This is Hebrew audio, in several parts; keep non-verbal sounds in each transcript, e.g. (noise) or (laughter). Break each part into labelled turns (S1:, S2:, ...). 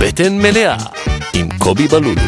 S1: בטן מלאה עם קובי בלולו.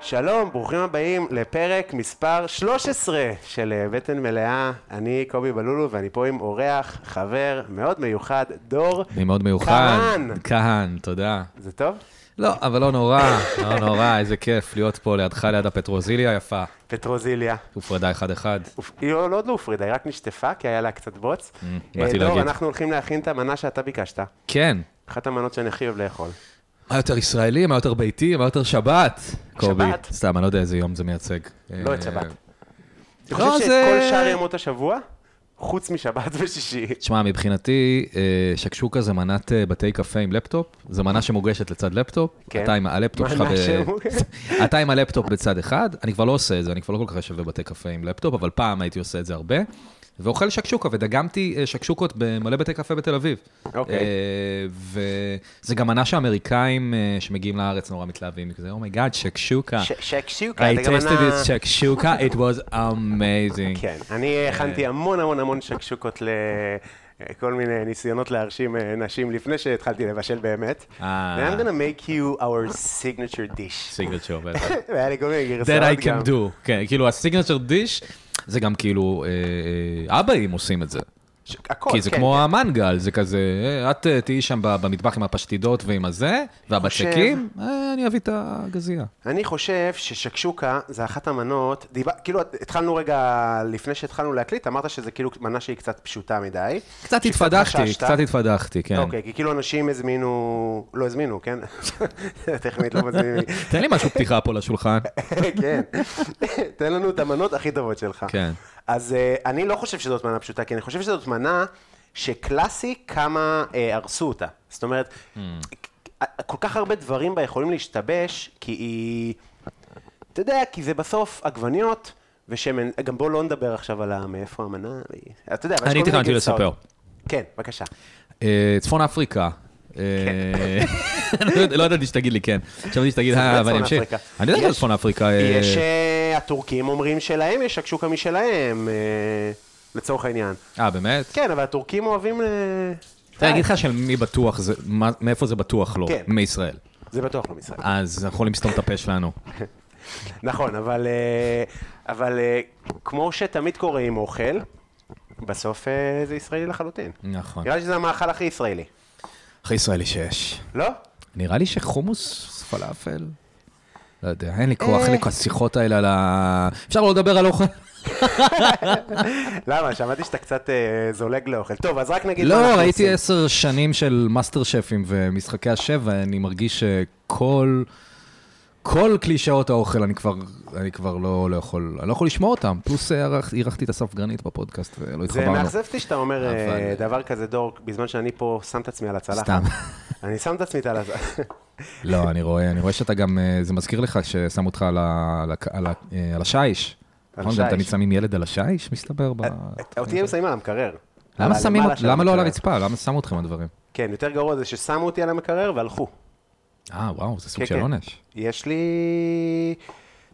S2: שלום, ברוכים הבאים לפרק מספר 13 של אה, בטן מלאה. אני קובי בלולו ואני פה עם אורח, חבר מאוד מיוחד, דור.
S3: אני מאוד מיוחד.
S2: כהן.
S3: כהן, תודה.
S2: זה טוב?
S3: לא, אבל לא נורא, לא נורא, איזה כיף להיות פה לידך, ליד הפטרוזיליה היפה.
S2: פטרוזיליה.
S3: הופרדה אחד-אחד.
S2: אופ- היא עוד עוד לא הופרידה, היא רק נשטפה, כי היה לה קצת בוץ. אה,
S3: Mm, באתי
S2: דור,
S3: להגיד.
S2: אנחנו הולכים להכין את המנה שאתה ביקשת.
S3: כן.
S2: אחת המנות שאני הכי אוהב לאכול.
S3: מה יותר ישראלי, מה יותר ביתי, מה יותר שבת, קובי.
S2: שבת?
S3: סתם, אני לא יודע איזה יום זה מייצג.
S2: לא את שבת.
S3: אה,
S2: אתה
S3: לא,
S2: חושב שאת
S3: זה-
S2: כל שאר ימות השבוע, חוץ משבת ושישי.
S3: תשמע, מבחינתי, אה, שקשוקה זה מנת אה, בתי קפה עם לפטופ, זו מנה שמוגשת לצד לפטופ.
S2: כן.
S3: אתה עם הלפטופ שלך...
S2: מנה
S3: ב-
S2: שמוגשת.
S3: (laughs) אתה עם הלפטופ בצד אחד, אני כבר לא עושה את זה, אני כבר לא כל כך יושב בבתי קפה עם לפטופ, אבל פעם הייתי עושה את זה הרבה. ואוכל שקשוקה, ודגמתי אה, שקשוקות במלא בתי קפה בתל אביב.
S2: אוקיי.
S3: אה, וזה גם מנה שהאמריקאים אה, שמגיעים לארץ נורא מתלהבים, כזה, אומייגאד, שקשוקה.
S2: ש- שקשוקה,
S3: I
S2: זה גם
S3: tasted
S2: מנה-
S3: this שקשוקה, it was
S2: (laughs)
S3: amazing.
S2: כן, אני הכנתי המון המון המון שקשוקות לכל מיני ניסיונות להרשים אה, נשים לפני שהתחלתי לבשל באמת.
S3: אה.
S2: And I'm gonna make you our signature dish.
S3: סיגרצ'ר, בטח.
S2: והיה לי כל מיני גרסאות גם.
S3: that I can do. כן, כאילו הסיגנצ'ר דיש, זה גם כאילו, אה, אה, אבאים עושים את זה.
S2: ש- הכל,
S3: כי זה
S2: כן,
S3: כמו
S2: כן.
S3: המנגל, זה כזה, אה, את אה, תהיי שם ב- במטבח עם הפשטידות ועם הזה, והבצקים, אה, אני אביא את הגזייה.
S2: אני חושב ששקשוקה זה אחת המנות, דיבר- כאילו התחלנו רגע לפני שהתחלנו להקליט, אמרת שזה כאילו מנה שהיא קצת פשוטה מדי.
S3: קצת
S2: שקצת
S3: התפדחתי,
S2: חששת.
S3: קצת התפדחתי, כן.
S2: אוקיי, כי כאילו אנשים הזמינו, לא הזמינו, כן? (laughs) טכנית לא מזמינים.
S3: תן לי משהו פתיחה
S2: (laughs)
S3: פה לשולחן.
S2: כן, תן לנו את המנות הכי טובות שלך.
S3: כן.
S2: אז אה, אני לא חושב שזאת מנה פשוטה, כי אני חושב שזאת מנה שקלאסי כמה אה, הרסו אותה. זאת אומרת,
S3: Hmm.
S2: כל כך הרבה דברים בה יכולים להשתבש, כי היא... אתה יודע, כי זה בסוף עגבניות ושמן, גם בואו לא נדבר עכשיו על ה- מאיפה המנה, אתה יודע, אבל יש
S3: אני
S2: כל מיני
S3: תכננתי
S2: גרסאות.
S3: לספר.
S2: כן, בבקשה.
S3: אה, צפון אפריקה. אה, (laughs) לא יודע- לא ידעתי שתגיד לי כן. חשבתי שתגיד,
S2: זה לא
S3: אה, אבל
S2: צפון
S3: אני אמשיך.
S2: אפריקה.
S3: אני יודע שזה
S2: יש-
S3: צפון אפריקה. אה,
S2: יש, אה, הטורקים אומרים שלהם יש שקשוקה משלהם, אה, לצורך העניין.
S3: אה, באמת?
S2: כן, אבל הטורקים אוהבים... אה,
S3: תראה, אני אגיד לך של מי בטוח זה, מה- מאיפה זה בטוח לא,
S2: כן.
S3: מישראל.
S2: זה בטוח לא משחק.
S3: אז אנחנו יכולים לסתום את הפה שלנו.
S2: נכון, אבל, אה, אבל אה, כמו שתמיד קורה עם אוכל, בסוף אה, זה ישראלי לחלוטין.
S3: נכון.
S2: נראה לי שזה המאכל הכי ישראלי.
S3: הכי ישראלי שיש.
S2: לא?
S3: נראה לי שחומוס, פלאפל, לא יודע, אין לי
S2: אה.
S3: כוח, אין לי כל השיחות האלה על ה... אפשר לא לדבר על אוכל?
S2: למה? שמעתי שאתה קצת אה, זולג לאוכל. טוב, אז רק נגיד מה
S3: לא,
S2: אנחנו
S3: ראיתי
S2: עושים.
S3: עשר שנים של מאסטר שפים ומשחקי השף, ואני מרגיש שכל... כל קלישאות האוכל, אני כבר, אני כבר לא, לא יכול, אני לא יכול לשמוע אותם. פלוס אה, ערך- אירחתי את אסף גרנית בפודקאסט ולא
S2: זה
S3: התחברנו.
S2: מאכזב אותי שאתה אומר אה,
S3: אבל-
S2: דבר כזה, דור, בזמן שאני פה שם את עצמי על הצלחת.
S3: סתם.
S2: אני שם את עצמי על הצלחת.
S3: (laughs) לא, אני רואה, אני רואה שאתה גם, אה, זה מזכיר לך ששם אותך על ה- על ה- על ה- אה, על השיש.
S2: על
S3: נכון, גם
S2: השיש.
S3: תמיד שמים ילד על השיש, מסתבר? ב-
S2: אותי הם שמים על המקרר.
S3: למה
S2: על
S3: שמים,
S2: הלמעלה אה,
S3: אות-
S2: של
S3: למה לא על
S2: המקרר.
S3: הרצפה? למה שמו אתכם על דברים?
S2: כן, יותר גרוע זה ששמו אותי על המקרר והלכו.
S3: אה, וואו, זה סוג
S2: כן,
S3: של
S2: כן.
S3: עונש.
S2: יש לי...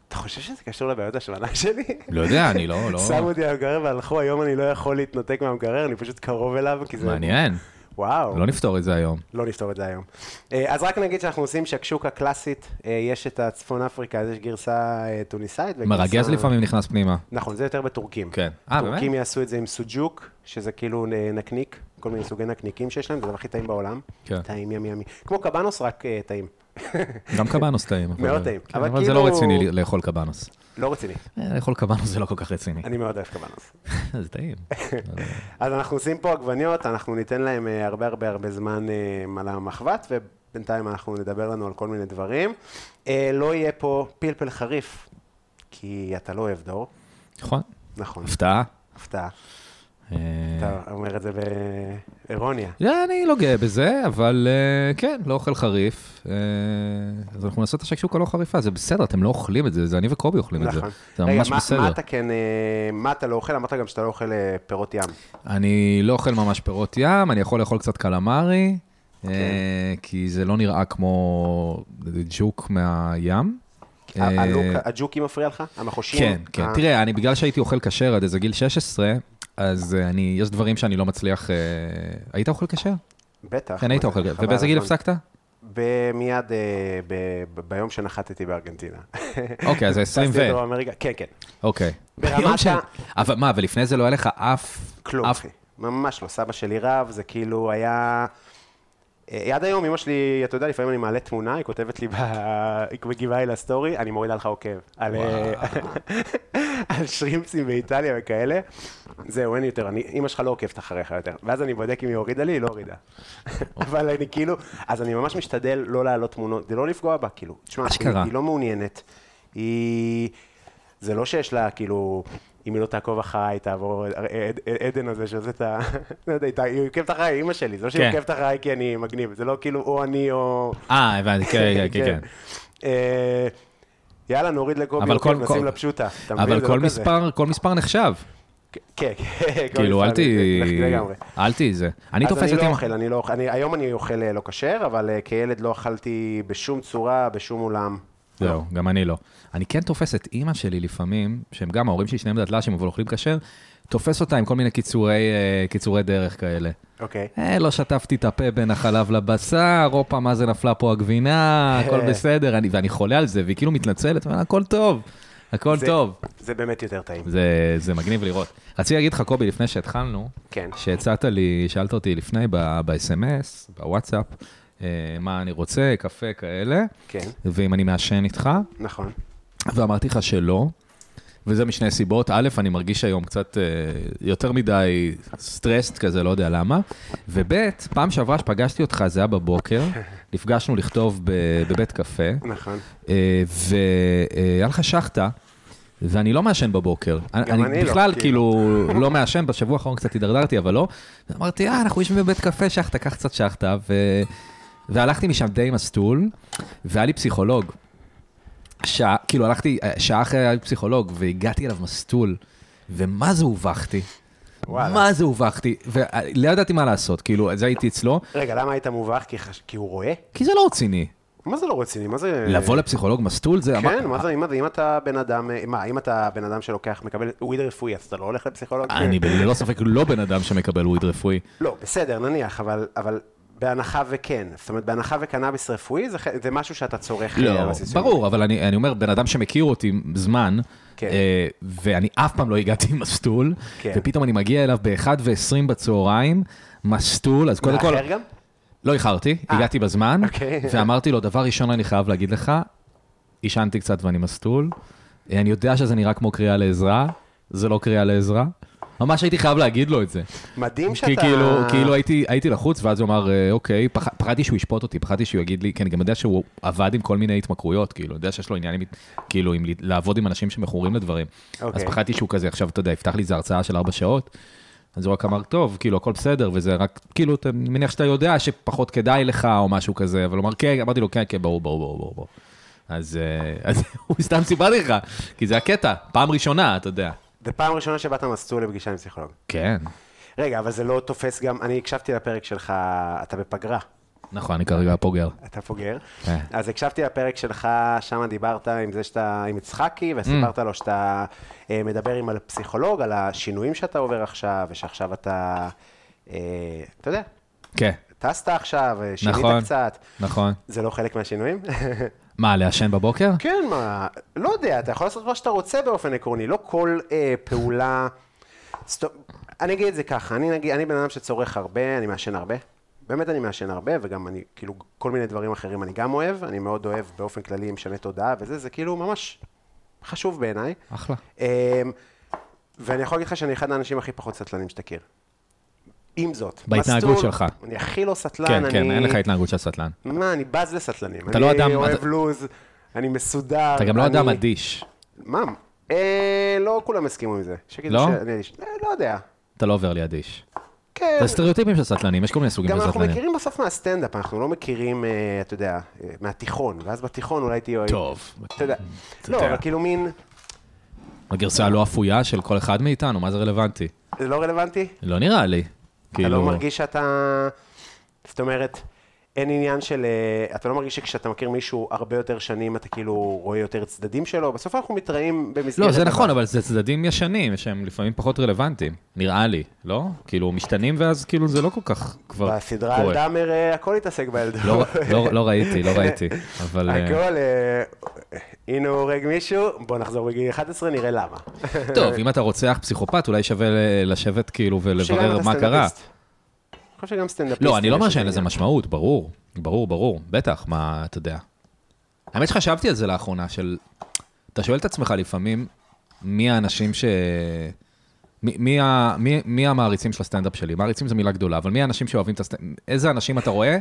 S2: אתה חושב שזה קשור לבעיות השמנה שלי?
S3: לא יודע, אני לא, לא...
S2: (laughs) שמו אותי על המקרר והלכו, היום אני לא יכול להתנתק מהמקרר, אני פשוט קרוב אליו, כי זה...
S3: מעניין,
S2: וואו,
S3: לא נפתור את זה היום.
S2: לא נפתור את זה היום. אה, אז רק נגיד שאנחנו עושים שקשוקה קלאסית, אה, יש את הצפון אפריקה, אז יש גרסה אה, טוניסאית. וגרסה-
S3: מרגז לפעמים נכנס פנימה.
S2: נכון, זה יותר בטורקים.
S3: כן. אה, באמת?
S2: טורקים יעשו את זה עם סוג'וק, שזה כאילו נ- נקניק, כל מיני סוגי נקניקים שיש להם, זה הדבר הכי טעים בעולם.
S3: כן.
S2: טעים ימי ימי. כמו קבנוס, רק אה, טעים. (laughs)
S3: גם קבנוס טעים. אבל-
S2: מאוד טעים.
S3: כן,
S2: אבל
S3: אבל זה
S2: כאילו-
S3: לא רציני ל- לאכול קבנוס.
S2: לא רציני,
S3: אה, לאכול קבנוס זה לא כל כך רציני.
S2: אני מאוד אוהב קבנוס.
S3: (laughs) זה
S2: (laughs)
S3: טעים.
S2: אז אנחנו עושים פה עגבניות, אנחנו ניתן להם אה, הרבה הרבה הרבה זמן אה, על המחבת, ובינתיים אנחנו נדבר לנו על כל מיני דברים. אה, לא יהיה פה פלפל חריף, כי אתה לא אוהב דור,
S3: נכון,
S2: נכון,
S3: הפתעה.
S2: הפתעה.
S3: אה,
S2: אתה אומר את זה באירוניה.
S3: זה, אני לא גאה בזה, אבל אה, כן, לא אוכל חריף. אה, אז אנחנו נעשה את השקשוקה לא חריפה, זה בסדר, אתם לא אוכלים את זה, זה אני וקובי אוכלים את כן, זה.
S2: נכון.
S3: זה
S2: רגע,
S3: ממש
S2: מה- מה
S3: בסדר.
S2: אתה כן, אה, מה אתה לא אוכל? אמרת גם שאתה לא אוכל אה, פירות ים.
S3: אני לא אוכל ממש פירות ים, אני יכול לאכול קצת קלמרי, אה,
S2: אוקיי.
S3: כי זה לא נראה כמו ג'וק מהים. אה,
S2: ה- הלוק- הג'וקי מפריע לך? המחושים? אה,
S3: כן, כן.
S2: ה-
S3: תראה, אני בגלל שהייתי אוכל כשר עד איזה גיל 16, אז אה, אני, יש דברים שאני לא מצליח... אה, היית אוכל כשר?
S2: בטח.
S3: כן,
S2: מה
S3: היית
S2: זה,
S3: אוכל כשר.
S2: אה, חבל
S3: ובאיזה גיל
S2: הזמן.
S3: הפסקת?
S2: ב- מיד אה, ב- ב- ביום שנחתתי בארגנטינה. (laughs)
S3: אוקיי, אז זה 20
S2: טסתי
S3: ו...
S2: לדרום אמריקה, כן, כן.
S3: אוקיי.
S2: ברמת
S3: יום של-
S2: ה-
S3: אבל מה, ולפני זה לא היה לך אף...
S2: כלום,
S3: אף...
S2: אחי. ממש לא. סבא שלי רב, זה כאילו היה... אה, עד היום אמא שלי, אתה יודע, לפעמים אני מעלה תמונה, היא כותבת לי, ב... (laughs) היא מגיבה לי לסטורי, אני מורידה לך עוקב. על, אה, (laughs) על שרימפסים באיטליה וכאלה. זהו, אין יותר, אני, אמא שלך לא עוקבת אחריך יותר. ואז אני בודק אם היא הורידה לי, היא לא הורידה.
S3: אוקיי.
S2: (laughs) אבל אני כאילו, אז אני ממש משתדל לא להעלות תמונות, כדי לא לפגוע בה, כאילו. תשמע, היא,
S3: אשכרה.
S2: היא לא מעוניינת. היא... זה לא שיש לה, כאילו, אם היא לא תעקוב אחריי, תעבור עד- עד- עדן הזה שעושה את ה... (laughs) לא יודע, היא תע- היא עוקבת אחריי, אימא שלי. זה לא שהיא
S3: כן.
S2: עוקבת אחריי כי אני מגניב. זה לא כאילו או אני או...
S3: אה, הבנתי, כן,
S2: (laughs)
S3: כן, כן, כן.
S2: אה, יאללה, נוריד לקובי,
S3: אבל
S2: עוקב,
S3: כל-
S2: נשים
S3: כל-
S2: לפשוטה. אתה מבין?
S3: אבל
S2: זה
S3: כל
S2: לא כזה.
S3: מספר, כל מספר נחשב.
S2: כן, (laughs) כן. כל
S3: כאילו, אל
S2: מספר,
S3: תהיי...
S2: לגמרי.
S3: אל תהיי זה. אני תופס
S2: אז
S3: אותי...
S2: אני לא אוכל, אני לא אוכל, אני- היום אני אוכל אה, לא כשר, אבל אה, כילד לא אכלתי בשום צורה, בשום אולם.
S3: זהו, גם אני לא. אני כן תופס את אימא שלי לפעמים, שהם גם ההורים שלי, שניהם דתל"שים, אבל אוכלים כשר, תופס אותה עם כל מיני קיצורי, אה, קיצורי דרך כאלה.
S2: אוקיי.
S3: אה, לא שטפתי את הפה בין החלב לבשר, הופה, מה זה נפלה פה הגבינה,
S2: (laughs)
S3: הכל בסדר, אני, ואני חולה על זה, והיא כאילו מתנצלת, ואומרת, הכל טוב, הכל
S2: זה-
S3: טוב.
S2: זה באמת יותר טעים.
S3: זה, זה מגניב לראות. רציתי להגיד לך, קובי, לפני שהתחלנו,
S2: כן.
S3: שהצעת לי, שאלת אותי לפני ב- ב-SMS, בוואטסאפ, אה, מה אני רוצה, קפה כאלה,
S2: כן,
S3: ואם אני מעשן איתך,
S2: נכון.
S3: ואמרתי לך שלא, וזה משני סיבות. א', אני מרגיש היום קצת אה, יותר מדי סטרסט כזה, לא יודע למה, וב', פעם שעברה שפגשתי אותך, זה היה
S2: (laughs)
S3: בבוקר, נפגשנו לכתוב ב- בבית קפה,
S2: נכון.
S3: אה, והיה לך שחטה. ואני לא מעשן בבוקר.
S2: גם אני לא,
S3: בכלל,
S2: כאילו.
S3: כאילו, לא מעשן, בשבוע האחרון קצת הידרדרתי, אבל לא. אמרתי, אה, אנחנו יושבים בבית קפה, שחטה, קח קצת שחטה, ו... והלכתי משם די מסטול, והיה לי פסיכולוג. שעה, כאילו, הלכתי, אה, שעה אחרי היה לי פסיכולוג, והגעתי אליו מסטול, ומה זה הובכתי?
S2: וואלה.
S3: מה זה הובכתי? ולא ידעתי מה לעשות, כאילו, זה הייתי אצלו,
S2: רגע, למה היית מובך? כי חש- כי הוא רואה?
S3: כי זה לא רציני.
S2: מה זה לא רציני? מה זה...
S3: לבוא לפסיכולוג מסטול זה...
S2: כן, מה זה, אם אם אתה בן אדם, אה, מה, אם אתה בן אדם שלוקח, מקבל וויד רפואי, אז אתה לא הולך לפסיכולוג?
S3: אני ללא ספק לא בן אדם שמקבל וויד רפואי.
S2: לא, בסדר, נניח, אבל- אבל בהנחה וכן. זאת אומרת, בהנחה וקנאביס רפואי, זה ח- זה משהו שאתה צורך.
S3: לא,
S2: אה, על בסיס יומי.
S3: ברור, אבל אני, אני אומר, בן אדם שמכיר אותי זמן,
S2: כן.
S3: אה, ואני אף פעם לא הגעתי עם מסטול,
S2: כן.
S3: ופתאום אני מגיע אליו ב-1 בצהריים, מסטול, אז קודם כל...
S2: לאחר גם?
S3: לא איחרתי, הגעתי בזמן,
S2: אוקיי.
S3: ואמרתי לו, דבר ראשון אני חייב להגיד לך, עישנתי קצת ואני מסטול, אה, אני יודע שזה נראה כמו קריאה לעזרה, זה לא קריאה לעזרה. ממש הייתי חייב להגיד לו את זה.
S2: מדהים
S3: כי
S2: שאתה...
S3: כאילו, כאילו הייתי, הייתי לחוץ, ואז הוא אמר, "אה, אוקיי, פח, פחדתי שהוא ישפוט אותי, פחדתי שהוא יגיד לי, כי אני גם יודע שהוא עבד עם כל מיני התמכרויות, כאילו, יודע שיש לו עניין עם, כאילו, עם, ל- לעבוד עם אנשים שמכורים לדברים. אז
S2: אוקיי.
S3: פחדתי שהוא כזה, עכשיו, אתה יודע, יפתח לי איזו הרצאה של ארבע שעות, אז הוא רק אמר, טוב, כאילו, הכל בסדר, וזה רק, כאילו, אתה אני מניח שאתה יודע שפחות כדאי לך, או משהו כזה, אבל הוא אמר, כן, אמרתי לו, כן, כן, ברור, ברור, ברור, ברור. ברור." אז, אה, (laughs) אז הוא סתם סיפרתי לך, כי זה הקטע, פעם ראשונה, אתה יודע.
S2: זה פעם ראשונה שבאת מסטול לפגישה עם פסיכולוג.
S3: כן,
S2: רגע, אבל זה לא תופס גם, אני הקשבתי לפרק שלך, אתה בפגרה,
S3: נכון, אני כרגע פוגר.
S2: אתה פוגר.
S3: כן.
S2: אז הקשבתי לפרק שלך, שם דיברת עם זה שאתה, עם יצחקי,
S3: Mm.
S2: וסיפרת לו שאתה אה, מדבר עם הפסיכולוג, על השינויים שאתה עובר עכשיו, ושעכשיו אתה, אה, אתה יודע,
S3: כן.
S2: טסת עכשיו, אה, שינית
S3: נכון.
S2: קצת.
S3: נכון.
S2: זה לא חלק מהשינויים? (laughs)
S3: מה, לעשן בבוקר?
S2: כן, מה, לא יודע, אתה יכול לעשות מה שאתה רוצה באופן עקרוני, לא כל אה, פעולה... סט... אני אגיד את זה ככה, אני, נגיד, אני בן אדם שצורך הרבה, אני מעשן הרבה. באמת אני מעשן הרבה, וגם אני, כאילו, כל מיני דברים אחרים אני גם אוהב, אני מאוד אוהב באופן כללי משנה תודעה וזה, זה כאילו ממש חשוב בעיניי.
S3: אחלה.
S2: אה, ואני יכול להגיד לך שאני אחד האנשים הכי פחות סטלנים שתכיר. עם זאת,
S3: בהתנהגות
S2: מסטול,
S3: שלך.
S2: אני הכי לא סטלן,
S3: כן,
S2: אני...
S3: כן, אין לך התנהגות של סטלן.
S2: מה, אני בז לסטלנים.
S3: אתה לא אדם-
S2: אני אוהב
S3: אתה-
S2: לוז, אני מסודר.
S3: אתה גם לא
S2: אני-
S3: אדם אדיש.
S2: מה? אה, לא כולם הסכימו עם זה. שיגידו
S3: לא?
S2: שאני אדיש. אה, לא יודע.
S3: אתה לא עובר לי אדיש.
S2: כן.
S3: זה סטריאוטיפים של סטלנים, יש כל מיני סוגים
S2: גם
S3: של
S2: אנחנו
S3: סטלנים.
S2: מכירים בסוף מהסטנדאפ, אנחנו לא מכירים, אה, אתה יודע, אה, מהתיכון, ואז בתיכון אולי תהיה...
S3: טוב.
S2: אתה יודע.
S3: אתה
S2: לא,
S3: יודע.
S2: אבל כאילו מין...
S3: הגרסה הלא אפויה של כל אחד מאיתנו, מה זה רלוונטי?
S2: זה לא רלוונטי?
S3: לא נראה לי.
S2: אתה
S3: כאילו...
S2: לא מרגיש שאתה... זאת אומרת, אין עניין של... אה, אתה לא מרגיש שכשאתה מכיר מישהו הרבה יותר שנים, אתה כאילו רואה יותר צדדים שלו? בסוף אנחנו מתראים במסגרת...
S3: לא, זה
S2: הבא.
S3: נכון, אבל זה צדדים ישנים, שהם לפעמים פחות רלוונטיים, נראה לי, לא? כאילו, משתנים ואז כאילו זה לא כל כך כבר קורה.
S2: בסדרה על דאמר אה, הכל התעסק בילדות. (laughs)
S3: לא- לא- לא ראיתי, לא ראיתי, אבל... אה,
S2: הכל, אה, הנה הוא הורג מישהו, בוא נחזור בגיל 11, נראה למה.
S3: אה, טוב, אם אתה רוצח פסיכופת, אולי שווה ל- לשבת כאילו
S2: שגם אם
S3: ולברר
S2: אתה
S3: מה קרה.
S2: סטנדאפיסט. אני חושב שגם סטנדאפיסט.
S3: לא, אני לא אומר
S2: יש
S3: שאין
S2: את
S3: לזה
S2: העניין.
S3: משמעות, ברור. ברור, ברור. בטח, מה, אתה יודע. האמת שחשבתי על זה לאחרונה, של... אתה שואל את עצמך לפעמים, מי האנשים ש... מי, מי, ה- מי, מי המעריצים של הסטנדאפ שלי? מעריצים זו מילה גדולה, אבל מי האנשים שאוהבים את הסטנדאפ? איזה אנשים אתה רואה?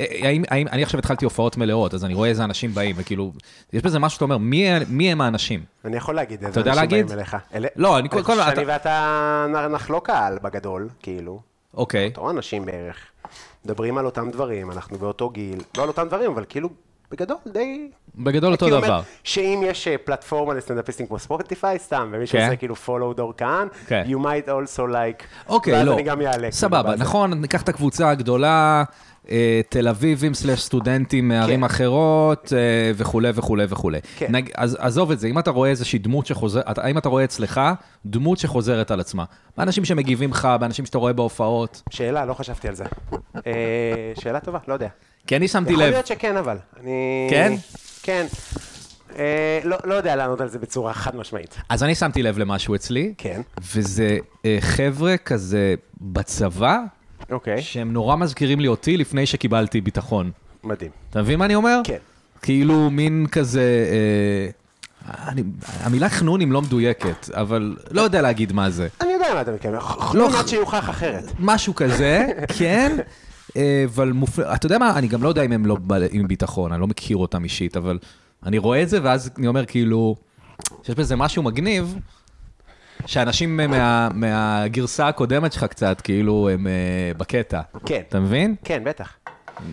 S3: אה, האם, האם, אני עכשיו התחלתי הופעות מלאות, אז אני רואה איזה אנשים באים, וכאילו, יש בזה משהו שאתה אומר, מי, מי הם האנשים?
S2: אני יכול להגיד איזה
S3: אתה יודע
S2: אנשים
S3: להגיד?
S2: באים אליך. אלה-
S3: לא, אני כל- כל-
S2: חושב שאני
S3: אתה-
S2: ואתה נ- נחלוק קהל בגדול, כאילו.
S3: אוקיי.
S2: אותו אנשים בערך. מדברים על אותם דברים, אנחנו באותו גיל. לא על אותם דברים, אבל כאילו, בגדול, די...
S3: בגדול אותו
S2: הייתי אומר
S3: דבר.
S2: שאם יש אה, פלטפורמה לסטנדאפיסטים כמו ספוטיפיי, סתם, ומישהו
S3: כן.
S2: עושה כאילו follow דורקן,
S3: כן.
S2: you might also like,
S3: אוקיי,
S2: ואז
S3: לא.
S2: אני גם אעלה. כאילו,
S3: סבבה,
S2: בזה.
S3: נכון, ניקח את הקבוצה הגדולה, אה, תל אביבים סלש סטודנטים מערים
S2: כן.
S3: אחרות, אה, וכולי וכולי וכולי.
S2: כן.
S3: נג- אז עזוב את זה, אם אתה רואה איזושהי דמות שחוזרת, האם אתה רואה אצלך דמות שחוזרת על עצמה? באנשים שמגיבים לך, באנשים שאתה רואה בהופעות.
S2: שאלה, לא חשבתי על זה. אה, שאלה טובה, לא יודע.
S3: כי אני שמתי
S2: יכול
S3: לב,
S2: להיות שכן, אבל. אני...
S3: כן?
S2: כן. אה, לא לא יודע לענות על זה בצורה חד משמעית.
S3: אז אני שמתי לב למשהו אצלי,
S2: כן.
S3: וזה אה, חבר'ה כזה בצבא,
S2: אוקיי.
S3: שהם נורא מזכירים לי אותי לפני שקיבלתי ביטחון.
S2: מדהים.
S3: אתה מבין מה אני אומר?
S2: כן.
S3: כאילו מין כזה... אה, אני, המילה חנונים לא מדויקת, אבל לא יודע להגיד מה זה.
S2: אני יודע למה אתה מתכוון. חלום
S3: לא ח-
S2: עד שיוכח אחרת.
S3: משהו
S2: (laughs)
S3: כזה, כן, אה, אבל מופלא, אתה יודע מה, אני גם לא יודע אם הם לא בעלי- עם ביטחון, אני לא מכיר אותם אישית, אבל אני רואה את זה, ואז אני אומר כאילו, שיש בזה משהו מגניב, שאנשים מה, מהגרסה הקודמת שלך קצת, כאילו, הם אה, בקטע.
S2: כן.
S3: אתה מבין?
S2: כן, בטח.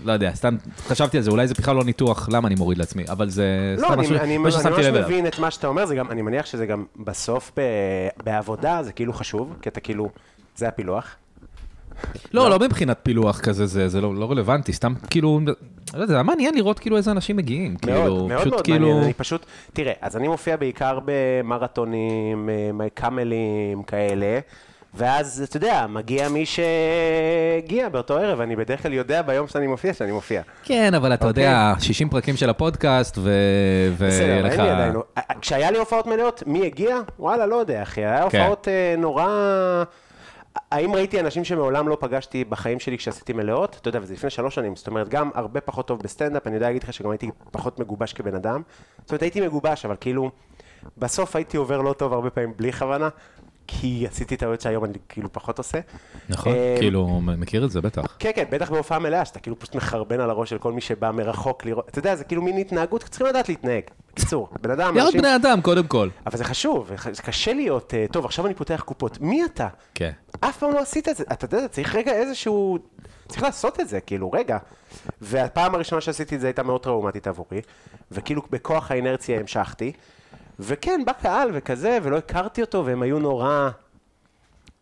S3: לא יודע, סתם חשבתי על זה, אולי זה בכלל לא ניתוח, למה אני מוריד לעצמי, אבל זה
S2: לא,
S3: סתם
S2: אני,
S3: משהו
S2: אני, אני
S3: משהו
S2: ממש
S3: ששמתי לב אליו.
S2: מבין את מה שאתה אומר, זה גם, אני מניח שזה גם בסוף ב, בעבודה, זה כאילו חשוב, כי אתה כאילו, זה הפילוח.
S3: לא, לא מבחינת פילוח כזה, זה זה לא לא רלוונטי, סתם כאילו, לא יודע, זה היה מעניין לראות כאילו איזה אנשים מגיעים, כאילו,
S2: מאוד, מאוד
S3: פשוט
S2: מאוד
S3: כאילו-
S2: מעניין, אני פשוט, תראה, אז אני מופיע בעיקר במרתונים, אה, קאמלים כאלה, ואז, אתה יודע, מגיע מי שהגיע באותו ערב, אני בדרך כלל יודע ביום שאני מופיע שאני מופיע.
S3: כן, אבל אתה יודע, 60 פרקים של הפודקאסט, ו...
S2: אוקיי. בסדר,
S3: ויהיה
S2: אין
S3: לך-
S2: לי עדיין. אה, אה, כשהיה לי הופעות מלאות, מי הגיע? וואלה, לא יודע, אחי.
S3: כן.
S2: היה הופעות אה, נורא... האם ראיתי אנשים שמעולם לא פגשתי בחיים שלי כשעשיתי מלאות? אתה יודע, וזה לפני שלוש שנים, זאת אומרת, גם הרבה פחות טוב בסטנדאפ, אני יודע להגיד לך שגם הייתי פחות מגובש כבן אדם. זאת אומרת, הייתי מגובש, אבל כאילו, בסוף הייתי עובר לא טוב הרבה פעמים בלי כוונה, כי עשיתי טעויות שהיום אני כאילו פחות עושה.
S3: נכון,
S2: אה,
S3: כאילו, מכיר את זה בטח.
S2: כן, כן, בטח בהופעה מלאה, שאתה כאילו פשוט מחרבן על הראש של כל מי שבא מרחוק לראות. אתה יודע, זה כאילו מין התנהגות, צריכים לדעת להתנהג. בקיצור, בן אדם,
S3: להיות
S2: אנשים...
S3: בני אדם, קודם כל.
S2: אבל זה חשוב, זה קשה להיות, אה, טוב, עכשיו אני פותח קופות. מי אתה?
S3: כן.
S2: אף פעם לא עשית את זה. אתה יודע, צריך רגע איזשהו... צריך לעשות את זה, כאילו, רגע. והפעם הראשונה שעשיתי את זה הייתה מאוד טראומטית עבורי, וכאילו בכוח האינרציה המשכתי, וכן, בא קהל וכזה, ולא הכרתי אותו, והם היו נורא...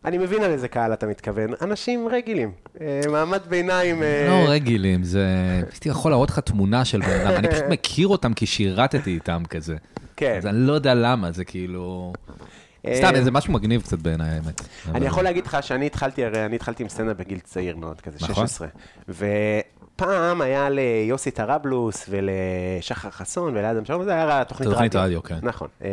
S2: אני מבין על איזה קהל אתה מתכוון, אנשים רגילים, אה, מעמד ביניים... אה,
S3: לא רגילים, זה... הייתי יכול להראות לך תמונה של בן אדם, אני פשוט מכיר אותם כי שירתתי איתם כזה.
S2: אה. כן.
S3: אז אני לא יודע למה, זה כאילו...
S2: אה,
S3: סתם, זה משהו מגניב קצת בעיניי, האמת. אבל-
S2: אני יכול להגיד לך שאני התחלתי, הרי אני התחלתי עם סטנדאפ בגיל צעיר מאוד, כזה
S3: נכון.
S2: 16. ופעם היה ליוסי טרבלוס ולשחר חסון ולאדם שרון, זה היה תוכנית רדיו.
S3: תוכנית רדיו, כן.
S2: נכון. אמ,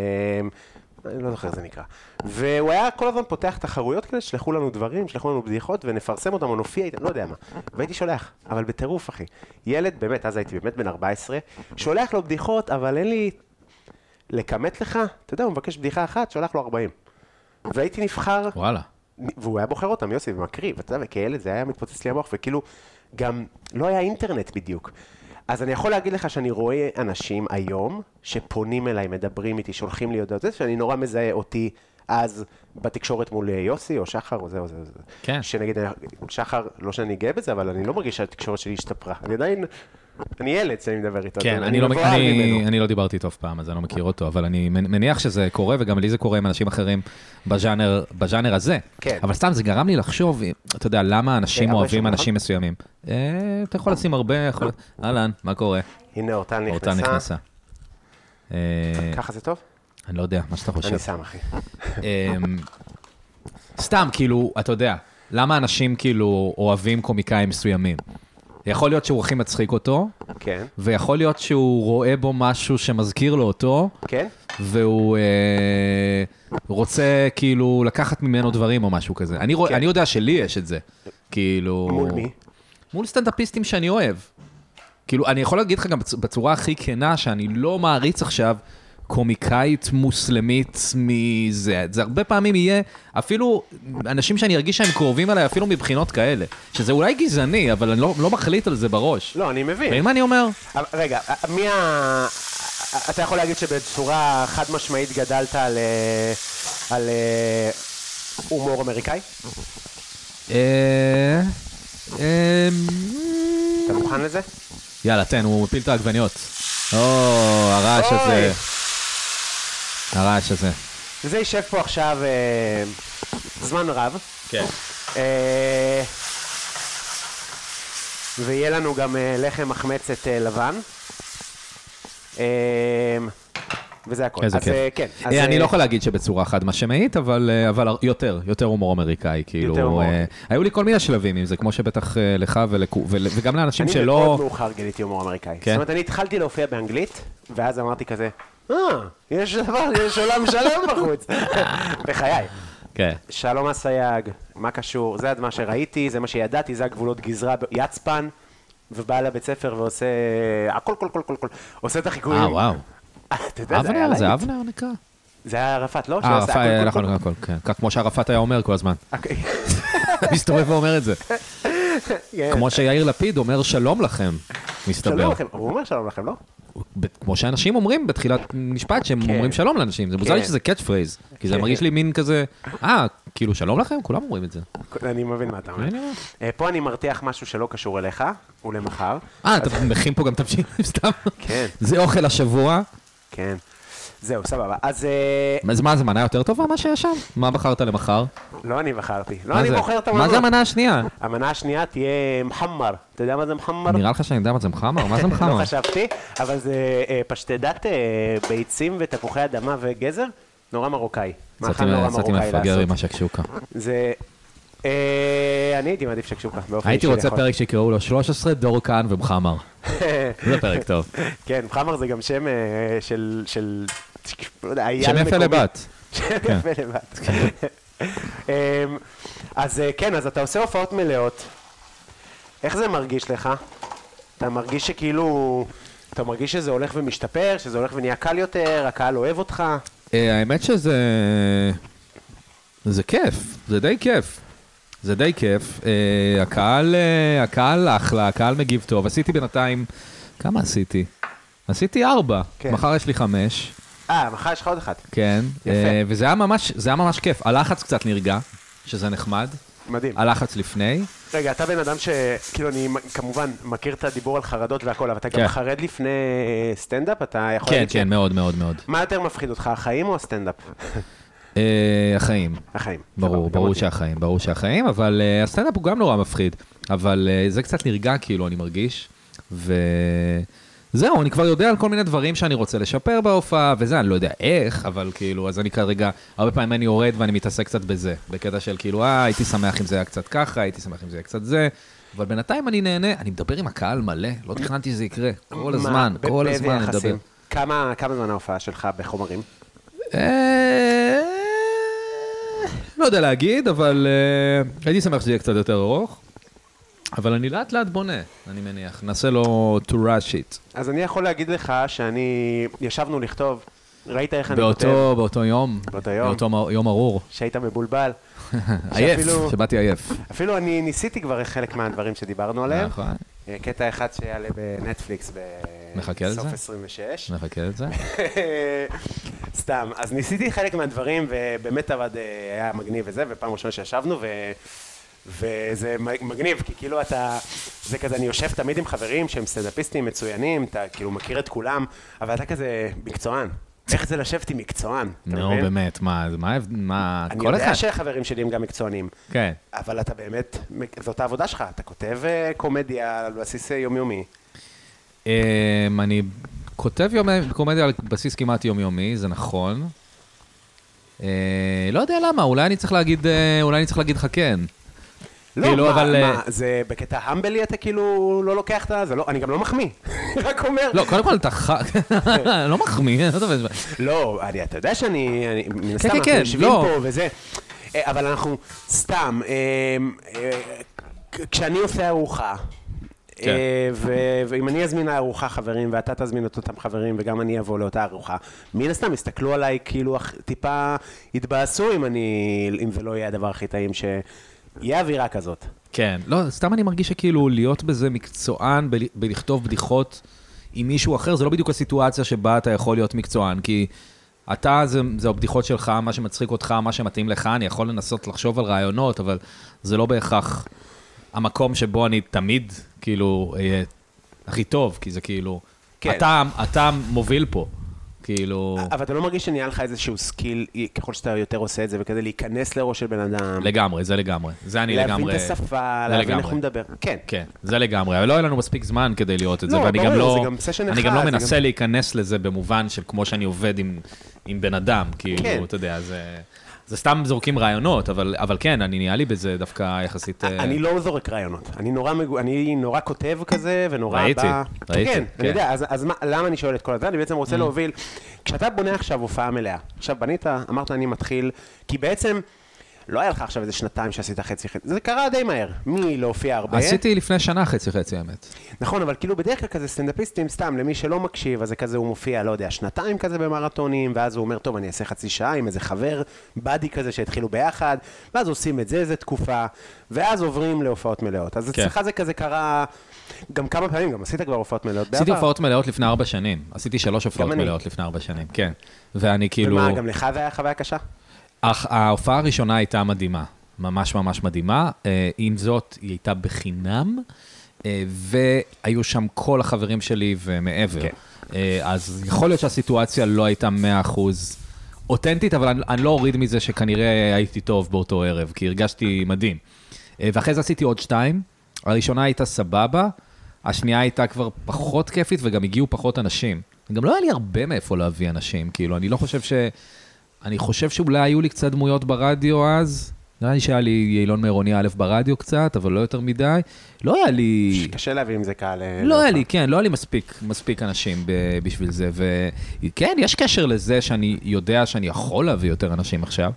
S2: אני לא זוכר איך זה נקרא. והוא היה כל הזמן פותח תחרויות כאלה, שלחו לנו דברים, שלחו לנו בדיחות, ונפרסם אותם, או נופיע איתם, לא יודע מה. והייתי שולח, אבל בטירוף, אחי. ילד, באמת, אז הייתי באמת בן 14, שולח לו בדיחות, אבל אין לי... לכמת לך? אתה יודע, הוא מבקש בדיחה אחת, שולח לו 40. והייתי נבחר
S3: וואלה.
S2: והוא היה בוחר אותם, יוסי, ומקריב, אתה יודע, וכילד זה היה מתפוצץ לי המוח, וכאילו, גם לא היה אינטרנט בדיוק. אז אני יכול להגיד לך שאני רואה אנשים היום שפונים אליי, מדברים איתי, שולחים לי הודעות, זה שאני נורא מזהה אותי אז בתקשורת מול יוסי או שחר או זה או זה. או זה.
S3: כן.
S2: שנגיד, שחר, לא שאני גאה בזה, אבל אני לא מרגיש שהתקשורת שלי השתפרה. אני עדיין אני ילד שאני מדבר איתו.
S3: כן,
S2: אתה-
S3: אני לא מכיר,
S2: מבוהל ממנו.
S3: אני, אני לא דיברתי איתו אף פעם, אז אני לא מכיר אותו, אבל אני מנ- מניח שזה קורה, וגם לי זה קורה עם אנשים אחרים בז'אנר, בז'אנר הזה.
S2: כן. אה,
S3: אבל סתם, זה גרם לי לחשוב, אתה יודע, למה אנשים
S2: הרבה
S3: אוהבים
S2: שם,
S3: אנשים מסוימים. אה, אתה יכול לשים הרבה, יכול... אהלן, מה קורה?
S2: הנה, אורטל
S3: אורטל
S2: נכנסה.
S3: נכנסה. אה,
S2: ככה זה טוב?
S3: אני לא יודע, מה שאתה חושב.
S2: אני שם, אחי.
S3: אמ, סתם, כאילו, אתה יודע, למה אנשים כאילו אוהבים קומיקאים מסוימים? יכול להיות שהוא הכי מצחיק אותו,
S2: כן.
S3: ויכול להיות שהוא רואה בו משהו שמזכיר לו אותו,
S2: כן?
S3: והוא אה, רוצה כאילו לקחת ממנו דברים או משהו כזה. אני, רוא,
S2: כן.
S3: אני יודע שלי יש את זה. כאילו...
S2: מול מי?
S3: מול סטנדאפיסטים שאני אוהב. כאילו, אני יכול להגיד לך גם בצ- בצורה הכי כנה, שאני לא מעריץ עכשיו קומיקאית מוסלמית מזה. זה הרבה פעמים יהיה, אפילו אנשים שאני ארגיש שהם קרובים אליי, אפילו מבחינות כאלה. שזה אולי גזעני, אבל אני לא, לא מחליט על זה בראש.
S2: לא, אני
S3: אתה מבין
S2: מבין.
S3: מה אני אומר?
S2: אבל רגע, אה, מי ה... אה, אתה יכול להגיד שבצורה חד משמעית גדלת על... אה, על אה, הומור אמריקאי?
S3: אה... אה...
S2: אתה מוכן לזה?
S3: יאללה, תן, הוא מפיל את העגבניות. או, הרעש
S2: אוי.
S3: הזה. הרעש הזה.
S2: זה יישב פה עכשיו אה, זמן רב.
S3: כן.
S2: אה, ויהיה לנו גם אה, לחם מחמצת אה, לבן. אה, וזה הכל.
S3: איזה
S2: אז,
S3: כיף.
S2: אה, כן. אז,
S3: אה, אני
S2: אה,
S3: לא יכול להגיד שבצורה חד משמעית, אבל, אה, אבל יותר, יותר הומור אמריקאי, כאילו.
S2: יותר הומור.
S3: אה, היו לי כל מיני שלבים עם זה, כמו שבטח אה, לך ולכו- ול- וגם לאנשים
S2: אני
S3: שלא...
S2: מאוד מאוחר גיליתי הומור אמריקאי.
S3: כן.
S2: זאת אומרת, אני התחלתי להופיע באנגלית, ואז אמרתי כזה, אה, יש דבר, יש
S3: (laughs)
S2: עולם שלם בחוץ. (laughs) בחיי.
S3: כן.
S2: שלום אסייג, מה קשור? זה עד מה שראיתי, זה מה שידעתי, זה הגבולות גזרה, ב- יצפן, ובא לבית ספר ועושה הכל, כל, כל, כל, כל, עושה את החיקויים.
S3: אה, וואו.
S2: (laughs) אתה יודע, זה היה
S3: אבנר, זה
S2: להיט.
S3: אבנר נקרא?
S2: זה היה ערפאת, לא?
S3: אה,
S2: שעשה הכל, אוקיי.
S3: ערפאת,
S2: כל,
S3: נכון,
S2: כל,
S3: נכון, הכל, כן. כך כמו שערפאת היה אומר
S2: (laughs)
S3: כל הזמן.
S2: הכל.
S3: מסתובב ואומר את זה.
S2: כן.
S3: כמו שיאיר לפיד אומר שלום לכם,
S2: שלום
S3: מסתבר.
S2: לכם, הוא אומר שלום לכם, לא?
S3: ב- כמו שאנשים אומרים בתחילת משפט, שהם אומרים שלום לאנשים. זה מוזר לי
S2: כן.
S3: שזה קאץ' פרייז, כי זה
S2: כן.
S3: מרגיש לי מין כזה, אה, כאילו שלום לכם? כולם אומרים את זה.
S2: אני מבין מה אתה אומר.
S3: אני לא אומר.
S2: אה, פה אני מרתיח משהו שלא קשור אליך, ולמחר.
S3: אה, אתה מכין פה גם תבשילים (laughs) סתם?
S2: כן.
S3: זה אוכל השבוע.
S2: כן. זהו, סבבה. אז אה,
S3: אז מה, זה מנה יותר טובה מה שיש שם? מה בחרת למחר?
S2: לא אני בחרתי. לא
S3: מה
S2: אני
S3: זה?
S2: בוחר את המנה.
S3: מה זה המנה השנייה?
S2: המנה השנייה תהיה מחמר. אתה יודע מה זה מחמר?
S3: נראה לך שאני יודע מה זה מחמר? מה
S2: (laughs)
S3: זה
S2: לא
S3: מחמר?
S2: חשבתי, אבל זה אה, פשטדת אה, ביצים ותפוחי אדמה וגזר, נורא מרוקאי. מאכל נורא
S3: יצאתי
S2: מרוקאי
S3: מהמפגר עם
S2: לעשות.
S3: השקשוקה.
S2: זה... אה, אני הייתי מעדיף שקשוקה באופן אישי.
S3: הייתי רוצה
S2: לאכול.
S3: פרק שיקראו לו 13 דור כהן ומחמר. זה פרק טוב.
S2: (laughs) כן, חמר זה גם שם אה, של... של... לא יודע, אייל
S3: שם יפה
S2: מקומי.
S3: לבת.
S2: שם כן. יפה לבת.
S3: כן.
S2: אמ, אז אה, כן, אז אתה עושה הופעות מלאות. איך זה מרגיש לך? אתה מרגיש שכאילו... אתה מרגיש שזה הולך ומשתפר, שזה הולך ונהיה קל יותר, הקהל אוהב אותך?
S3: אה, האמת שזה... זה כיף, זה די כיף. זה די כיף. אה, הקהל, אה, הקהל אחלה, הקהל מגיב טוב. עשיתי בינתיים... כמה עשיתי? עשיתי ארבע,
S2: כן.
S3: מחר יש לי חמש,
S2: אה, מחר יש לך עוד אחת.
S3: כן.
S2: יפה.
S3: אה, וזה היה ממש, זה היה ממש כיף. הלחץ קצת נרגע, שזה נחמד.
S2: מדהים.
S3: הלחץ לפני.
S2: רגע, אתה בן אדם שכאילו אני מ- כמובן מכיר את הדיבור על חרדות והכל, אבל אתה גם
S3: כן.
S2: חרד לפני אה, סטנדאפ? אתה יכול
S3: כן,
S2: להגיד... ש-
S3: כן, מאוד מאוד מאוד.
S2: מה יותר מפחיד אותך, החיים או הסטנדאפ?
S3: אה, החיים.
S2: החיים.
S3: ברור,
S2: סבבה,
S3: ברור
S2: גמרתי.
S3: שהחיים, ברור שהחיים, אבל אה, הסטנדאפ הוא גם נורא מפחיד. אבל אה, זה קצת נרגע, כאילו, אני מרגיש. וזהו, אני כבר יודע על כל מיני דברים שאני רוצה לשפר בהופעה, וזה, אני לא יודע איך, אבל כאילו, אז אני כרגע, הרבה פעמים אני יורד ואני מתעסק קצת בזה. בקטע של כאילו, אה, הייתי שמח אם זה היה קצת ככה, הייתי שמח אם זה היה קצת זה. אבל בינתיים אני נהנה, אני מדבר עם הקהל מלא, לא תכננתי שזה יקרה. כל
S2: מה,
S3: הזמן,
S2: ב-
S3: כל
S2: באיזה
S3: הזמן אני מדבר.
S2: יחסים? כמה כמה זמן ההופעה שלך בחומרים?
S3: אה, לא יודע להגיד, אבל אה, הייתי שמח שזה יהיה קצת יותר ארוך. אבל אני לאט לאט בונה, אני מניח. נעשה לו to rush it.
S2: אז אני יכול להגיד לך שאני... ישבנו לכתוב, ראית איך אני כותב?
S3: באותו, באותו יום,
S2: באותו יום.
S3: באותו מ- יום ארור.
S2: שהיית מבולבל.
S3: (laughs) עייף,
S2: שאפילו-
S3: שבאתי עייף.
S2: אפילו אני ניסיתי כבר חלק מהדברים שדיברנו עליהם.
S3: נכון,
S2: אה, קטע אחד שיעלה בנטפליקס
S3: מחכה לזה? נכון.
S2: בסוף 26.
S3: נחכה לזה.
S2: סתם, אז ניסיתי חלק מהדברים, ובאמת עבד, אה, היה מגניב וזה, ופעם ראשונה שישבנו, ו... וזה מגניב, כי כאילו אתה, זה כזה, אני יושב תמיד עם חברים שהם סטנדאפיסטים מצוינים, אתה כאילו מכיר את כולם, אבל אתה כזה מקצוען. איך זה לשבת עם מקצוען, אתה
S3: נו,
S2: מבין?
S3: באמת, מה, מה, ההבד- מה,
S2: אני
S3: כל אחד.
S2: יודע שהחברים שלי הם גם מקצוענים,
S3: כן.
S2: אבל אתה באמת, זאת העבודה שלך, אתה כותב אה, קומדיה על בסיס אה, יומיומי.
S3: אמ, אני כותב יומי- קומדיה על בסיס כמעט יומיומי, זה נכון. אה, לא יודע למה, אולי אני צריך להגיד, אה, אולי אני צריך להגיד לך כן.
S2: לא,
S3: כאילו,
S2: מה,
S3: אבל,
S2: מה,
S3: אה,
S2: זה בקטע המבלי אתה כאילו לא לוקח את ה... זה לא, אני גם לא מחמיא, (laughs) רק אומר.
S3: לא, קודם כל אתה ח... (laughs) לא מחמיא, (laughs) לא טוב,
S2: לא, אני, אתה יודע שאני, אני, מן הסתם,
S3: כן,
S2: אנחנו
S3: כן,
S2: יושבים
S3: לא.
S2: פה וזה, אה, אבל אנחנו, סתם, אה, אה, כ- כשאני עושה ארוחה,
S3: כן.
S2: אה, ו- ואם אני אזמין לארוחה חברים, ואתה תזמין את אותם חברים, וגם אני אבוא לאותה ארוחה, מן הסתם יסתכלו עליי כאילו אח- טיפה יתבאסו אם אני, אם זה לא יהיה הדבר הכי טעים ש... יהיה אווירה כזאת.
S3: כן. לא, סתם אני מרגיש שכאילו להיות בזה מקצוען, בל- בלכתוב בדיחות עם מישהו אחר, זה לא בדיוק הסיטואציה שבה אתה יכול להיות מקצוען, כי אתה, זה, זה הבדיחות שלך, מה שמצחיק אותך, מה שמתאים לך, אני יכול לנסות לחשוב על רעיונות, אבל זה לא בהכרח המקום שבו אני תמיד, כאילו, אהיה הכי טוב, כי זה כאילו...
S2: כן.
S3: כן. אתה, אתה מוביל פה, כאילו...
S2: אבל אתה לא מרגיש שנהיה לך איזשהו סקיל, אה, ככל שאתה יותר עושה את זה, וכזה להיכנס לראש של בן אדם.
S3: לגמרי, זה לגמרי. זה אני לגמרי...
S2: להבין את השפה,
S3: זה
S2: להבין
S3: לגמרי.
S2: איך הוא מדבר. כן.
S3: כן, זה לגמרי, אבל לא היה לנו מספיק זמן כדי לראות את זה,
S2: לא,
S3: ואני
S2: ברור,
S3: גם לא,
S2: זה גם סשן
S3: אני
S2: אחד,
S3: גם לא
S2: זה
S3: מנסה
S2: גם-
S3: להיכנס לזה במובן של כמו שאני עובד עם, עם בן אדם, כאילו,
S2: כן.
S3: אתה יודע, זה, זה סתם זורקים רעיונות, אבל, אבל כן, אני נראה לי בזה דווקא יחסית... אה,
S2: אני לא זורק רעיונות, אני נורא, מגו... אני נורא כותב כזה, ונורא
S3: ראיתי,
S2: בא...
S3: ראיתי,
S2: כן,
S3: כן. Mm-hmm.
S2: אני יודע, אז, אז מה, למה אני שואל את כל הזה? אני בעצם רוצה להוביל... כשאתה בונה עכשיו הופעה מלאה, עכשיו בנית, אמרת אני מתחיל, כי בעצם לא היה לך עכשיו איזה שנתיים שעשית חצי חצי, זה קרה די מהר, מי להופיע הרבה.
S3: עשיתי לפני שנה חצי חצי, האמת.
S2: נכון, אבל כאילו בדרך כלל כזה סטנדאפיסטים, סתם, למי שלא מקשיב, אז זה כזה, הוא מופיע, לא יודע, שנתיים כזה במרתונים, ואז הוא אומר, טוב, אני אעשה חצי שעה עם איזה חבר, באדי כזה שהתחילו ביחד, ואז עושים את זה איזה תקופה, ואז עוברים להופעות מלאות. אז
S3: כן.
S2: אצלך זה כזה קרה גם כמה פעמים, גם עשית כבר הופעות מלאות בעבר.
S3: עשיתי הופעות מלאות לפני ארבע שנים, עשיתי שלוש הופעות
S2: אני.
S3: מלאות לפני ארבע שנים, כן. ואני כאילו...
S2: ומה, גם לך זה היה חוויה קשה?
S3: אך ההופעה הראשונה הייתה מדהימה, ממש ממש מדהימה. אה, עם זאת, היא הייתה בחינם, אה, והיו שם כל החברים שלי ומעבר.
S2: כן.
S3: אה, אז יכול להיות שהסיטואציה לא הייתה 100% אותנטית, אבל אני, אני לא אוריד מזה שכנראה הייתי טוב באותו ערב, כי הרגשתי מדהים. אה, ואחרי זה עשיתי עוד שתיים, הראשונה הייתה סבבה, השנייה הייתה כבר פחות כיפית וגם הגיעו פחות אנשים. גם לא היה לי הרבה מאיפה להביא אנשים, כאילו, אני לא חושב ש... אני חושב שאולי היו לי קצת דמויות ברדיו אז. נראה לי שהיה לי יעילון מעירוני א' ברדיו קצת, אבל לא יותר מדי. לא היה לי...
S2: קשה להביא עם זה קהל... אה,
S3: לא היה
S2: להופעה.
S3: לי, כן, לא היה לי מספיק, מספיק אנשים ב- בשביל זה. וכן, יש קשר לזה שאני יודע שאני יכול להביא יותר אנשים עכשיו.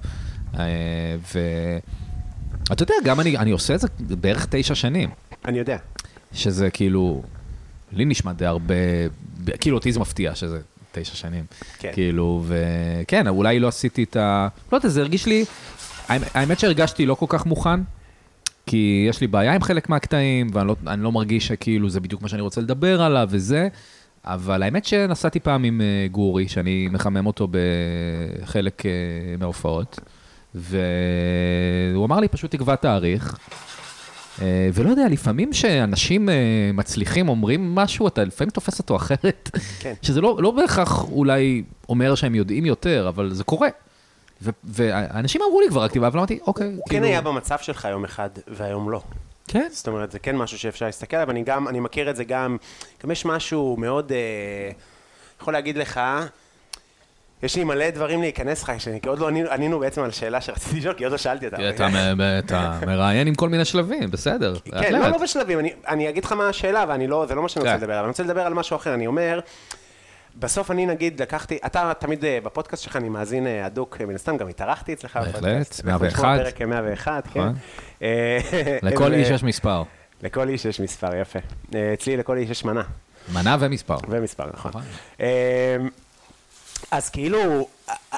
S3: אה, ו... אתה יודע, גם אני, אני עושה את זה בערך תשע שנים,
S2: אני יודע.
S3: שזה כאילו, לי נשמע די הרבה, ב- כאילו אותי זה מפתיע שזה תשע שנים.
S2: כן.
S3: כאילו, וכן, אולי לא עשיתי את ה... לא יודע, זה הרגיש לי, האמת- האמת שהרגשתי לא כל כך מוכן, כי יש לי בעיה עם חלק מהקטעים, ואני לא, אני לא מרגיש שכאילו זה בדיוק מה שאני רוצה לדבר עליו וזה, אבל האמת שנסעתי פעם עם אה, גורי, שאני מחמם אותו בחלק אה, מההופעות, והוא אמר לי, פשוט תקבע תאריך. אה, ולא יודע, לפעמים שאנשים אה, מצליחים אומרים משהו, אתה לפעמים תופס אותו אחרת.
S2: כן.
S3: (laughs) שזה לא, לא בהכרח אולי אומר שהם יודעים יותר, אבל זה קורה. ו- ואנשים אמרו לי כבר רק אבל אמרתי, אוקיי,
S2: הוא כן היה במצב שלך יום אחד, והיום לא.
S3: כן.
S2: זאת אומרת, זה כן משהו שאפשר להסתכל עליו, אני גם, אני מכיר את זה גם, גם יש משהו מאוד, אה, יכול להגיד לך, יש לי מלא דברים להיכנס לך, שאני- כי עוד לא ענינו, ענינו בעצם על שאלה שרציתי לשאול, כי עוד לא שאלתי אותה.
S3: אתה מ- אתה מראיין עם כל מיני שלבים, בסדר. לאט
S2: כן, לא,
S3: לאט.
S2: לא בשלבים, אני, אני אגיד לך מה השאלה, ואני לא, זה לא מה שאני רוצה
S3: כן.
S2: לדבר עליו, אני רוצה לדבר על משהו אחר, אני אומר, בסוף אני נגיד לקחתי, אתה תמיד אה, בפודקאסט שלך, אני מאזין אה, הדוק, אה, מן הסתם גם התארחתי אצלך.
S3: בהחלט,
S2: בפודקאסט. אתה יכול לשמוע
S3: 101.
S2: פרק אה, 101, כן.
S3: נכון.
S2: אה,
S3: לכל
S2: ו-
S3: איש יש מספר.
S2: לכל איש יש מספר, יפה. אה, אצלי לכל איש יש מנה.
S3: מנה ומספר.
S2: ומספר, נכון.
S3: נכון.
S2: אמ, אז כאילו,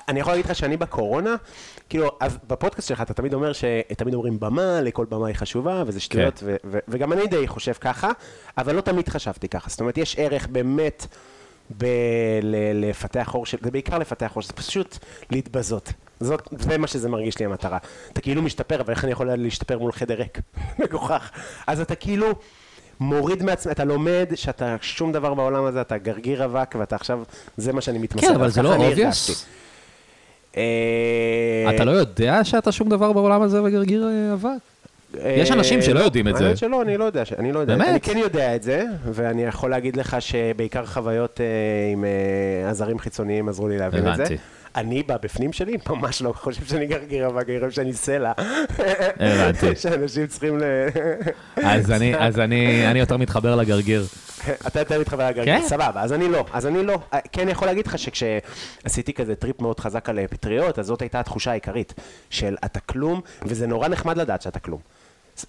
S2: אני יכול להגיד לך שאני בקורונה, כאילו, אז בפודקאסט שלך אתה תמיד אומר שתמיד אומרים במה, לכל במה היא חשובה, וזה שטויות,
S3: כן.
S2: ו- ו- וגם אני די חושב ככה, אבל לא תמיד חשבתי ככה. זאת אומרת, יש ערך באמת ב- ל- לפתח אור של, זה בעיקר לפתח אור, זה פשוט להתבזות. זאת, זה מה שזה מרגיש לי המטרה. אתה כאילו משתפר, אבל איך אני יכול להשתפר מול חדר ריק? (laughs) מגוחך. אז אתה כאילו מוריד מעצמך, אתה לומד שאתה שום דבר בעולם הזה, אתה גרגיר אבק, ואתה עכשיו, זה מה שאני מתמסר.
S3: כן,
S2: אליו.
S3: אבל זה
S2: ככה
S3: לא
S2: אני
S3: obvious.
S2: הרגשתי. אה,
S3: אתה לא יודע שאתה שום דבר בעולם הזה וגרגיר אה, אבק? יש אנשים שלא
S2: לא,
S3: יודעים את זה.
S2: האמת שלא, אני לא יודע. ש- אני לא יודע.
S3: באמת?
S2: אני כן יודע את זה, ואני יכול להגיד לך שבעיקר חוויות אה, עם אה, עזרים חיצוניים עזרו לי להבין את זה.
S3: הבנתי.
S2: אני בבפנים שלי (laughs) ממש לא חושב שאני גרגיר אבק, אני חושב שאני סלע.
S3: הבנתי.
S2: (laughs) שאנשים צריכים ל...
S3: אז אני- אז אני אני יותר מתחבר לגרגיר.
S2: אתה יותר מתחבר לגרגיר,
S3: כן?
S2: סבבה, אז אני לא, אז אני לא. אה, כן יכול להגיד לך שכשעשיתי כזה טריפ מאוד חזק על אה, פטריות, אז זאת הייתה התחושה העיקרית של אתה כלום, וזה נורא נחמד לדעת שאתה כלום. ס-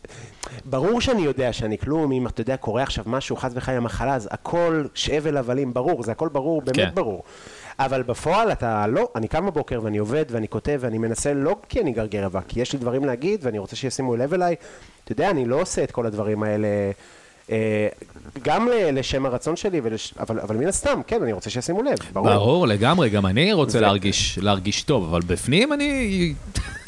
S2: ברור שאני יודע שאני כלום, אם אתה יודע, קורה עכשיו משהו, חס וחלילה מחלה, אז הכל שבל הבלים, ברור, זה הכל ברור, באמת
S3: כן.
S2: ברור. אבל בפועל אתה לא, אני קם בבוקר ואני עובד ואני כותב ואני מנסה לא כי אני גרגר אבק, כי יש לי דברים להגיד ואני רוצה שישימו לב אליי. אתה יודע, אני לא עושה את כל הדברים האלה, אה, גם ל- לשם הרצון שלי, ולש, אבל, אבל מן הסתם, כן, אני רוצה שישימו לב, ברור.
S3: ברור, לגמרי, גם אני רוצה להרגיש- להרגיש טוב, אבל בפנים אני...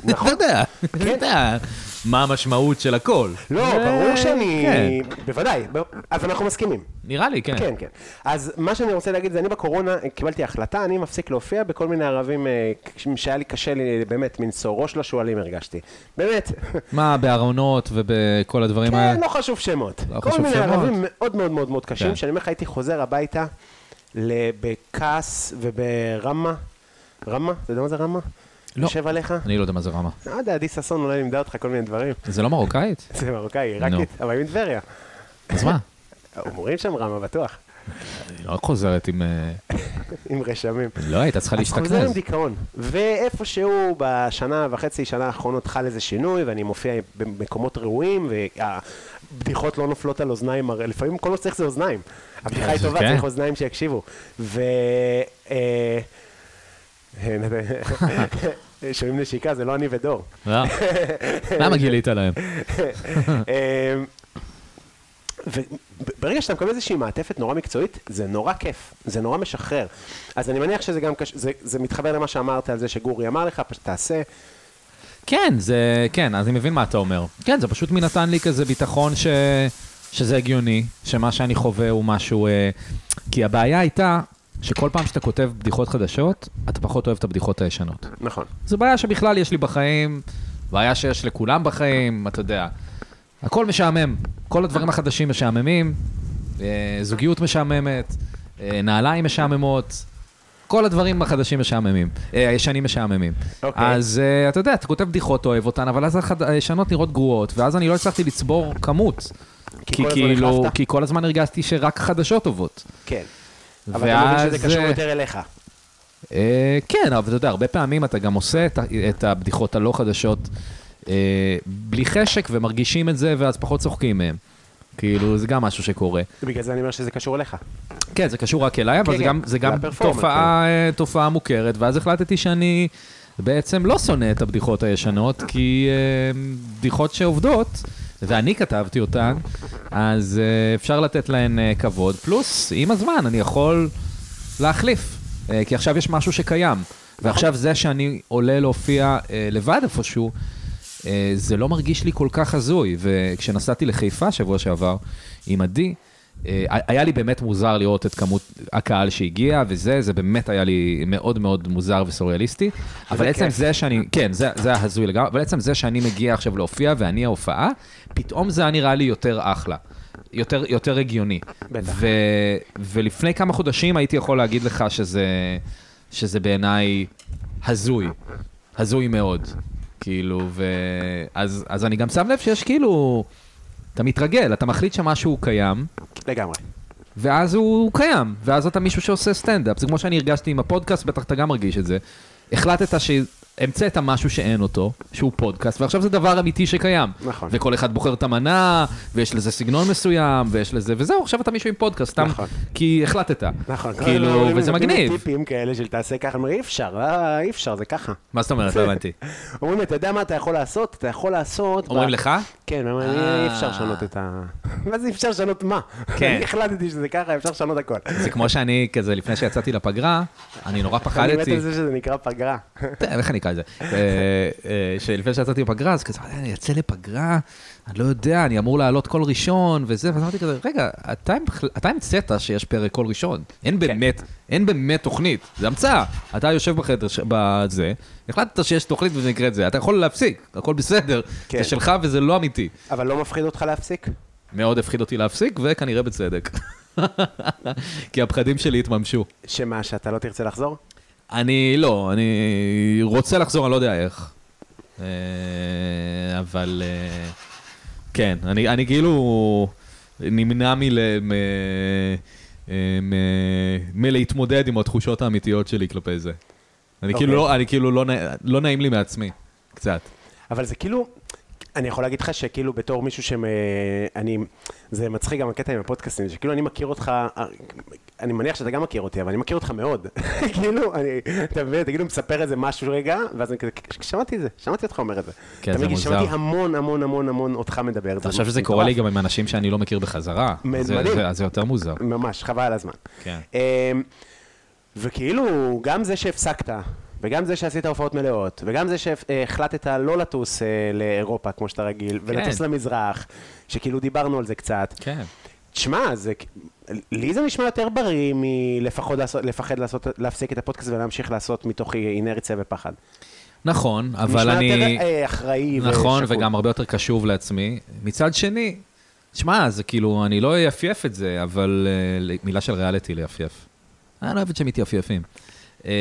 S2: נכון.
S3: אתה יודע, אתה יודע מה המשמעות של הכל.
S2: כן. לא,
S3: זה-
S2: ברור שאני...
S3: כן,
S2: בוודאי, ב... אז אנחנו מסכימים.
S3: נראה לי, כן.
S2: כן, כן. אז מה שאני רוצה להגיד זה, אני בקורונה קיבלתי החלטה, אני מפסיק להופיע בכל מיני ערבים אה, כש- שהיה לי קשה לי, באמת, מין סורוש לשועלים הרגשתי. באמת.
S3: מה, בארונות ובכל הדברים
S2: כן,
S3: האלה?
S2: לא חשוב שמות.
S3: לא
S2: כל
S3: חשוב
S2: מיני
S3: שמות.
S2: ערבים מאוד מאוד מאוד מאוד קשים,
S3: כן.
S2: שאני אומר לך, הייתי חוזר הביתה ל- בכעס וברמה. רמה? אתה יודע מה זה רמה?
S3: לא.
S2: יושב עליך?
S3: אני לא יודע מה זה רמה.
S2: לא יודע, עדי ששון אולי לימדה אותך כל מיני דברים. (laughs)
S3: זה לא מרוקאית?
S2: זה מרוקאי, עיראקית, אבל היא מטבריה.
S3: אז מה?
S2: אומרים שם רמה, בטוח. (laughs)
S3: היא לא חוזרת עם... אה,
S2: עם רשמים.
S3: לא, הייתה צריכה
S2: אז חוזר עם
S3: להשתכנז.
S2: דיכאון, ואיפשהו בשנה וחצי, שנה האחרונות חל איזה שינוי, ואני מופיע במקומות ראויים, והבדיחות לא נופלות על אוזניים, הרי לפעמים כל מה שצריך זה אוזניים. הבדיחה היא
S3: זה
S2: טובה,
S3: כן.
S2: צריך אוזניים שיקשיבו. ו... אה, (laughs) שומעים נשיקה, זה לא אני ודור.
S3: לא. למה גילית להם? אה.
S2: אמ, וברגע שאתה מקבל איזושהי מעטפת נורא מקצועית, זה נורא כיף, זה נורא משחרר. אז אני מניח שזה גם קש... זה, זה מתחבר למה שאמרת על זה שגורי אמר לך, פשוט תעשה.
S3: כן, זה, כן, אז אני מבין מה אתה אומר. כן, זה פשוט מי נתן לי כזה ביטחון ש, שזה הגיוני, שמה שאני חווה הוא משהו... אה, כי הבעיה הייתה שכל פעם שאתה כותב בדיחות חדשות, אתה פחות אוהב את הבדיחות הישנות.
S2: נכון.
S3: זו בעיה שבכלל יש לי בחיים, בעיה שיש לכולם בחיים, אתה יודע. הכל משעמם, כל הדברים החדשים משעממים, אה, זוגיות משעממת, אה, נעליים משעממות, כל הדברים החדשים משעממים, אה, הישנים משעממים.
S2: אוקיי.
S3: אז אה, אתה יודע, אתה כותב בדיחות, אוהב אותן, אבל אז החד- הישנות נראות גרועות, ואז אני לא הצלחתי לצבור כמות.
S2: כי כל הזמן החלפת?
S3: כי כל הזמן הרגשתי שרק חדשות טובות.
S2: כן. אבל אתה מבין שזה
S3: ואז,
S2: קשור
S3: אה,
S2: יותר אליך.
S3: אה, כן, אבל אתה יודע, הרבה פעמים אתה גם עושה את, ה- את הבדיחות הלא חדשות אה, בלי חשק ומרגישים את זה, ואז פחות צוחקים מהם. כאילו, זה גם משהו שקורה.
S2: בגלל זה אני אומר שזה קשור אליך.
S3: כן, זה קשור רק אליי, אבל
S2: כן,
S3: זה
S2: כן,
S3: גם, זה גם
S2: לפרפורמנס,
S3: תופעה, אה, תופעה מוכרת, ואז החלטתי שאני בעצם לא שונא את הבדיחות הישנות, כי אה, בדיחות שעובדות, ואני כתבתי אותן, אז אה, אפשר לתת להן אה, כבוד, פלוס עם הזמן אני יכול להחליף, אה, כי עכשיו יש משהו שקיים,
S2: נכון.
S3: ועכשיו זה שאני עולה להופיע אה, לבד איפשהו, אה, זה לא מרגיש לי כל כך הזוי, וכשנסעתי לחיפה שבוע שעבר עם עדי, אה, היה לי באמת מוזר לראות את כמות הקהל שהגיע וזה, זה באמת היה לי מאוד מאוד מוזר וסוריאליסטי, אבל עצם
S2: כיף.
S3: זה שאני, כן, זה זה ההזוי לגמרי, אבל עצם זה שאני מגיע עכשיו להופיע ואני ההופעה, פתאום זה היה נראה לי יותר אחלה. יותר, יותר הגיוני.
S2: בטח.
S3: ו, ולפני כמה חודשים הייתי יכול להגיד לך שזה, שזה בעיניי הזוי, הזוי מאוד. כאילו, ו... אז, אז אני גם שם לב שיש כאילו, אתה מתרגל, אתה מחליט שמשהו קיים,
S2: לגמרי.
S3: ואז הוא קיים, ואז אתה מישהו שעושה סטנדאפ. זה כמו שאני הרגשתי עם הפודקאסט, בטח אתה גם מרגיש את זה. החלטת שהמצאת משהו שאין אותו, שהוא פודקאסט, ועכשיו זה דבר אמיתי שקיים.
S2: נכון.
S3: וכל אחד בוחר את המנה, ויש לזה סגנון מסוים, ויש לזה, וזהו, עכשיו אתה מישהו עם פודקאסט, סתם,
S2: נכון.
S3: כי החלטת.
S2: נכון. כל הזמן
S3: כאילו,
S2: אומרים לי,
S3: וזה
S2: נותנים לי
S3: מגניב.
S2: טיפים כאלה של תעשה ככה, אני אומר, אי אפשר, אה, אי אפשר, זה ככה.
S3: מה זאת אומרת? לא הבנתי.
S2: אומרים לי, אתה יודע מה אתה יכול לעשות? אתה יכול לעשות...
S3: אומרים
S2: ב-
S3: לך?
S2: כן, אבל
S3: אה.
S2: אי אפשר לשנות את ה... (laughs) מה זה אפשר לשנות מה?
S3: כן.
S2: אני החלטתי שזה ככה, אפשר לשנות הכל.
S3: זה כמו שאני כזה, לפני שיצאתי לפגרה, אני נורא
S2: אני מת
S3: פחדתי.
S2: על זה שזה נקרא פגרה.
S3: אתה יודע, כן, איך אני אקרא את זה? אה, אה, שלפני שיצאתי לפגרה, אז כזה, "אה, אני אצא לפגרה, אני לא יודע, אני אמור לעלות כל ראשון וזה, ואז אמרתי כזה, רגע, אתה בכלל- אתה המצאת שיש פרק כל ראשון. אין באמת, אין באמת תוכנית, זה המצאה. אתה יושב בחדר, ש- בזה, החלטת שיש תוכנית וזה נקראת זה, אתה יכול להפסיק, הכל בסדר,
S2: כן.
S3: זה שלך וזה לא אמיתי.
S2: אבל לא מפחיד אותך להפסיק?
S3: מאוד הפחיד אותי להפסיק, וכנראה בצדק. (laughs) כי הפחדים שלי התממשו.
S2: שמה, שאתה לא תרצה לחזור?
S3: אני לא, אני רוצה לחזור, אני לא יודע איך. אה, אבל אה, כן, אני, אני כאילו נמנע מל... מ, אה, מ, מלהתמודד עם התחושות האמיתיות שלי כלפי זה. אני
S2: אוקיי.
S3: כאילו, לא, אני כאילו לא, נע- לא נעים לי מעצמי, קצת.
S2: אבל זה כאילו, אני יכול להגיד לך שכאילו בתור מישהו שמ... אני... זה מצחיק גם הקטע עם הפודקאסטים, שכאילו אני מכיר אותך, אני מניח שאתה גם מכיר אותי, אבל אני מכיר אותך מאוד. (laughs) כאילו, אני... אתה מבין, אתה כאילו מספר איזה משהו רגע, ואז אני כזה, שמעתי את זה, שמעתי אותך אומר את זה.
S3: כן,
S2: אתה
S3: זה
S2: מבין,
S3: מוזר.
S2: שמעתי המון המון המון המון אותך מדבר.
S3: אתה חושב שזה
S2: מטורף.
S3: קורה לי גם עם אנשים שאני לא מכיר בחזרה?
S2: מ-
S3: זה,
S2: מדהים.
S3: זה, אז זה יותר מוזר.
S2: ממש, חבל על הזמן.
S3: אוקיי. כן.
S2: אמ, וכאילו, גם זה שהפסקת, וגם זה שעשית הופעות מלאות, וגם זה שהחלטת לא לטוס אה, לאירופה כמו שאתה רגיל, ולטוס למזרח, שכאילו דיברנו על זה קצת.
S3: כן.
S2: תשמע, זה... כ- לי זה נשמע יותר בריא מלפחות לעשות, לפחד לעשות, להפסיק את הפודקאסט ולהמשיך לעשות מתוך אה, אינרציה ופחד.
S3: נכון, אבל אני...
S2: נשמע יותר אה, אחראי ושקול.
S3: נכון, וגם הרבה יותר קשוב לעצמי. מצד שני, שמע, זה כאילו, אני לא אייפייף את זה, אבל אה, מילה של ריאליטי לייפייף. אני לא אוהבת שמתייפייפים. אה,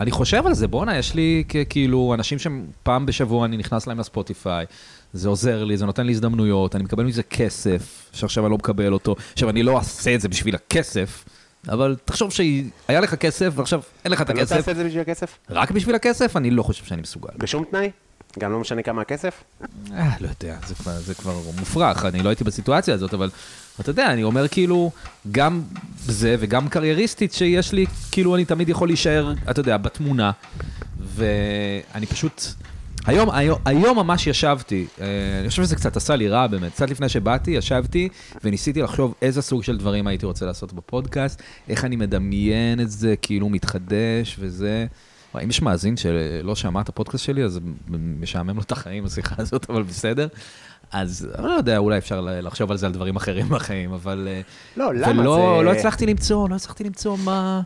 S3: אני חושב על זה, בואנה, יש לי כ- כאילו אנשים שפעם בשבוע אני נכנס להם לספוטיפיי, זה עוזר לי, זה נותן לי הזדמנויות, אני מקבל מזה כסף, שעכשיו אני לא מקבל אותו. עכשיו, אני לא אעשה את זה בשביל הכסף, אבל תחשוב שהיה לך כסף ועכשיו אין לך את
S2: אתה לא
S3: הכסף.
S2: תעשה את זה בשביל הכסף?
S3: רק בשביל הכסף? אני לא חושב שאני מסוגל.
S2: בשום תנאי? גם לא משנה כמה הכסף?
S3: אה, לא יודע, זה כבר, זה כבר מופרך, אני לא הייתי בסיטואציה הזאת, אבל אתה יודע, אני אומר כאילו, גם זה וגם קרייריסטית שיש לי, כאילו אני תמיד יכול להישאר, אתה יודע, בתמונה, ואני פשוט, היום, היום, היום ממש ישבתי, אה, אני חושב שזה קצת עשה לי רע באמת, קצת לפני שבאתי, ישבתי וניסיתי לחשוב איזה סוג של דברים הייתי רוצה לעשות בפודקאסט, איך אני מדמיין את זה, כאילו מתחדש וזה. וואי, אם יש מאזין שלא שמע את הפודקאסט שלי, אז משעמם לו את החיים, השיחה הזאת, אבל בסדר. אז אני לא יודע, אולי אפשר לחשוב על זה על דברים אחרים בחיים, אבל... אה,
S2: לא, למה?
S3: ולא
S2: זה-
S3: לא הצלחתי למצוא, לא הצלחתי למצוא מה,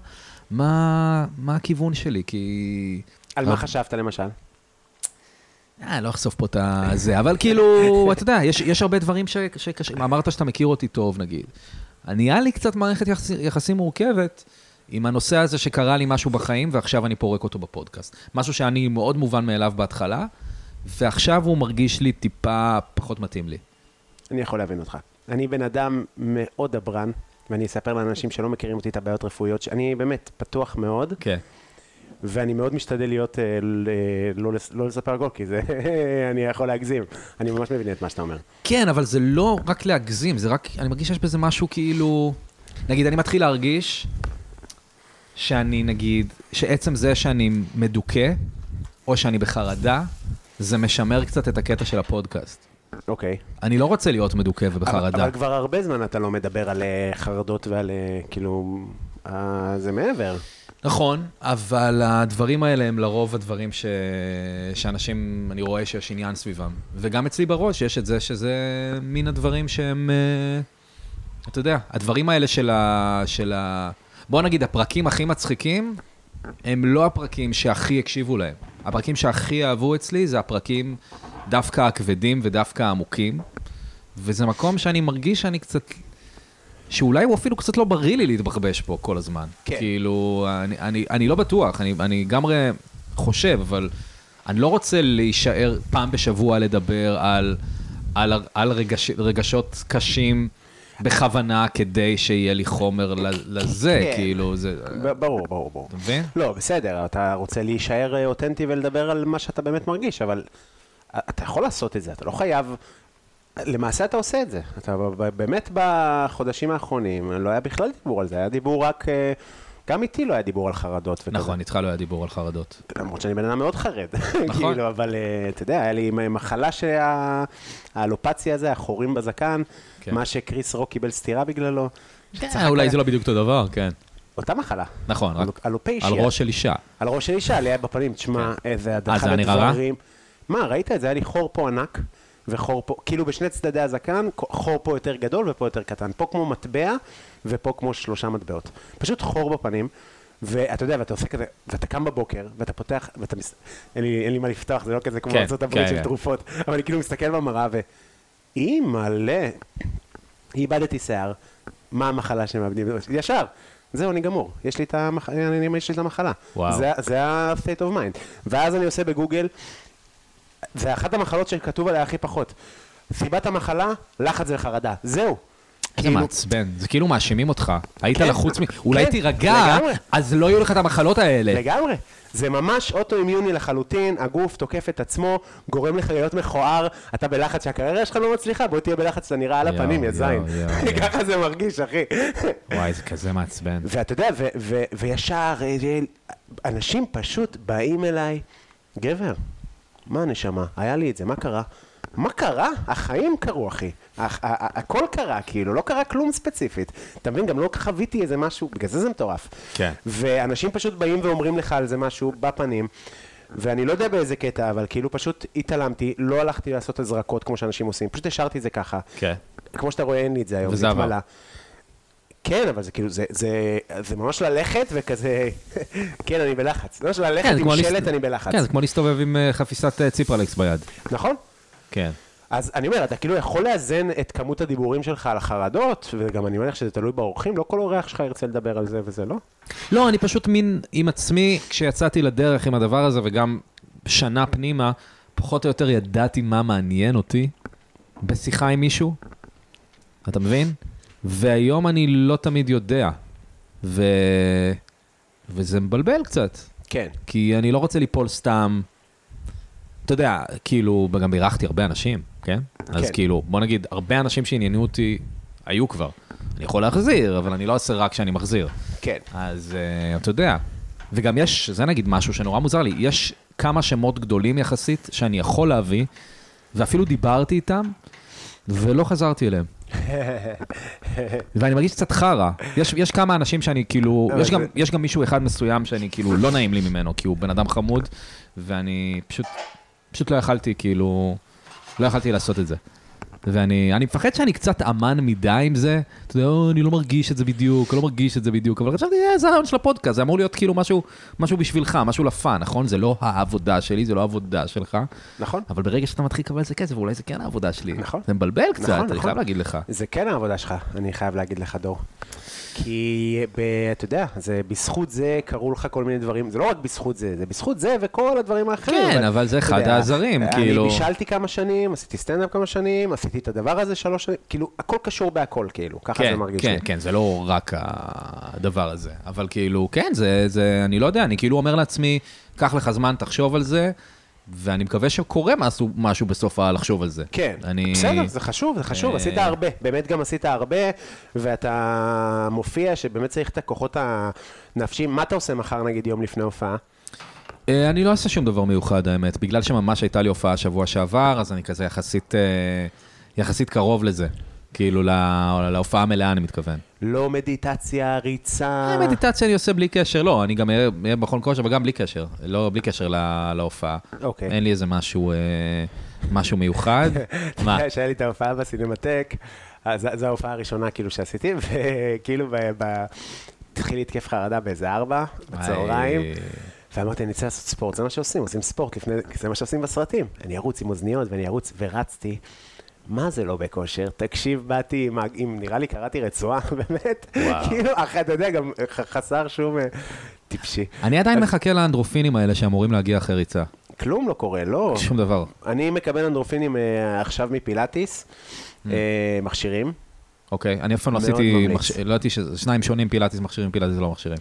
S3: מה, מה הכיוון שלי, כי...
S2: על מה חשבת למשל?
S3: אה, לא אחשוף פה את הזה, אבל כאילו, אתה יודע, יש, יש הרבה דברים ש- שקשה, אמרת שאתה מכיר אותי טוב, נגיד. נהיה לי קצת מערכת יחס, יחסים מורכבת עם הנושא הזה שקרה לי משהו בחיים, ועכשיו אני פורק אותו בפודקאסט. משהו שאני מאוד מובן מאליו בהתחלה, ועכשיו הוא מרגיש לי טיפה פחות מתאים לי.
S2: אני יכול להבין אותך. אני בן אדם מאוד דברן, ואני אספר לאנשים שלא מכירים אותי את הבעיות הרפואיות, ש- אני באמת פתוח מאוד,
S3: כן.
S2: ואני מאוד משתדל להיות, אה, ל- אה, לא לס- לא לספר הכל, כי זה, (laughs) אני יכול להגזים. אני ממש מבין את מה שאתה אומר.
S3: כן, אבל זה לא רק להגזים, זה רק, אני מרגיש שיש בזה משהו כאילו... נגיד, אני מתחיל להרגיש שאני, נגיד, שעצם זה שאני מדוכא, או שאני בחרדה, זה משמר קצת את הקטע של הפודקאסט.
S2: אוקיי.
S3: אני לא רוצה להיות מדוכא
S2: אבל,
S3: ובחרדה.
S2: אבל כבר הרבה זמן אתה לא מדבר על אה, חרדות ועל, אה, כאילו, אה, זה מעבר.
S3: נכון, אבל הדברים האלה הם לרוב הדברים ש... שאנשים, אני רואה שיש עניין סביבם. וגם אצלי בראש יש את זה שזה מין הדברים שהם, אה, אתה יודע, הדברים האלה של ה... של ה... בוא נגיד, הפרקים הכי מצחיקים, הם לא הפרקים שהכי הקשיבו להם. הפרקים שהכי אהבו אצלי זה הפרקים דווקא הכבדים ודווקא העמוקים. וזה מקום שאני מרגיש שאני קצת שאולי הוא אפילו קצת לא בריא לי להתבחבש פה כל הזמן.
S2: כן.
S3: כאילו, אני, אני, אני לא בטוח, אני, אני לגמרי חושב, אבל אני לא רוצה להישאר פעם בשבוע לדבר על, על, על רגש, רגשות קשים בכוונה כדי שיהיה לי חומר ל- לזה,
S2: כן.
S3: כאילו, זה...
S2: ב- ברור, ברור, ברור.
S3: אתה מבין?
S2: לא, בסדר, אתה רוצה להישאר אה, אותנטי ולדבר על מה שאתה באמת מרגיש, אבל אה, אתה יכול לעשות את זה, אתה לא חייב... למעשה אתה עושה את זה. אתה ב- ב- באמת בחודשים האחרונים, לא היה בכלל דיבור על זה, היה דיבור רק... אה, גם איתי לא היה דיבור על חרדות וכזה.
S3: נכון, איתך לא היה דיבור על חרדות.
S2: למרות שאני בן אדם מאוד חרד.
S3: נכון.
S2: (laughs) כאילו, אבל אה, אתה יודע, היה לי מחלה שהאלופציה הזה, החורים בזקן,
S3: כן.
S2: מה שקריס רוק קיבל סטירה בגללו.
S3: אה, אולי זה לא בדיוק אותו דבר, כן.
S2: אותה מחלה.
S3: נכון, רק
S2: אלופ- אלופיישיה.
S3: על ראש של אישה.
S2: על ראש של אישה, עליה בפנים, תשמע, איזה הדחה
S3: כן. אה, זה היה נראה רע?
S2: לדברים. מה, ראית את זה? היה לי חור פה ענק, וחור פה, כאילו בשני צדדי הזקן, חור פה יותר גדול ופה יותר קטן. פה כמו מטבע, ופה כמו שלושה מטבעות. פשוט חור בפנים. ואתה יודע, ואתה עושה כזה, ואתה קם בבוקר, ואתה פותח, ואתה מס... אין לי, אין לי מה לפתוח, זה לא כזה כמו
S3: כן,
S2: ארצות
S3: כן,
S2: הברית של
S3: כן.
S2: תרופות, אבל אני כאילו מסתכל במראה ו... אי מלא, איבדתי שיער, מה המחלה שמאבדים? ישר, זהו, אני גמור, יש לי את המחלה, אני יש לי את המחלה.
S3: וואו.
S2: זה, זה ה-state of mind. ואז אני עושה בגוגל, זה אחת המחלות שכתוב עליה הכי פחות. סיבת המחלה, לחץ וחרדה. זהו.
S3: איזה
S2: כאילו,
S3: מעצבן, זה כאילו מאשימים אותך. היית
S2: כן,
S3: לחוץ מ... אולי
S2: כן,
S3: תירגע,
S2: לגמרי.
S3: אז לא יהיו לך את המחלות האלה.
S2: לגמרי. זה ממש אוטואימיוני לחלוטין, הגוף תוקף את עצמו, גורם לך להיות מכוער, אתה בלחץ שהקריירה שלך לא מצליחה, בוא תהיה בלחץ שאתה נראה על
S3: יואו,
S2: הפנים, יא
S3: יואו,
S2: זין.
S3: יואו, יואו.
S2: (laughs) ככה זה מרגיש, אחי.
S3: וואי, זה כזה מעצבן.
S2: ואתה יודע, ו- ו- וישר, אה, אה, אנשים פשוט באים אליי, גבר, מה הנשמה? היה לי את זה, מה קרה? מה קרה? החיים קרו, אחי. הח- ה- ה- הכל קרה, כאילו, לא קרה כלום ספציפית. אתה מבין, גם לא חוויתי איזה משהו, בגלל זה זה מטורף.
S3: כן.
S2: ואנשים פשוט באים ואומרים לך על זה משהו בפנים. ואני לא יודע באיזה קטע, אבל כאילו פשוט התעלמתי, לא הלכתי לעשות הזרקות כמו שאנשים עושים, פשוט השארתי את זה ככה.
S3: כן.
S2: כמו שאתה רואה, אין לי את זה היום,
S3: וזה
S2: זה
S3: עבר.
S2: התמלא. כן, אבל זה כאילו, זה, זה, זה ממש ללכת וכזה, (laughs) כן, אני בלחץ. ממש ללכת
S3: כן, זה כמו
S2: עם
S3: להסת-
S2: שלט, אני בלחץ.
S3: כן, זה כמו להסתובב עם אה, חפיסת אה, ציפרלקס ביד.
S2: נכון?
S3: כן.
S2: אז אני אומר, אתה כאילו יכול לאזן את כמות הדיבורים שלך על החרדות, וגם אני מניח שזה תלוי באורחים, לא כל אורח שלך ירצה לדבר על זה וזה, לא?
S3: לא, אני פשוט מין עם עצמי, כשיצאתי לדרך עם הדבר הזה, וגם שנה פנימה, פחות או יותר ידעתי מה מעניין אותי בשיחה עם מישהו, אתה מבין? והיום אני לא תמיד יודע, ו... וזה מבלבל קצת,
S2: כן.
S3: כי אני לא רוצה ליפול סתם, אתה יודע, כאילו, גם אירחתי הרבה אנשים, כן? כן? אז
S2: כן.
S3: כאילו, בוא נגיד, הרבה אנשים שעניינו אותי היו כבר. אני יכול להחזיר, אבל אני לא אעשה רק כשאני מחזיר.
S2: כן.
S3: אז אה, אתה יודע, וגם יש, זה נגיד משהו שנורא מוזר לי, יש כמה שמות גדולים יחסית שאני יכול להביא, ואפילו דיברתי איתם, ולא חזרתי אליהם. ואני מרגיש קצת חרא. יש, יש כמה אנשים שאני כאילו,
S2: אבל
S3: יש, גם,
S2: זה-
S3: יש גם מישהו אחד מסוים שאני כאילו, לא נעים לי ממנו, כי הוא בן אדם חמוד, ואני פשוט, פשוט לא יכלתי כאילו, לא יכלתי לעשות את זה. ואני אני מפחד שאני קצת אמן מדי עם זה, אתה יודע, "או, אני לא מרגיש את זה בדיוק, לא מרגיש את זה בדיוק, אבל חשבתי, "אה, זה הרעיון של הפודקאסט, זה אמור להיות כאילו משהו, משהו בשבילך, משהו לפאן, נכון? זה לא העבודה שלי, זה לא העבודה שלך,
S2: נכון.
S3: אבל ברגע שאתה מתחיל לקבל את זה כסף, אולי זה כן העבודה שלי.
S2: נכון.
S3: זה מבלבל קצת,
S2: נכון,
S3: אני
S2: נכון.
S3: חייב להגיד לך.
S2: זה כן העבודה שלך, אני חייב להגיד לך, דור. כי, ב, אתה יודע, זה בזכות זה קרו לך כל מיני דברים, זה לא רק בזכות זה, זה בזכות זה וכל הדברים האחרים.
S3: כן, אבל זה
S2: אתה
S3: אחד
S2: יודע,
S3: העזרים, כאילו.
S2: אני בישלתי כמה שנים, עשיתי סטנדאפ כמה שנים, עשיתי את הדבר הזה שלוש שנים, כאילו, הכל קשור בהכל, כאילו, ככה
S3: כן,
S2: זה מרגיש
S3: כן,
S2: לי.
S3: כן, זה לא רק הדבר הזה, אבל כאילו, כן, זה, זה, אני לא יודע, אני כאילו אומר לעצמי, קח לך זמן, תחשוב על זה, ואני מקווה שקורה משהו, משהו בסוף הלחשוב על זה.
S2: כן,
S3: אני...
S2: בסדר, זה חשוב, זה חשוב,
S3: אה,
S2: עשית הרבה, באמת גם עשית הרבה, ואתה מופיע שבאמת צריך את הכוחות הנפשיים. מה אתה עושה מחר, נגיד, יום לפני הופעה?
S3: אה, אני לא אעשה שום דבר מיוחד, האמת. בגלל שממש הייתה לי הופעה שבוע שעבר, אז אני כזה יחסית, אה, יחסית קרוב לזה. כאילו, לה, להופעה המלאה, אני מתכוון.
S2: לא מדיטציה, ריצה.
S3: אה, מדיטציה אני עושה בלי קשר, לא, אני גם אהיה אהיה במכון כושר, אבל גם בלי קשר, לא בלי קשר לה- להופעה.
S2: אוקיי.
S3: אין לי איזה משהו, אה, משהו מיוחד.
S2: (laughs)
S3: מה?
S2: אתה יודע כן, שהיה לי את ההופעה בסינמטק, אז זו- זו ההופעה הראשונה כאילו שעשיתי, וכאילו ב... ב... התחיל לי התקף חרדה באיזה ארבע, בצהריים,
S3: וואי.
S2: ואמרתי, אני רוצה לעשות ספורט, זה מה שעושים, עושים ספורט לפני, זה מה שעושים בסרטים. אני ארוץ עם אוזניות ואני ארוץ, ורצתי. מה זה לא בכושר? תקשיב, באתי עם, ה- עם נראה לי קראתי רצועה, (laughs) באמת. כאילו, אח- אתה יודע, גם ח- חסר שום אה, טיפשי.
S3: אני עדיין מחכה לאנדרופינים האלה שאמורים להגיע אחרי ריצה.
S2: כלום לא קורה, לא.
S3: שום דבר.
S2: אני מקבל אנדרופינים אה, עכשיו מפילאטיס, אה, מכשירים.
S3: אוקיי, אני אף פעם לא
S2: מאוד
S3: עשיתי,
S2: ממליץ.
S3: מחש- לא ידעתי שזה שניים שונים, פילאטיס מכשירים, פילאטיס לא מכשירים.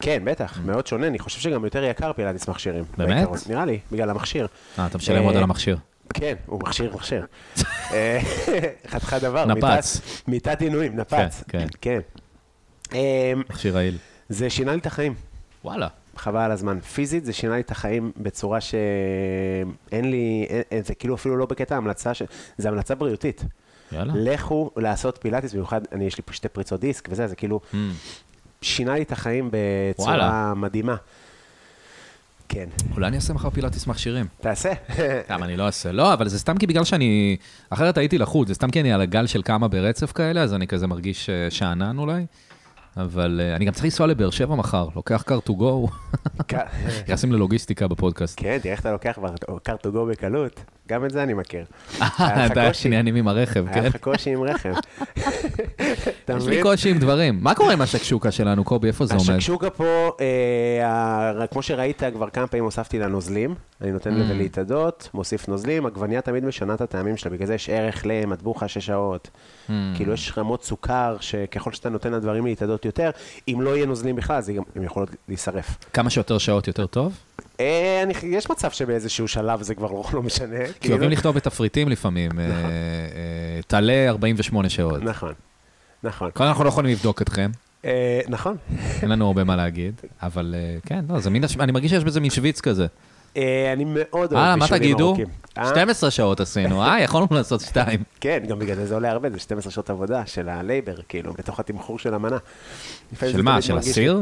S2: כן, בטח, מאוד שונה, אני חושב שגם יותר יקר פילאטיס מכשירים.
S3: באמת?
S2: בעיקרון. נראה לי, בגלל המכשיר.
S3: אה, אתה משלם עוד
S2: אה,
S3: על המכשיר.
S2: כן, הוא מכשיר,
S3: (laughs)
S2: מכשיר. אה, חתיכת דבר.
S3: נפץ.
S2: מיטת- מיטת עינויים, נפץ.
S3: כן,
S2: כן. אמ,
S3: מכשיר רעיל.
S2: זה שינה לי את החיים.
S3: וואלה.
S2: חבל על הזמן. פיזית זה שינה לי את החיים בצורה שאין לי, אין- אין- זה כאילו אפילו לא בקטע המלצה, ש... זה המלצה בריאותית.
S3: יאללה.
S2: לכו לעשות פילאטיס, במיוחד, אני, יש לי פה שתי פריצות דיסק וזה, זה כאילו, שינה לי את החיים בצורה
S3: Hmm. וואלה.
S2: מדהימה. כן,
S3: אולי אני אעשה מחר פילאטיס מכשירים. (laughs)
S2: תעשה.
S3: למה אני לא אעשה? לא, אבל זה סתם כי בגלל שאני... אחרת הייתי לחוץ, זה סתם כי אני על הגל של כמה ברצף כאלה, אז אני כזה מרגיש אה, שאנן אולי. אבל אה, אני גם צריך לנסוע לבאר שבע מחר, לוקח car to go,
S2: (laughs)
S3: נכנסים ללוגיסטיקה בפודקאסט.
S2: כן, תראה איך אתה לוקח car to go בקלות, גם את זה אני
S3: (laughs)
S2: מכיר. כן, היה לך
S3: אה, אתה
S2: קושי.
S3: עניינים עם הרכב,
S2: היה
S3: כן?
S2: לך קושי עם
S3: (laughs)
S2: רכב. אתה
S3: יש לי
S2: מבין?
S3: קושי עם דברים. מה קורה עם השקשוקה שלנו, קובי? איפה זה עומד?
S2: השקשוקה פה, אה, ה- כמו שראית, כבר כמה פעמים הוספתי לה נוזלים. אני
S3: Mm.
S2: נותן לזה להתאדות, מוסיף נוזלים. עגבנייה תמיד משנה את הטעמים שלה, בגלל זה יש ערך למטבוחה שש שעות.
S3: Mm.
S2: כאילו, יש רמות סוכר, שככל שאתה נותן לדברים להתאדות יותר, אם לא יהיה נוזלים בכלל, אז היא גם- הם יכולות להישרף.
S3: כמה שיותר שעות יותר טוב?
S2: אה, אני- יש מצב שבאיזשהו שלב זה כבר לא- לא משנה.
S3: כי אוהבים
S2: כאילו.
S3: לכתוב בתפריטים לפעמים, אה, אה, תעלה 48 שעות.
S2: נכון, נכון.
S3: כבר אנחנו לא יכולים לבדוק אתכם,
S2: אה, נכון.
S3: אין לנו הרבה מה להגיד, אבל אה, כן, לא, זה מין, הש- אני מרגיש שיש בזה מין שוויץ כזה.
S2: אה, אני מאוד
S3: אה,
S2: אוהב
S3: מה
S2: בישולים
S3: תגידו?
S2: ארוכים. אה?
S3: 12 שעות עשינו, אה, יכולנו לעשות שתיים.
S2: כן, גם בגלל (laughs) זה זה עולה הרבה, זה 12 שעות עבודה של הלייבר, כאילו, בתוך התמחור של המנה. לפעמים
S3: של
S2: זה
S3: מה,
S2: תמיד
S3: של
S2: מרגיש לי-
S3: הסיר?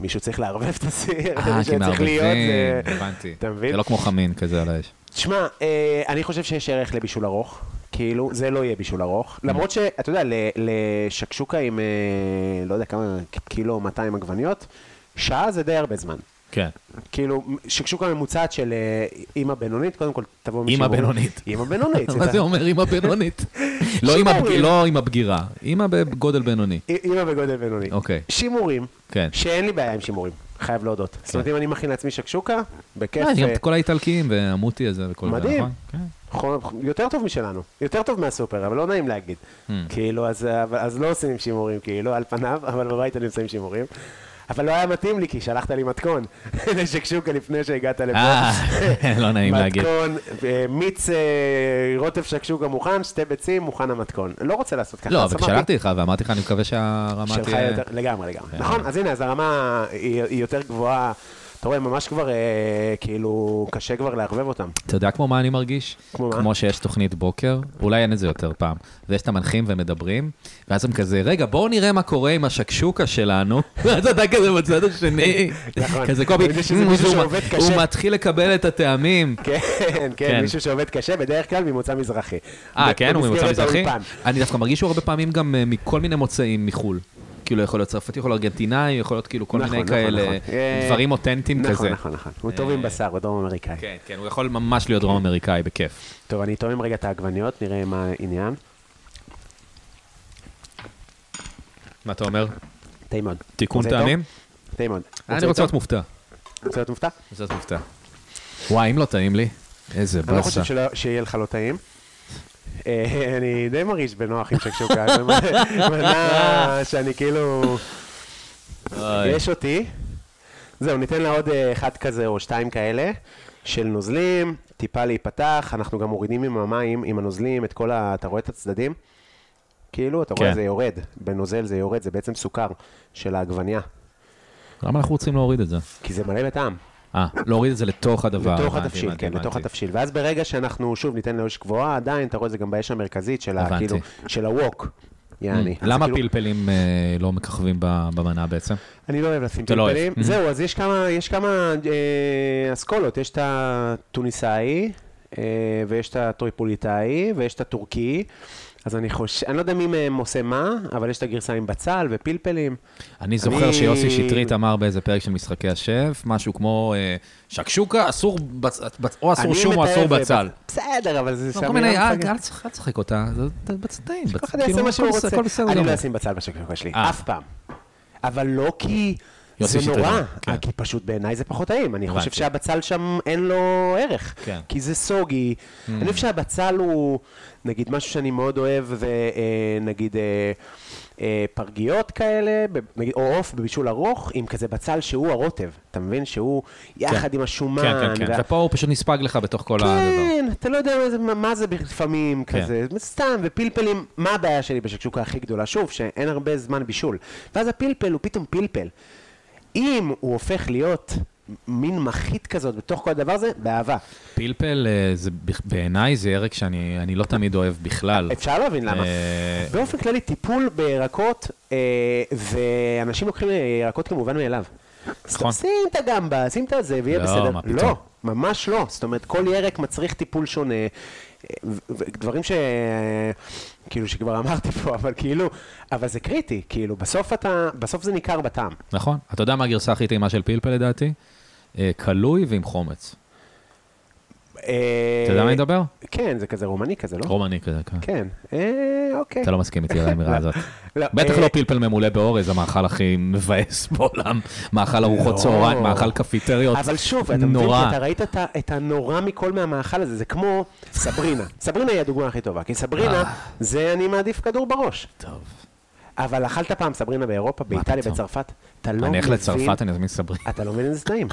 S2: מישהו צריך לערבב את הסיר,
S3: אה, כי
S2: (laughs) מישהו צריך להיות,
S3: מערבבים,
S2: זה-
S3: הבנתי.
S2: אתה מבין?
S3: זה לא כמו חמין כזה על האש.
S2: תשמע, אה, אני חושב שיש ערך לבישול ארוך, כאילו, זה לא יהיה בישול
S3: Mm.
S2: ארוך. למרות שאתה יודע, ל- לשקשוקה עם, אה, לא יודע כמה, קילו 200 עגבניות, שעה זה די הרבה זמן.
S3: כן.
S2: כאילו, שקשוקה ממוצעת של אה, אימא בינונית, קודם כל תבוא מישהו...
S3: אימא בינונית.
S2: אימא בינונית.
S3: (laughs) מה זה
S2: אתה-
S3: אומר אימא
S2: (laughs)
S3: בינונית? לא עם הבג-
S2: שימורים.
S3: לא עם הבגירה, אימא בגודל בינוני.
S2: אימא בגודל בינוני.
S3: אוקיי.
S2: שימורים,
S3: כן.
S2: שאין לי בעיה עם שימורים, חייב להודות. זאת אומרת, אם אני מכין לעצמי שקשוקה, בכיף,
S3: אה, יש גם
S2: אה,
S3: את כל האיטלקים והמוטי הזה וכל זה,
S2: מדהים.
S3: נכון? כן.
S2: חו- יותר טוב משלנו, יותר טוב מהסופר, אבל לא נעים להגיד.
S3: Hmm.
S2: כאילו, אז, אבל- אז לא עושים שימורים, כאילו, על פניו, (laughs) אבל בבית אני עושה עם שימורים. אבל לא היה מתאים לי, כי שלחת לי מתכון (laughs) לשקשוקה לפני שהגעת לפה.
S3: אה, (laughs) לא נעים להגיד.
S2: מתכון, אה, מיץ אה, רוטב שקשוקה מוכן, שתי ביצים, מוכן המתכון. לא רוצה לעשות ככה.
S3: לא,
S2: אז
S3: אבל
S2: אמרתי,
S3: כשלחתי לך ואמרתי לך, אני מקווה שהרמה תהיה...
S2: שלך יותר, לגמרי,
S3: כן.
S2: לגמרי. נכון, אז הנה, אז הרמה היא היא יותר גבוהה. אתה רואה, ממש כבר, אה, כאילו, קשה כבר לערבב אותם. (laughs)
S3: אתה יודע כמו מה אני מרגיש?
S2: כמו מה?
S3: כמו שיש תוכנית בוקר, אולי אין את זה יותר פעם, ויש את המנחים ומדברים, ואז הם כזה, רגע, בואו נראה מה קורה עם השקשוקה שלנו, (laughs) ואז אתה כזה בצד השני,
S2: נכון.
S3: כזה קובי,
S2: אני יודע שזה
S3: "מ,
S2: מישהו
S3: הוא-
S2: שעובד
S3: הוא
S2: קשה."
S3: מתחיל לקבל את הטעמים.
S2: כן, כן,
S3: כן.
S2: מישהו שעובד קשה, בדרך כלל ממוצא מזרחי.
S3: אה,
S2: ב-
S3: כן, הוא ממוצא
S2: במסגרת
S3: מזרחי?
S2: האולפן.
S3: אני דווקא מרגיש שהוא הרבה פעמים גם אה, מכל מיני מוצאים מחו"ל. כאילו, יכול להיות צרפתי, יכול להיות ארגנטינאי, יכול להיות כאילו כל
S2: נכון,
S3: מיני
S2: נכון,
S3: כאלה
S2: נכון. אה,
S3: דברים אותנטיים
S2: נכון,
S3: כזה. אה,
S2: נכון, נכון. הוא טוב עם בשר, הוא דרום אמריקאי.
S3: כן, כן, הוא יכול ממש להיות דרום אמריקאי, בכיף.
S2: טוב, אני אתואם רגע את העגבניות, נראה מה העניין.
S3: מה אתה אומר?
S2: טעים מאוד.
S3: תיקון
S2: רוצה איתו?
S3: טעמים?
S2: טעים מאוד.
S3: אני רוצה להיות
S2: איתו?
S3: מופתע.
S2: רוצה להיות מופתע?
S3: רוצה להיות מופתע. וואי, אם לא טעים לי, איזה
S2: אני לא
S3: באסה.
S2: חושב שלא- שיהיה לך לא טעים. אה, אני די מרגיש בנוח עם שקשוקה, זו
S3: (laughs)
S2: מנה שאני כאילו...
S3: אוי.
S2: יש אותי. זהו, ניתן לה עוד אה, אחד כזה או שתיים כאלה של נוזלים, טיפה להיפתח, אנחנו גם מורידים עם המים, עם הנוזלים, את כל ה... אתה רואה את הצדדים? כאילו, אתה רואה,
S3: כן.
S2: זה יורד. בנוזל זה יורד, זה בעצם סוכר של העגבנייה,
S3: למה אנחנו רוצים להוריד את זה?
S2: כי זה מלא בטעם.
S3: אה, להוריד את זה לתוך הדבר.
S2: לתוך
S3: הבנתי,
S2: התבשיל,
S3: הבנתי,
S2: כן, לתוך
S3: הבנתי.
S2: התבשיל. ואז ברגע שאנחנו, שוב, ניתן לאש גבוהה, עדיין, אתה רואה את זה גם באש המרכזית של ה...
S3: הבנתי.
S2: כאילו, של הווק. יעני. אז
S3: Mm. למה
S2: כאילו-
S3: פלפלים אה, לא מככבים ב- במנה בעצם?
S2: אני לא אוהב לשים
S3: אתה לא אוהב.
S2: פלפלים.
S3: Mhm.
S2: זהו, אז יש כמה, יש כמה אה, אסכולות. יש את התוניסאי, אה, ויש את הטריפוליטאי, ויש את הטורקי. אז אני חושב, אני לא יודע מי מהם עושה מה, אבל יש את הגרסה עם בצל ופלפלים.
S3: אני זוכר
S2: אני-
S3: שיוסי שטרית אמר באיזה פרק של משחקי השף, משהו כמו אה, שקשוקה, אסור בצ- בצ- או אסור
S2: אני
S3: שום או
S2: מתעב
S3: אסור
S2: בבצ-
S3: בצל. לא,
S2: בסדר, אבל זה שם...
S3: כל מיני, אה, אל תשחק- אל תשחק אותה, זה בצדדים.
S2: לא כל אחד יעשה מה שהוא רוצה.
S3: כאילו, הכל בסדר
S2: אני לא
S3: גמור.
S2: אשים בצל בשקשוקה שלי,
S3: אה.
S2: אף פעם. אבל לא כי...
S3: יוסי
S2: זה
S3: שטרית,
S2: נורא,
S3: כן.
S2: כי פשוט בעיניי זה פחות טעים. אני חושב
S3: הבנתי.
S2: שהבצל שם אין לו ערך.
S3: כן. Mm.
S2: כי זה סוגי. אני חושב שהבצל הוא, נגיד, משהו שאני מאוד אוהב, זה אה, נגיד אה, אה, פרגיות כאלה, ב- נגיד, או עוף בבישול ארוך, עם כזה בצל שהוא הרוטב. אתה מבין? שהוא יחד עם השומן.
S3: כן, כן, כן.
S2: וה-
S3: ופה הוא פשוט נספג לך בתוך כל הדבר.
S2: לא- כן, אתה לא יודע מה זה- מה- מה זה לפעמים
S3: כן.
S2: כזה, סתם, ופלפלים, מה הבעיה שלי בשקשוקה הכי גדולה? שוב, שאין הרבה זמן בישול. ואז הפלפל הוא פתאום פלפל. אם הוא הופך להיות מין מחית כזאת בתוך כל הדבר הזה, באהבה.
S3: פלפל, אה, זה בכ- בעיניי זה ירק שאני אני לא תמיד אוהב בכלל.
S2: אפשר להבין למה.
S3: אה,
S2: באופן כללי, טיפול בירקות, אה, ואנשים לוקחים אה, ירקות כמובן מאליו.
S3: נכון.
S2: שים את הגמבה, שים את הזה, ויהיה
S3: לא,
S2: בסדר.
S3: מה פתאום.
S2: לא, ממש לא. זאת אומרת, כל ירק מצריך טיפול שונה. אה, ו- ו- דברים ש... כאילו, שכבר אמרתי פה, אבל כאילו... אבל זה קריטי, כאילו, בסוף אתה... בסוף זה ניכר בטעם.
S3: נכון. אתה יודע מה הגרסה הכי טעימה של פלפל לדעתי? אה, קלוי ועם חומץ.
S2: אה,
S3: אתה יודע מה אני מדבר?
S2: כן, זה כזה רומני כזה, לא?
S3: רומני כזה, כן.
S2: כן. אה, אוקיי.
S3: אתה לא מסכים איתי על האמירה הזאת.
S2: לא,
S3: בטח
S2: אה,
S3: לא פלפל ממולא באורז, המאכל הכי מבאס בעולם. מאכל ארוחות צהריים, מאכל קפיטריות.
S2: לא. אבל שוב, אתה מבין
S3: נורא.
S2: שאתה ראית את ה- את הנורא מכל מהמאכל הזה, זה כמו סברינה. סברינה היא הדוגמה הכי טובה, כי
S3: אה.
S2: סברינה זה אני מעדיף כדור בראש.
S3: טוב.
S2: אבל אכלת פעם סברינה באירופה, באיטליה,
S3: פתאום?
S2: בצרפת, אתה לא מבין...
S3: אני אלך לצרפת, אני אזמין סברי.
S2: אתה לא מבין איזה
S3: (laughs)
S2: תנאים.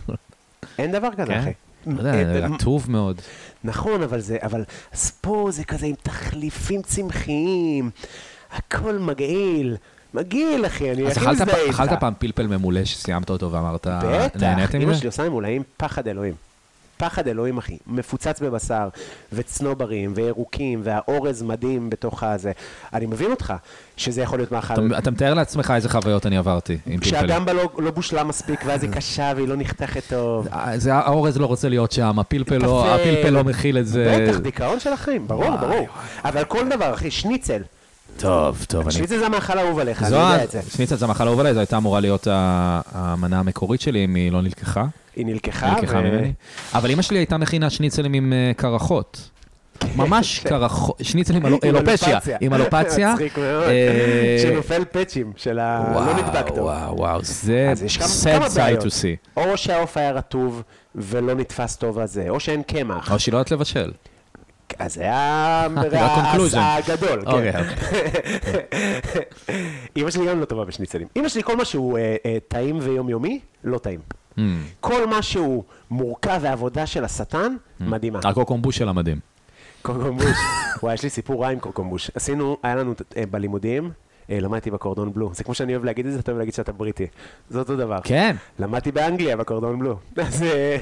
S2: אין דבר כזה,
S3: כן?
S2: אחי.
S3: לא יודע,
S2: אה,
S3: זה רטוב מאוד.
S2: נכון, אבל זה, אבל, אז פה זה כזה עם תחליפים צמחיים, הכל מגעיל. מגעיל, אחי, אני
S3: אז
S2: הכי
S3: אכלת
S2: מזדהה
S3: פ-
S2: איתך.
S3: אכלת פעם פלפל ממולא שסיימת אותו ואמרת,
S2: בטח,
S3: אה, נהניתם
S2: אמא
S3: מזה?
S2: שלי עושה ממולאים פחד אלוהים. פחד אלוהים, אחי. מפוצץ בבשר, וצנוברים, וירוקים, והאורז מדהים בתוך הזה. אני מבין אותך, שזה יכול להיות מאכל.
S3: אתה- אתה מתאר לעצמך איזה חוויות אני עברתי עם פלפלים.
S2: כשהגמבה לא, לא בושלה מספיק, ואז היא קשה והיא לא נחתכת טוב.
S3: אה, זה- האורז לא רוצה להיות שם, הפלפל לא-
S2: טפל.
S3: הפלפל לא מכיל את זה.
S2: בטח, דיכאון של החיים, ברור, ברור. אבל כל דבר, אחי, שניצל.
S3: טוב, טוב, אני
S2: שניצל זה המאכל האהוב עליך, אני
S3: זו
S2: יודע
S3: ה-
S2: את זה.
S3: שניצל זה המאכל האהוב עליי, זו הייתה אמורה להיות ה- המנה המקורית שלי, אם היא לא נלקחה.
S2: היא נלקחה,
S3: נלקחה
S2: ו-
S3: ממני. אבל אמא שלי הייתה מכינה שניצלים עם אה, קרחות. ממש קרחות, שניצל עם אלו-
S2: (laughs) כן, (laughs) עם
S3: אלופציה, עם
S2: (laughs)
S3: אלופציה.
S2: מצחיק מאוד.
S3: אה,
S2: שנופל פאצ'ים של ה... לא נדבק טוב.
S3: וואו, וואו, זה
S2: אז יש כמה-
S3: אה, sad
S2: כמה בעיות.
S3: sight to see.
S2: או שהעוף היה רטוב ולא נתפס טוב הזה, או שאין קמח.
S3: או שהיא לא יודעת לבשל.
S2: אז זה
S3: (laughs)
S2: היה
S3: זה ה-conclusion.
S2: הגדול,
S3: אוקיי,
S2: כן. (laughs) אמא שלי גם לא טובה בשניצלים. אמא שלי, כל מה שהוא אה, אה, טעים ויומיומי, לא טעים. כל מה שהוא מורכב ועבודה של השטן,
S3: Mm. Hmm.
S2: מדהימה.
S3: אה, הקוקומבוש שלה מדהים. (laughs)
S2: קורקומבוש. וואי, יש לי סיפור רע עם קורקומבוש. עשינו, היה לנו אה, בלימודים, אה, למדתי בקורדון בלו. זה כמו שאני אוהב להגיד את זה, אתה אוהב להגיד שאתה בריטי. זה אותו דבר.
S3: כן.
S2: למדתי באנגליה בקורדון בלו. (laughs) אז אה,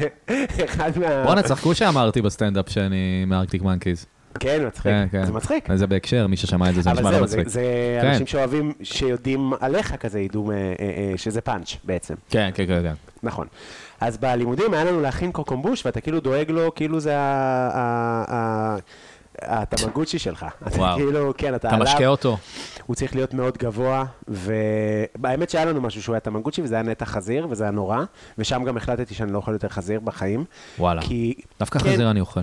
S2: אחד מה...
S3: בואנה, צחקו שאמרתי בסטנדאפ שאני מארקטיק מנקיז.
S2: כן, מצחיק.
S3: כן, כן.
S2: זה מצחיק.
S3: זה בהקשר, מי ששמע את זה, זה נשמע
S2: אבל
S3: לא
S2: זהו, זה-
S3: מצחיק.
S2: זה
S3: כן.
S2: אנשים שאוהבים, שיודעים עליך כזה, ידעו אה, אה, אה, שזה פאנץ' בעצם.
S3: כן, כן, כן, כן.
S2: נכון. אז בלימודים היה לנו להכין קורקומבוש, ואתה כאילו דואג לו, כאילו זה ה- ה- ה- הטמגוצ'י שלך. אתה
S3: וואו.
S2: כאילו, כן, אתה
S3: אתה
S2: עליו.
S3: משקה אותו.
S2: הוא צריך להיות מאוד גבוה, והאמת שהיה לנו משהו שהוא היה טמגוצ'י, וזה היה נטע חזיר, וזה היה נורא, ושם גם החלטתי שאני לא אוכל יותר חזיר בחיים.
S3: וואלה.
S2: כי...
S3: דווקא
S2: כן,
S3: חזיר אני אוכל.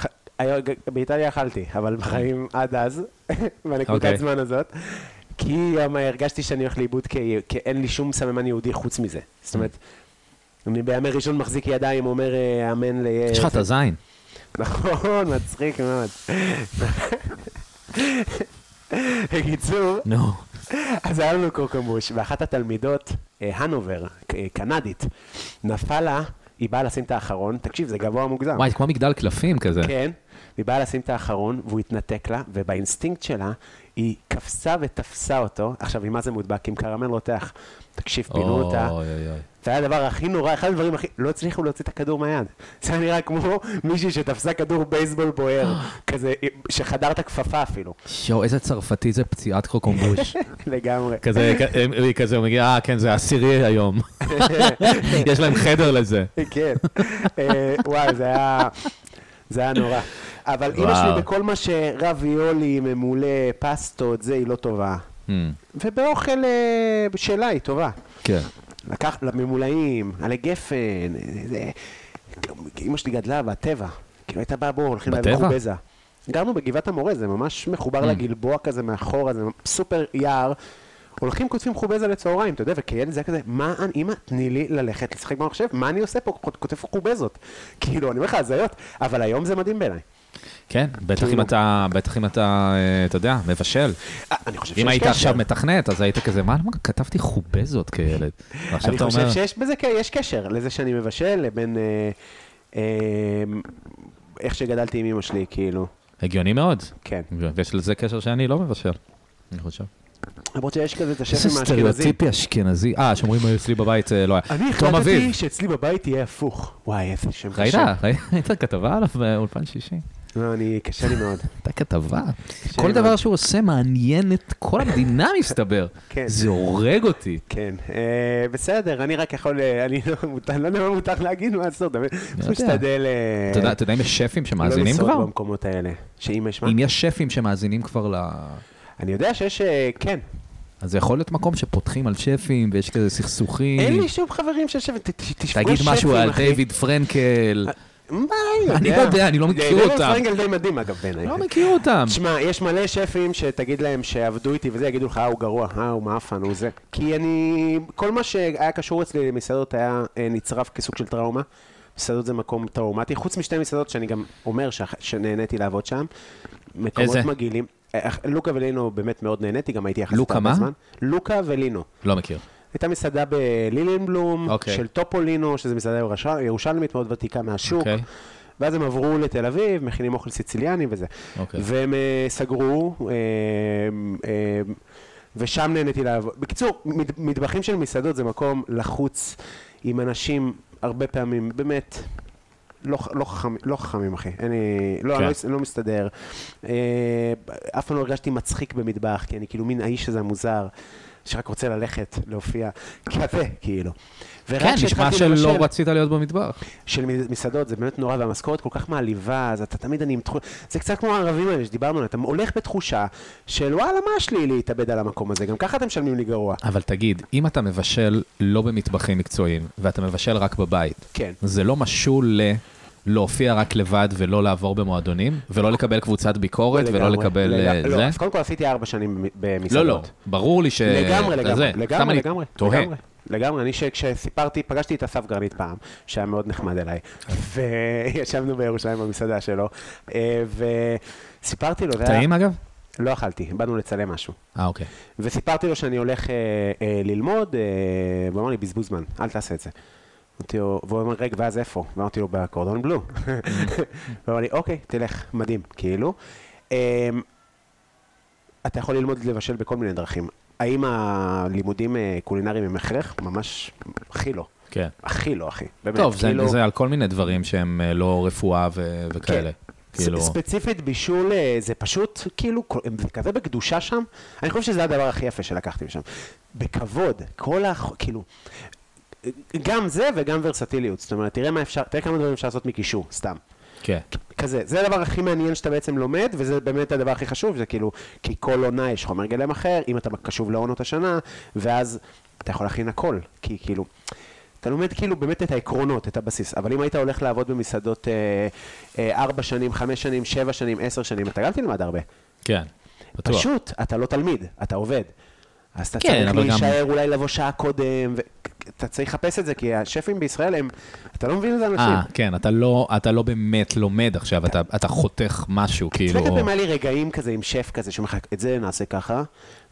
S2: ח- היה- ג- באיטליה אכלתי, אבל בחיים עד אז, (laughs) בנקודת
S3: אוקיי.
S2: זמן הזאת. כי גם הרגשתי שאני הולך לאיבוד, כי כי אין לי שום סממן יהודי חוץ מזה. זאת אומרת, אני בימי ראשון מחזיק ידיים, אומר אה, אמן ל...
S3: יש לך את הזין.
S2: (laughs) נכון, מצחיק מאוד. (laughs) בקיצור,
S3: נו.
S2: אז היה לנו קורקמוש, ואחת התלמידות, אה, הנובר, אה, קנדית, נפל לה, היא באה לשים את האחרון, תקשיב, זה גבוה מוגזם.
S3: וואי, זה כמו מגדל קלפים כזה.
S2: כן, היא באה לשים את האחרון, והוא התנתק לה, ובאינסטינקט שלה, היא קפצה ותפסה אותו, עכשיו, עם מה זה מודבק? עם קרמל רותח. תקשיב, פינו
S3: אוי,
S2: אותה.
S3: אוי, אוי.
S2: זה היה הדבר הכי נורא, אחד הדברים הכי... לא הצליחו להוציא את הכדור מהיד. (laughs) זה היה נראה כמו מישהי שתפסה כדור בייסבול
S3: (gasps)
S2: בוער, כזה, שחדר את הכפפה
S3: (laughs)
S2: אפילו,
S3: שואו, איזה צרפתי זה
S2: (laughs)
S3: פציעת קוקומבוש.
S2: לגמרי.
S3: כזה, היא כזה, הוא מגיע, אה, כן, זה עשירי היום. יש להם חדר
S2: (laughs)
S3: לזה.
S2: (laughs) כן. אה, וואי, זה היה... זה היה נורא. אבל אימא
S3: וואו.
S2: שלי בכל מה שרביולי, ממולא, פסטות, זה, היא לא טובה.
S3: Hmm.
S2: ובאוכל אה, שלה היא טובה.
S3: כן.
S2: לקח לממולאים, עלי גפן, אה, זה... אימא שלי גדלה בטבע. כאילו הייתה באה בואו, הולכים להביא
S3: בטבע? Mm.
S2: חובזה. גרנו בגבעת המורה, זה ממש מחובר לגלבוע כזה מאחורה, זה סופר יער. הולכים, כותבים חובזה לצהריים, אתה יודע, וכילד זה היה כזה, מה, אני- אמא, תני לי ללכת לשחק במחשב, מה אני עושה פה, כות- כותב חובזות. כאילו, אני אומר לך, הזיות, אבל היום זה מדהים בעיניי.
S3: כן, בטח אם
S2: כאילו.
S3: אתה, בטח אם אתה, אה, אתה יודע, מבשל.
S2: אה, אני חושב שיש
S3: אם היית
S2: קשר.
S3: עכשיו מתכנת, אז היית כזה, מה, למה כתבתי חובזות כילד? ועכשיו
S2: אני
S3: אתה
S2: חושב
S3: אומר,
S2: שיש בזה ק- יש קשר לזה שאני מבשל לבין אה, אה, איך שגדלתי עם אמא שלי, כאילו.
S3: הגיוני מאוד.
S2: כן.
S3: ויש לזה קשר שאני לא מבשל, אני חושב.
S2: למרות שיש כזה את
S3: איזה
S2: השפים האשכנזים.
S3: סטריאוטיפי אשכנזי. אה, שאומרים "היו אצלי בבית אה, לא היה.
S2: אני
S3: תום
S2: החלטתי
S3: אביב.
S2: שאצלי בבית יהיה הפוך. וואי, איזה שם
S3: ראית?
S2: קשה.
S3: ראית (laughs) כתבה עליו באולפן שישי?
S2: לא, אני, קשה לי מאוד. (laughs)
S3: הייתה כתבה.
S2: קשה
S3: כל
S2: לי
S3: דבר
S2: מאוד.
S3: שהוא עושה מעניין את כל המדינה, (laughs) מסתבר.
S2: כן.
S3: זה הורג אותי.
S2: כן, אה, בסדר, אני רק יכול, אה, אני לא מותר- לא יודע מה מותר להגיד, מה לעשות, אבל
S3: לא יודע.
S2: משתדל אה,
S3: אתה יודע- אתה יודע אם יש שפים
S2: לא
S3: שמאזינים
S2: לשרוד
S3: כבר?
S2: במקומות האלה. שאם יש מה?
S3: אם יש שפים שמאזינים כבר ל...
S2: אני יודע שיש, אה, כן.
S3: אז זה יכול להיות מקום שפותחים על שפים ויש כזה סכסוכים.
S2: אין לי שום חברים של שפים, ת- ת- תפגוש שפים,
S3: תגיד משהו על
S2: אחי.
S3: דיוויד פרנקל.
S2: מה, אני
S3: אני לא יודע, אני לא מכיר
S2: דיוויד
S3: אותם.
S2: פרנקל די מדהים, אגב, בעיניי.
S3: לא מכיר אותם.
S2: תשמע, יש מלא שפים שתגיד להם שעבדו איתי וזה, יגידו לך, אה, הוא גרוע, אה, הוא מעפן, הוא זה. כי אני... כל מה שהיה קשור אצלי למסעדות היה אה, נצרב כסוג של טראומה. מסעדות זה מקום טראומטי, חוץ משתי מסעדות שאני גם אומר ש... שנהניתי לעבוד שם. מקומות
S3: איזה?
S2: מגעילים. אה, אח- לוקה ולינו באמת מאוד נהניתי, גם הייתי יחסית
S3: לוקה מה?
S2: לוקה ולינו.
S3: לא מכיר.
S2: הייתה מסעדה בלילינבלום, okay.
S3: אוקיי.
S2: של טופולינו, שזו מסעדה ירוש- ירושלמית מאוד ותיקה מהשוק.
S3: אוקיי.
S2: Okay. ואז הם עברו לתל אביב, מכינים אוכל סיציליאני וזה.
S3: אוקיי.
S2: והם אה, סגרו, אה, אה, ושם נהניתי לעבוד. בקיצור, מד- מטבחים של מסעדות זה מקום לחוץ עם אנשים, הרבה פעמים, באמת, לא, ח- לא, חכמים, לא חכמים, אחי. אני לא,
S3: כן.
S2: אני לא, אני לא מסתדר. אה, אף פעם לא הרגשתי מצחיק במטבח, כי אני כאילו מין האיש הזה המוזר, שרק רוצה ללכת, להופיע, כזה, כאילו. ורק
S3: כן, נשמע
S2: כשהתחלתי
S3: שלא
S2: לבשל-
S3: רצית להיות במטבח.
S2: של מסעדות, זה באמת נורא, והמשכורת כל כך מעליבה, אז אתה תמיד אני עם תחושה, זה קצת כמו הערבים האלה שדיברנו עליהם, אתה הולך בתחושה של וואלה, מה יש לי להתאבד על המקום הזה, גם ככה אתם משלמים לי גרוע.
S3: אבל תגיד, אם אתה מבשל לא במטבחים מקצועיים, ואתה מבשל רק בבית,
S2: כן.
S3: זה לא משול ל... להופיע רק לבד ולא לעבור במועדונים, ולא לקבל קבוצת ביקורת, לא ולא
S2: לגמרי,
S3: לקבל
S2: לג-
S3: אה,
S2: לא,
S3: זה?
S2: אז קודם כל עשיתי ארבע שנים במ-
S3: לא,
S2: במסעדות.
S3: לא, ברור לי ש...
S2: לגמרי,
S3: אתה
S2: לגמרי,
S3: זה. סתם
S2: לגמרי,
S3: אני
S2: לגמרי.
S3: תוהה.
S2: לגמרי. לגמרי, אני שכשסיפרתי, פגשתי את אסף גרנית פעם, שהיה מאוד נחמד אליי, (laughs) וישבנו בירושלים במסעדה שלו, אה, וסיפרתי לו, זה היה-
S3: טעים אגב?
S2: לא אכלתי, באנו לצלם משהו.
S3: אה, אוקיי.
S2: וסיפרתי לו שאני הולך אה, אה, ללמוד, אה, והוא אמר לי, בזבוז זמן, אל תעשה את זה. אמרתי לו, והוא אמר, רגע, ואז איפה? ואמרתי לו, בקורדון בלו. (laughs) והוא אמר לי, אוקיי, תלך, מדהים, כאילו. אמ, אתה יכול ללמוד לבשל בכל מיני דרכים. האם הלימודים אה, קולינריים הם הכרח? ממש, הכי לא.
S3: כן.
S2: הכי לא, אחי. באמת,
S3: טוב, זה-
S2: כאילו-
S3: זה על כל מיני דברים שהם אה, לא רפואה ו- וכאלה.
S2: כן.
S3: כאילו...
S2: ס- ספציפית בישול אה, זה פשוט, כאילו, כל- הם כזה בקדושה שם, אני חושב שזה הדבר הכי יפה שלקחתי משם. בכבוד, כל ה... כאילו... גם זה וגם ורסטיליות, זאת אומרת, תראה מה אפשר, תראה כמה דברים אפשר לעשות מקישור, סתם.
S3: כן.
S2: כזה, זה הדבר הכי מעניין שאתה בעצם לומד, וזה באמת הדבר הכי חשוב, זה כאילו, כי כל עונה יש חומר גלם אחר, אם אתה קשוב לעונות השנה, ואז אתה יכול להכין הכל, כי כאילו, אתה לומד כאילו באמת את העקרונות, את הבסיס, אבל אם היית הולך לעבוד במסעדות אה, אה, ארבע שנים, חמש שנים, שבע שנים, עשר שנים, אתה גם תלמד הרבה.
S3: כן. בטוח.
S2: פשוט, אתה לא תלמיד, אתה עובד. אז אתה
S3: כן,
S2: צריך
S3: אבל גם-
S2: להישאר אולי לבוא שעה קודם, ואתה צריך לחפש את זה, כי השפים בישראל הם, אתה לא מבין את זה אנשים.
S3: אה, כן, אתה לא, אתה לא באמת לומד עכשיו, אתה, אתה חותך משהו, כאילו...
S2: ספקת
S3: או-
S2: במה לי רגעים כזה עם שף כזה, שאומר לך, את זה נעשה ככה,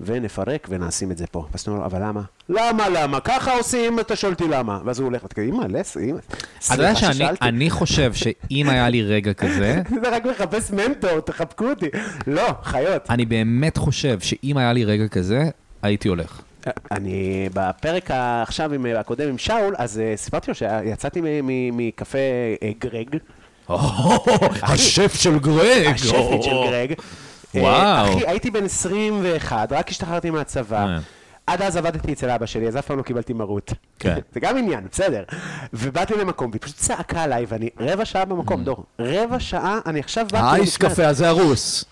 S2: ונפרק ונשים את זה פה. ואז אתה אומר לו, אבל למה? למה, למה? ככה עושים, אתה שואל אותי למה. ואז הוא הולך, ואתה כאילו, אימא, לס, אימא.
S3: אתה יודע
S2: סליחה
S3: שאני
S2: ששאלתי.
S3: אני חושב שאם היה לי רגע כזה,
S2: (laughs) זה רק מחפש מנטור, תחבקו אותי. לא, חיות.
S3: אני באמת חושב שאם היה לי רגע כזה, הייתי הולך.
S2: אני בפרק ה- עכשיו עם הקודם עם שאול, אז אה, סיפרתי לו שיצאתי מ- מ- מקפה אה, גרג,
S3: השף של גרג!
S2: השפית של גרג. אה,
S3: וואו.
S2: אחי, הייתי בן 21, רק השתחררתי מהצבא.
S3: אה.
S2: עד אז עבדתי אצל אבא שלי, אז אף פעם לא קיבלתי מרות.
S3: כן.
S2: (laughs) זה גם עניין, בסדר. ובאתי למקום, והיא פשוט צעקה עליי, ואני רבע שעה
S3: Mm.
S2: במקום, דור. רבע שעה, אני עכשיו באתי... נכנס,
S3: הזה הרוס.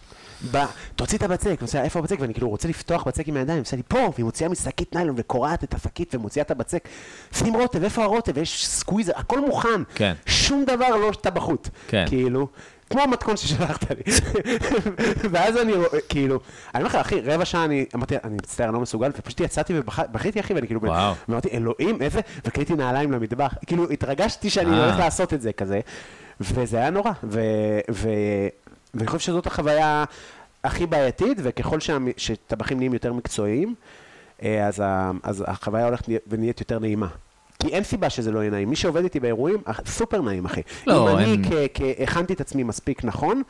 S2: בא, תוציא את הבצק, אני עושה, איפה הבצק? ואני כאילו רוצה לפתוח בצק עם הידיים, עושה לי פה, והיא מוציאה משקית ניילון וקורעת את השקית ומוציאה את הבצק. שים רוטב, איפה הרוטב? יש סקוויזר, הכל מוכן.
S3: כן.
S2: שום דבר לא טבחות.
S3: כן.
S2: כאילו, כמו המתכון ששלחת לי. (laughs) ואז אני, רוא- כאילו, אני אומר לך, אחי, רבע שעה אני, אמרתי, אני מצטער, אני לא מסוגל, ופשוט יצאתי ובכיתי, אחי, ואני כאילו, בן-
S3: וואו.
S2: אמרתי, אלוהים, איזה, וקניתי נעליים למטבח. כאילו, התרגשתי שאני
S3: אה.
S2: הולך לעשות את זה כזה, וזה היה נורא. ו, ו, ואני חושב שזאת החוויה הכי בעייתית, וככל שהמ- שטבחים נהיים יותר מקצועיים, אה, אז, ה, אז החוויה הולכת נה- ונהיית יותר נעימה. כי אין סיבה שזה לא יהיה נעים. מי שעובד איתי באירועים, אח- סופר נעים, אחי.
S3: לא,
S2: אם אני
S3: אין-
S2: כ- כ- הכנתי את עצמי מספיק נכון,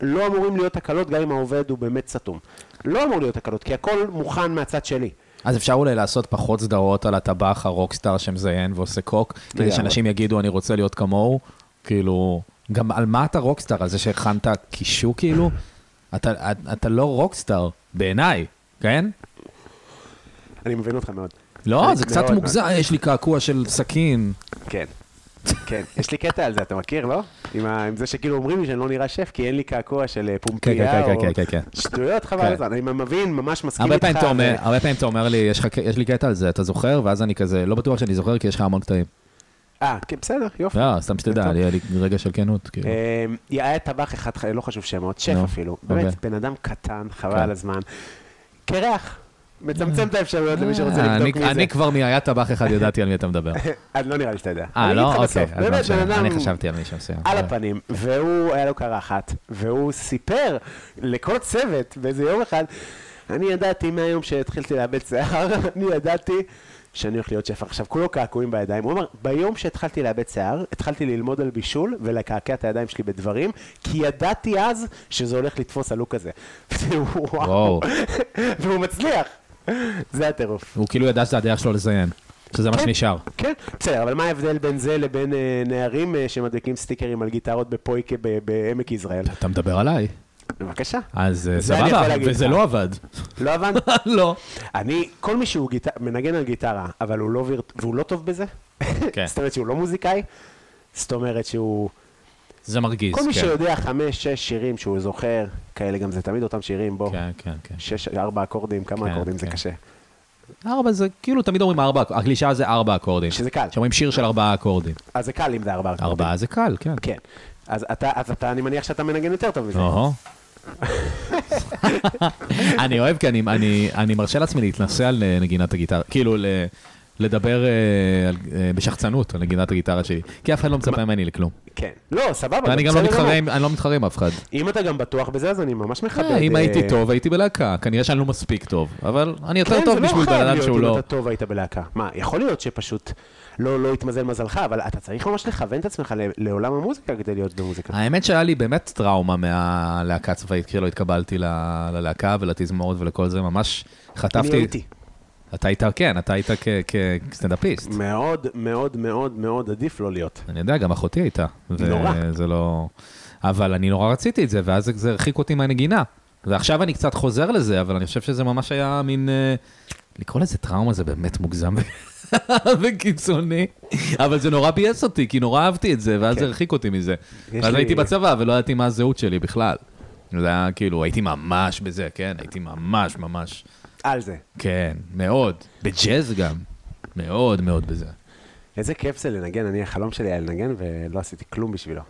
S2: לא אמורים להיות תקלות, גם אם העובד הוא באמת סתום. לא אמור להיות תקלות, כי הכל מוכן מהצד שלי.
S3: אז אפשר אולי לעשות פחות סדרות על הטבח הרוקסטאר שמזיין ועושה קוק, כדי
S2: לגמרי.
S3: שאנשים יגידו, אני רוצה להיות כמוהו, כאילו, גם על מה אתה רוקסטאר? על זה שהכנת קישור כאילו? אתה, אתה לא רוקסטאר, בעיניי, כן?
S2: אני מבין אותך מאוד.
S3: לא,
S2: אני
S3: זה קצת
S2: מאוד,
S3: מוגזם, יש לי קעקוע של סכין.
S2: כן. כן, יש לי קטע על זה, אתה מכיר, לא? עם, ה... עם זה שכאילו אומרים לי שאני לא נראה שף, כי אין לי קעקוע של אה, פומפייה
S3: כן, כן,
S2: או...
S3: כן, כן, כן.
S2: שטויות, חבל
S3: כן.
S2: על הזמן. אני מבין, ממש מסכים
S3: הרבה
S2: איתך.
S3: פעמים אתה אומר,
S2: ו-
S3: הרבה פעמים אתה אומר לי, "יש לך ק- יש לי קטע על זה, אתה זוכר? ואז אני כזה, לא בטוח שאני זוכר, כי יש לך המון קטעים.
S2: אה, כן, בסדר, יופי.
S3: לא, סתם שתדע,
S2: טוב.
S3: היה לי רגע של כנות, כאילו.
S2: אה, היה טבח אחד, ח- לא חשוב שמות, שף
S3: נו,
S2: אפילו.
S3: אוקיי.
S2: באמת, בן אדם קטן, חבל
S3: כן.
S2: על הזמן. קרח. מצמצם את האפשרויות למי שרוצה
S3: אה,
S2: לבדוק
S3: אני-
S2: מי זה.
S3: אני כבר מהיה טבח אחד ידעתי על מי אתה מדבר.
S2: אז לא נראה לי שאתה יודע.
S3: אה,
S2: אני אגיד
S3: לא?
S2: לך
S3: אוקיי.
S2: בסוף.
S3: אז לא
S2: באמת,
S3: משנה,
S2: בן אדם
S3: אני חשבתי על מישהו מסוים. כן.
S2: על הפנים, והוא, היה לו קרחת, והוא סיפר לכל הצוות באיזה יום אחד, אני ידעתי מהיום שהתחילתי לאבד שיער, (laughs) אני ידעתי שאני הולך להיות שפר. עכשיו, כולו קעקועים בידיים. הוא אמר, ביום שהתחלתי לאבד שיער, התחלתי ללמוד על בישול ולקעקע את הידיים שלי בדברים, כי ידעתי אז שזה הולך לתפוס הלוק הזה. (laughs) וואו.
S3: וואו.
S2: (laughs) והוא מצליח. זה הטירוף.
S3: הוא כאילו ידע שזה הדרך שלו לזיין, שזה מה
S2: כן.
S3: שנשאר.
S2: כן, בסדר, אבל מה ההבדל בין זה לבין אה, נערים אה, שמדליקים סטיקרים על גיטרות בפויקה ב- בעמק יזרעאל?
S3: אתה מדבר עליי,
S2: בבקשה.
S3: אז אה,
S2: זה אני יכול
S3: סבבה,
S2: להגיד
S3: וזה
S2: לך.
S3: לא עבד. (laughs)
S2: לא הבנת?
S3: לא.
S2: אני, כל מי שהוא גיטר, מנגן על גיטרה, אבל הוא לא וירט... והוא לא טוב בזה?
S3: כן.
S2: (laughs) זאת אומרת שהוא לא מוזיקאי? זאת אומרת שהוא...
S3: זה מרגיז,
S2: כל מי
S3: כן.
S2: שיודע חמש, שש שירים שהוא זוכר, כאלה גם זה תמיד אותם שירים, בוא.
S3: כן, כן, כן.
S2: שש, ארבע אקורדים, כמה
S3: כן,
S2: אקורדים זה
S3: כן.
S2: קשה.
S3: ארבע זה, כאילו תמיד אומרים ארבע, הקלישאה זה ארבע אקורדים.
S2: שזה קל. אוקיי.
S3: שאומרים שיר של ארבעה אקורדים.
S2: אז זה קל אם זה ארבע אקורדים.
S3: ארבעה זה קל, כן.
S2: כן. אז אתה, אז אתה, אני מניח שאתה מנגן יותר טוב מזה.
S3: אוהו. (laughs) אני אוהב, כי אני, אני, אני מרשה לעצמי להתנסה על אה, נגינת הגיטרה, כאילו ל, לדבר אה, על- אה, בשחצנות על נגינת הגיטרה שלי, כי אף אחד לא מצפה ממני לכלום.
S2: כן. לא, סבבה.
S3: ואני גם לא
S2: בסדר גמור.
S3: מתחרה, עם- אני לא מתחרה עם אף אחד.
S2: אם אתה גם בטוח בזה, אז אני ממש מכבד.
S3: אה, אם
S2: אה,
S3: הייתי טוב, הייתי בלהקה, כנראה שאני לא מספיק טוב, אבל אני יותר
S2: כן,
S3: טוב
S2: זה לא
S3: בשביל
S2: חייב
S3: בן אדם
S2: להיות
S3: שהוא
S2: אם
S3: לא...
S2: אתה טוב היית בלהקה. מה, יכול להיות שפשוט לא לא התמזל מזלך, אבל אתה צריך ממש לכוון את עצמך ל- לעולם המוזיקה כדי להיות במוזיקה.
S3: האמת שהיה לי באמת טראומה מהלהקה הצבאית, כשלא התקבלתי ל- ללהקה ולתזמורת ולכל זה, ממש חטפתי.
S2: אני הייתי.
S3: אתה היית, כן, אתה היית כ- כסטנדאפיסט.
S2: מאוד מאוד מאוד מאוד עדיף לא להיות.
S3: אני יודע, גם אחותי הייתה. ו-
S2: נורא.
S3: זה לא... אבל אני נורא רציתי את זה, ואז זה- זה הרחיק אותי מהנגינה. ועכשיו אני קצת חוזר לזה, אבל אני חושב שזה ממש היה מין... אה, לקרוא לזה טראומה זה באמת מוגזם ו- (laughs) וקיצוני, אבל זה נורא ביאס אותי, כי נורא אהבתי את זה, ואז
S2: כן.
S3: זה הרחיק אותי מזה.
S2: יש
S3: ואז
S2: לי-
S3: הייתי בצבא ולא ידעתי מה הזהות שלי בכלל. זה היה כאילו, הייתי ממש בזה, כן? הייתי ממש ממש,
S2: על זה.
S3: כן, מאוד. בג'אז גם, מאוד מאוד בזה.
S2: איזה כיף זה לנגן, אני, החלום שלי היה לנגן ולא עשיתי כלום בשבילו.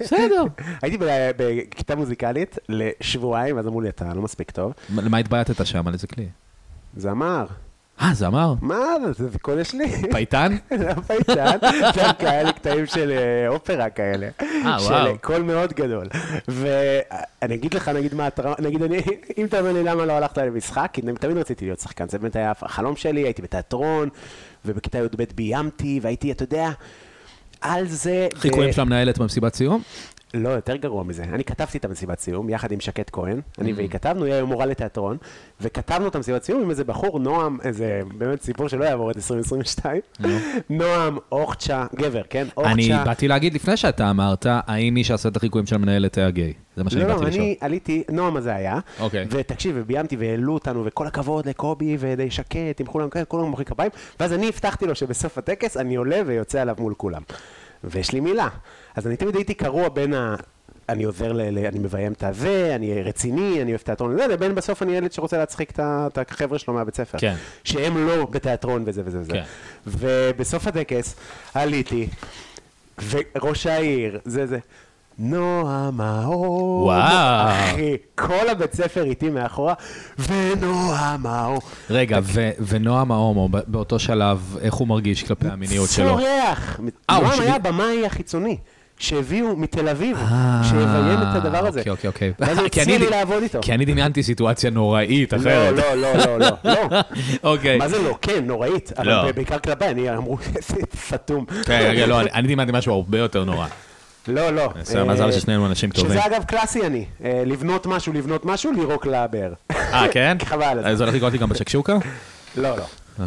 S3: בסדר.
S2: (laughs) הייתי ב- בכיתה מוזיקלית לשבועיים, ואז אמרו לי, אתה לא מספיק טוב.
S3: למה התבייתת שם? על איזה כלי?
S2: זמר,
S3: אה, זמר?
S2: מה זה, זה קול
S3: (laughs)
S2: יש לי.
S3: פייטן?
S2: (laughs)
S3: (laughs)
S2: הפייטן, גם כאלה קטעים של אה, אופרה כאלה.
S3: אה,
S2: של
S3: וואו.
S2: קול מאוד גדול. ואני אגיד לך, נגיד מה הטראומה, נגיד אני, אם אתה אומר לי למה לא הלכת למשחק, כי תמיד רציתי להיות שחקן, זה באמת היה החלום שלי, הייתי בתיאטרון, ובכיתה י"ב ביימתי, והייתי, אתה יודע, על זה... ו-
S3: חיקויים של המנהלת במסיבת סיום?
S2: לא, יותר גרוע מזה. אני כתבתי את המסיבת סיום, יחד עם שקד כהן, אני והיא כתבנו, היא היום מורה לתיאטרון, וכתבנו את המסיבת סיום עם איזה בחור, נועם, איזה באמת סיפור שלא יעבור את 2022, נועם אוכצ'ה, גבר, כן?
S3: אני
S2: אוכצ'ה.
S3: באתי להגיד לפני שאתה אמרת, האם מי שעשה את החיקויים של המנהלת היה גיי? זה מה שאני
S2: לא,
S3: באתי
S2: לא,
S3: לשאול.
S2: אני עליתי, נועם הזה היה,
S3: אוקיי.
S2: ותקשיב, וביימתי והעלו אותנו, וכל הכבוד לקובי ודי שקט, עם כולם כאלה, כולם מוחאים כפיים, ואז אני הבטחתי לו שבסוף הטקס אני עולה ויוצא עליו מול כולם. ויש לי מילה. אז אני תמיד הייתי קרוע בין ה... אני עוזר ל... ל- אני מביים את הזה, אני רציני, אני אוהב תיאטרון וזה, לבין בסוף אני ילד שרוצה להצחיק את ה- את החבר'ה שלו מהבית ספר.
S3: כן.
S2: שהם לא בתיאטרון וזה וזה וזה.
S3: כן.
S2: ובסוף הטקס עליתי, וראש העיר, זה זה. נועה מאור.
S3: וואו.
S2: אחי, כל הבית ספר איתי מאחורה, ונועה מאור.
S3: רגע, ו- ונועם ההומו, ב- באותו שלב, איך הוא מרגיש כלפי המיניות שלו?
S2: צורח.
S3: אה, הוא
S2: נועם
S3: שלי-
S2: היה הבמאי החיצוני. שהביאו מתל אביב, אה, שיביים את הדבר הזה.
S3: אה. אוקיי, אוקיי, אוקיי.
S2: ואז הוא
S3: (laughs) כי
S2: הציע
S3: אני-
S2: לי לעבוד איתו.
S3: כי אני דמיינתי סיטואציה נוראית
S2: לא,
S3: אחרת.
S2: לא, לא, לא, לא, לא.
S3: (laughs) אוקיי.
S2: מה זה לא? כן, נוראית.
S3: לא.
S2: אבל בעיקר כלפיי, אני אמרו, (laughs) איזה סתום.
S3: כן, רגע, לא, אני- אני דמיינתי משהו הרבה יותר נורא.
S2: לא, לא.
S3: בסדר, מזל
S2: אה,
S3: ששנינו אנשים טובים.
S2: שזה אגב קלאסי אני. אה, לבנות משהו, לבנות משהו, לירוק לבאר.
S3: אה, כן?
S2: חבל על זה.
S3: אה, זה הולך לקרות לי גם בשקשוקה?
S2: (laughs)
S3: אה,
S2: לא, לא.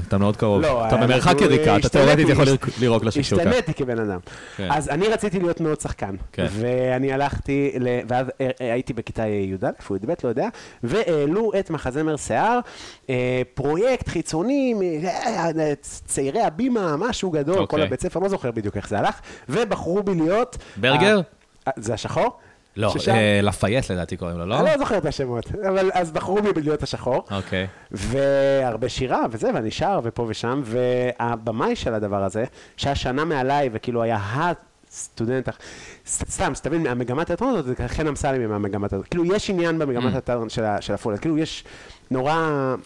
S3: אתה מאוד קרוב.
S2: לא,
S3: אתה
S2: אנחנו-
S3: במרחק יריקה, אתה
S2: השתניתי,
S3: תאורטית יכול
S2: השת-
S3: ליר- לירוק לשקשוקה.
S2: השתניתי כבן אדם.
S3: לא כן.
S2: אז אני רציתי להיות מאוד שחקן.
S3: כן.
S2: ואני הלכתי, ל- ואז אה, אה, הייתי בכיתה י"א או י"ב, לא יודע, והעלו את מחזמר שיער, אה, פרויקט חיצוני, מ- אה, אה, צעירי הבימה, משהו גדול, כל
S3: אוקיי.
S2: הבית ספר, לא זוכר בדיוק איך זה הלך, ובחרו בי להיות...
S3: ברגר?
S2: אה, זה השחור?
S3: לא,
S2: ששם-
S3: אה, לפייט לדעתי קוראים לו, לא?
S2: אני לא זוכר את השמות, אבל אז בחרו בי להיות השחור.
S3: אוקיי.
S2: והרבה שירה וזה, ואני שר ופה ושם, והבמאי של הדבר הזה, שהיה שנה מעליי, וכאילו היה הסטודנט, הח- ס- סתם, שתבין, המגמת התיאטרון הזאת, זה חן אמסלם עם המגמת הזאת. כאילו, יש עניין
S3: Mm.
S2: במגמת התיאטרון של ה- של עפולה, כאילו, יש נורא...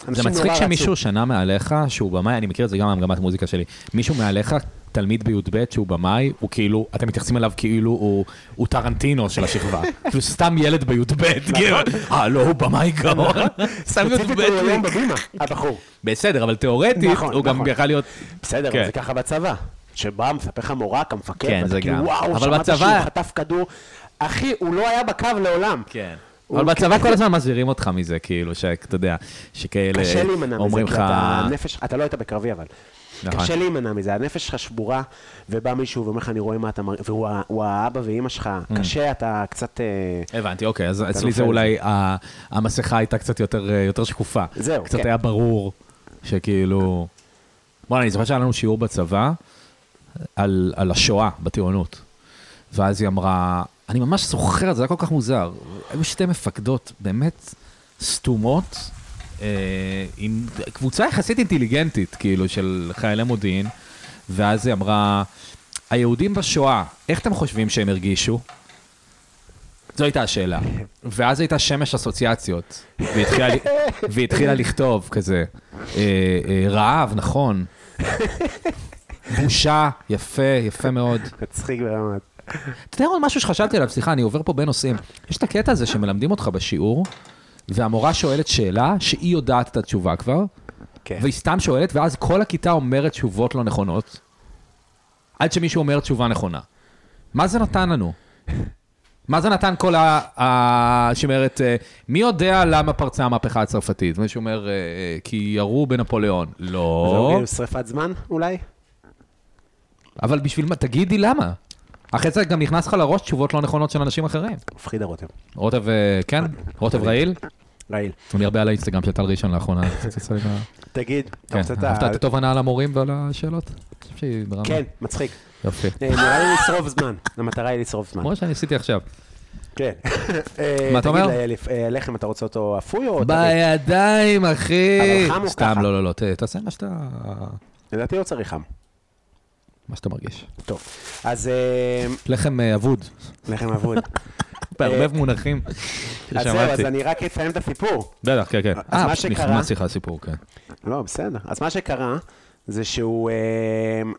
S3: זה
S2: אנשים
S3: מצחיק
S2: נורא רצו.
S3: שמישהו שנה מעליך, שהוא במאי, אני מכיר את זה גם מהמגמת מוזיקה שלי, מישהו מעליך, תלמיד בי"ב שהוא במאי, הוא כאילו, אתם מתייחסים אליו כאילו הוא- הוא טרנטינו של
S2: (laughs)
S3: השכבה. כאילו סתם ילד בי"ב, כאילו, אה, לא, הוא במאי גאון. סתם
S2: נכון. ספציפית הוא היום
S3: י"ב.
S2: בבימה, הבחור.
S3: בסדר, אבל תיאורטית,
S2: נכון,
S3: הוא גם
S2: נכון.
S3: יכול להיות...
S2: בסדר,
S3: כן.
S2: אבל זה ככה בצבא. שבא, מספר לך מורה, כמפקד,
S3: כן,
S2: ואתה
S3: זה
S2: כאילו,
S3: גם. אבל
S2: וואו, שמעת
S3: בצבא-
S2: שהוא חטף כדור. אחי, הוא לא היה בקו לעולם.
S3: כן.
S2: הוא-
S3: אבל בצבא כל הזמן מזהירים אותך מזה, כאילו, שאתה יודע, שכאלה
S2: קשה להימנע מזה,
S3: אומרים
S2: כי
S3: לך...
S2: אתה נפש, אתה לא היית בקרבי אבל.
S3: נכון.
S2: קשה להימנע מזה, הנפש שלך שבורה, ובא מישהו ואומר לך, אני רואה מה אתה מראה, והוא ה- הוא האבא ואימא שלך,
S3: Mm.
S2: קשה, אתה קצת... אה,
S3: הבנתי, אוקיי, אז אצלי
S2: נופל
S3: זה אולי, ה- המסכה הייתה קצת יותר אה, יותר שקופה.
S2: זהו,
S3: קצת
S2: כן.
S3: היה ברור שכאילו... בוא'נה, אני זוכר שהיה לנו שיעור בצבא על על השואה בטירונות. ואז היא אמרה, אני ממש זוכר את זה, זה היה כל כך מוזר. היו שתי מפקדות באמת סתומות, אה, עם קבוצה יחסית אינטליגנטית, כאילו, של חיילי מודיעין, ואז היא אמרה, היהודים בשואה, איך אתם חושבים שהם הרגישו? זו הייתה השאלה. ואז הייתה שמש אסוציאציות, והתחילה, והתחילה לכתוב כזה, אה, אה, רעב, נכון. בושה, יפה, יפה מאוד.
S2: מצחיק ברמת.
S3: אתה יודע עוד משהו שחשבתי עליו, סליחה, אני עובר פה בין נושאים. יש את הקטע הזה שמלמדים אותך בשיעור, והמורה שואלת שאלה שהיא יודעת את התשובה כבר,
S2: כן.
S3: והיא סתם שואלת, ואז כל הכיתה אומרת תשובות לא נכונות, עד שמישהו אומר תשובה נכונה. מה זה נתן לנו? מה זה נתן כל ה... ה- שאומרת, אה, מי יודע למה פרצה המהפכה הצרפתית? מישהו אומר, אה, אה, כי ירו בנפוליאון.
S2: זה
S3: לא,
S2: אוקיי, שריפת זמן אולי?
S3: אבל בשביל מה? תגידי למה. אחרי זה גם נכנס לך לראש תשובות לא נכונות של אנשים אחרים.
S2: מפחיד הרותם.
S3: רוטב, אה, כן? רוטב רעיל?
S2: רעיל.
S3: אני הרבה על האינסטגרם של טל ראשון
S2: (laughs)
S3: לאחרונה. אז תצא לי מה-
S2: תגיד, אתה
S3: כן,
S2: רוצה את
S3: אהבת
S2: ה...
S3: את התובנה על המורים ועל השאלות? אני חושב שהיא ברמה.
S2: אה, כן, מצחיק.
S3: יופי.
S2: אה, נראה לי לשרוף זמן, המטרה היא לשרוף זמן.
S3: כמו שאני עשיתי עכשיו. (laughs)
S2: כן. אה,
S3: מה אתה אומר?
S2: לחם, אתה רוצה אותו אפוי או... טרי?
S3: בידיים, אחי!
S2: אבל חם או
S3: סתם,
S2: ככה?
S3: לא, לא, לא, ת- תעשה מה שאתה...
S2: לדעתי לא צריך חם.
S3: מה שאתה מרגיש.
S2: טוב. אז אה,
S3: לחם אה, אבוד.
S2: לחם
S3: (laughs)
S2: אבוד.
S3: בערבב מונחים
S2: אה,
S3: (laughs)
S2: אז זהו, אז
S3: ששמעתי.
S2: אני רק אסיים את הסיפור.
S3: בטח, כן, כן.
S2: אז
S3: אה,
S2: מה
S3: פשוט
S2: שקרה-
S3: נכנסתי לך לסיפור, כן.
S2: לא, בסדר. אז מה שקרה, זה שהוא אמ,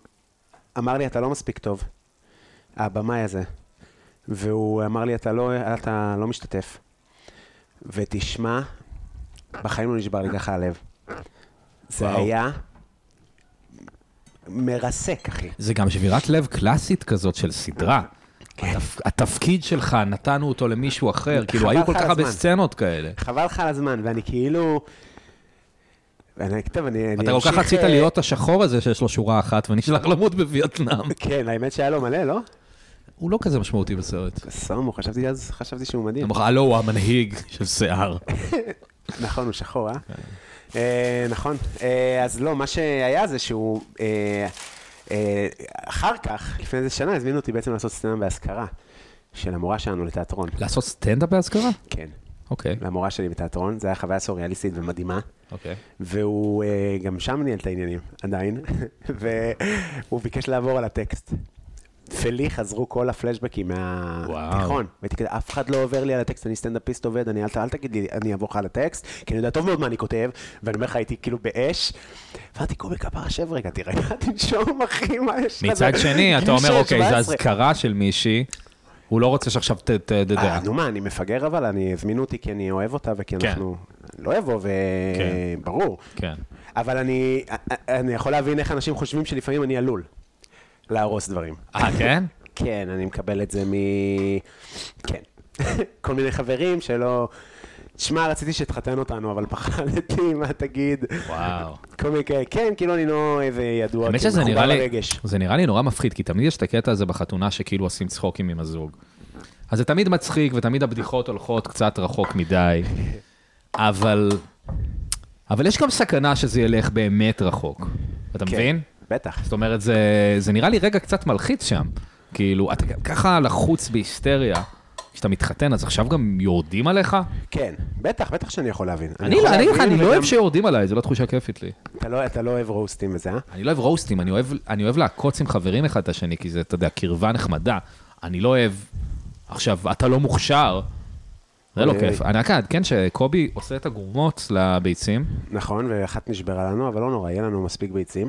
S2: אמר לי, אתה לא מספיק טוב, הבמאי הזה. והוא אמר לי, אתה לא, אתה לא משתתף. ותשמע, בחיים לא נשבר לי ככה הלב. זה
S3: וואו.
S2: היה מרסק, אחי.
S3: זה גם שבירת לב קלאסית כזאת של סדרה.
S2: כן.
S3: התפ- התפקיד שלך, נתנו אותו למישהו אחר, כאילו,
S2: חבל
S3: היו כל
S2: לך
S3: כך
S2: על
S3: הרבה
S2: הזמן.
S3: סצנות כאלה.
S2: חבל לך על הזמן, ואני כאילו... אני, טוב, אני, אני
S3: אתה כל כך
S2: אמשיך,
S3: רצית
S2: אה,
S3: להיות השחור הזה שיש לו שורה אחת ונשלח למות
S2: (laughs)
S3: בווייטנאם.
S2: כן, האמת שהיה לו מלא, לא?
S3: הוא לא כזה משמעותי בסרט.
S2: סומו, חשבתי אז, חשבתי שהוא מדהים.
S3: הם אמרו, הלו, הוא המנהיג של
S2: (laughs)
S3: שיער.
S2: נכון, הוא שחור, אה? אה, נכון. אה, אז לא, מה שהיה זה שהוא... אה, אה, אחר כך, לפני איזה שנה, הזמינו אותי בעצם לעשות סצנה בהשכרה של המורה שלנו לתיאטרון.
S3: לעשות סטנדאפ באזכרה?
S2: כן,
S3: אוקיי.
S2: למורה שלי בתיאטרון. זו הייתה חוויה סוריאליסטית ומדהימה.
S3: אוקיי.
S2: והוא אה, גם שם ניהל את העניינים, עדיין, (laughs) והוא ביקש לעבור על הטקסט. ולי חזרו כל הפלשבקים
S3: וואו.
S2: מהתיכון. והייתי כזה, אף אחד לא עובר לי על הטקסט, אני סטנדאפיסט עובד, אני אל, ת- אל תגיד לי, אני אעבור לך על הטקסט, כי אני יודע טוב מאוד מה אני כותב, ואני אומר לך, הייתי כאילו באש. ואמרתי, קובי כפרה, שב רגע, תראה, תנשום, אחי, מה יש לך?
S3: מצד
S2: זה- (laughs)
S3: שני, אתה
S2: גיל
S3: אומר,
S2: שש,
S3: אוקיי, זו
S2: 17."
S3: אזכרה של מישהי, הוא לא רוצה שעכשיו ת... ת- ת-
S2: אה,
S3: יודע.
S2: נו מה, אני מפגר אבל, אני, הזמינו אותי כי אני אוהב אותה וכי
S3: כן.
S2: אנחנו... לא אבוא,
S3: כן.
S2: וברור.
S3: כן.
S2: אבל אני, אני יכול להבין איך אנשים חושבים שלפעמים אני עלול להרוס דברים.
S3: אה, כן?
S2: כן, אני מקבל את זה מ... כן. (laughs) כל מיני חברים שלא... תשמע, רציתי שתחתן אותנו, אבל פחדתי, מה תגיד?
S3: וואו.
S2: כל מיני כאלה, כן, כאילו אני לא איזה ידוע,
S3: האמת
S2: כאילו,
S3: שזה נראה
S2: מחובר
S3: לי,
S2: לרגש.
S3: זה נראה לי נורא מפחיד, כי תמיד יש את הקטע הזה בחתונה שכאילו עושים צחוקים עם הזוג. אז זה תמיד מצחיק, ותמיד הבדיחות הולכות קצת רחוק מדי, אבל... אבל יש גם סכנה שזה ילך באמת רחוק. אתה
S2: כן,
S3: מבין?
S2: בטח.
S3: זאת אומרת, זה, זה נראה לי רגע קצת מלחיץ שם. כאילו, אתה גם ככה לחוץ בהיסטריה. כשאתה מתחתן, אז עכשיו גם יורדים עליך?
S2: כן, בטח, בטח שאני יכול להבין.
S3: אני,
S2: יכול
S3: אני,
S2: להבין,
S3: אני לא אוהב
S2: וגם-
S3: שיורדים עליי, זו לא תחושה כיפית לי.
S2: אתה לא- אתה לא אוהב רוסטים וזה, אה?
S3: אני לא אוהב רוסטים, אני אוהב, אני אוהב לעקוץ עם חברים אחד את השני, כי זה, אתה יודע, קרבה נחמדה. אני לא אוהב, עכשיו, אתה לא מוכשר. זה לא
S2: אוי,
S3: כיף. אני רק אעדכן שקובי עושה את הגומות לביצים.
S2: נכון, ואחת נשברה לנו, אבל לא נורא, יהיה לנו מספיק ביצים.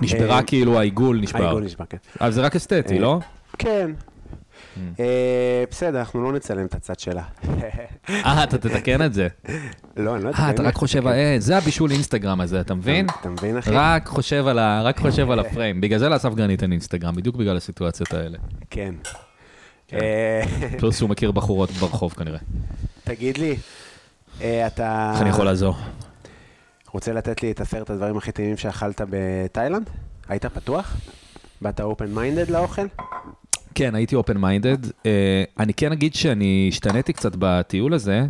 S3: נשברה
S2: אה,
S3: כאילו העיגול נשבר.
S2: העיגול נשבר, כן.
S3: אבל זה רק אסתטי, לא? Mm.
S2: כן. אה, בסדר, אנחנו לא נצלם את הצד שלה. (laughs)
S3: אה, אתה תתקן את זה.
S2: לא, אני לא יודע.
S3: אה, אתה
S2: אני-
S3: רק חושב, אה, זה הבישול אינסטגרם הזה, אתה מבין?
S2: אתה אה. מבין, אחי?
S3: רק חושב על ה- רק חושב על הפריים. בגלל זה לאסף גרנית אין אינסטגרם, בדיוק בגלל הסיטואציות האלה.
S2: כן. אה, (laughs)
S3: פלוס הוא מכיר בחורות ברחוב כנראה.
S2: תגיד לי, אה, אתה
S3: איך אני יכול לעזור?
S2: רוצה לתת לי את עשרת הדברים הכי טעימים שאכלת בתאילנד? היית פתוח? באת אופן מיינדד לאוכל?
S3: כן, הייתי אופן מיינדד. אני כן אגיד שאני השתניתי קצת בטיול הזה,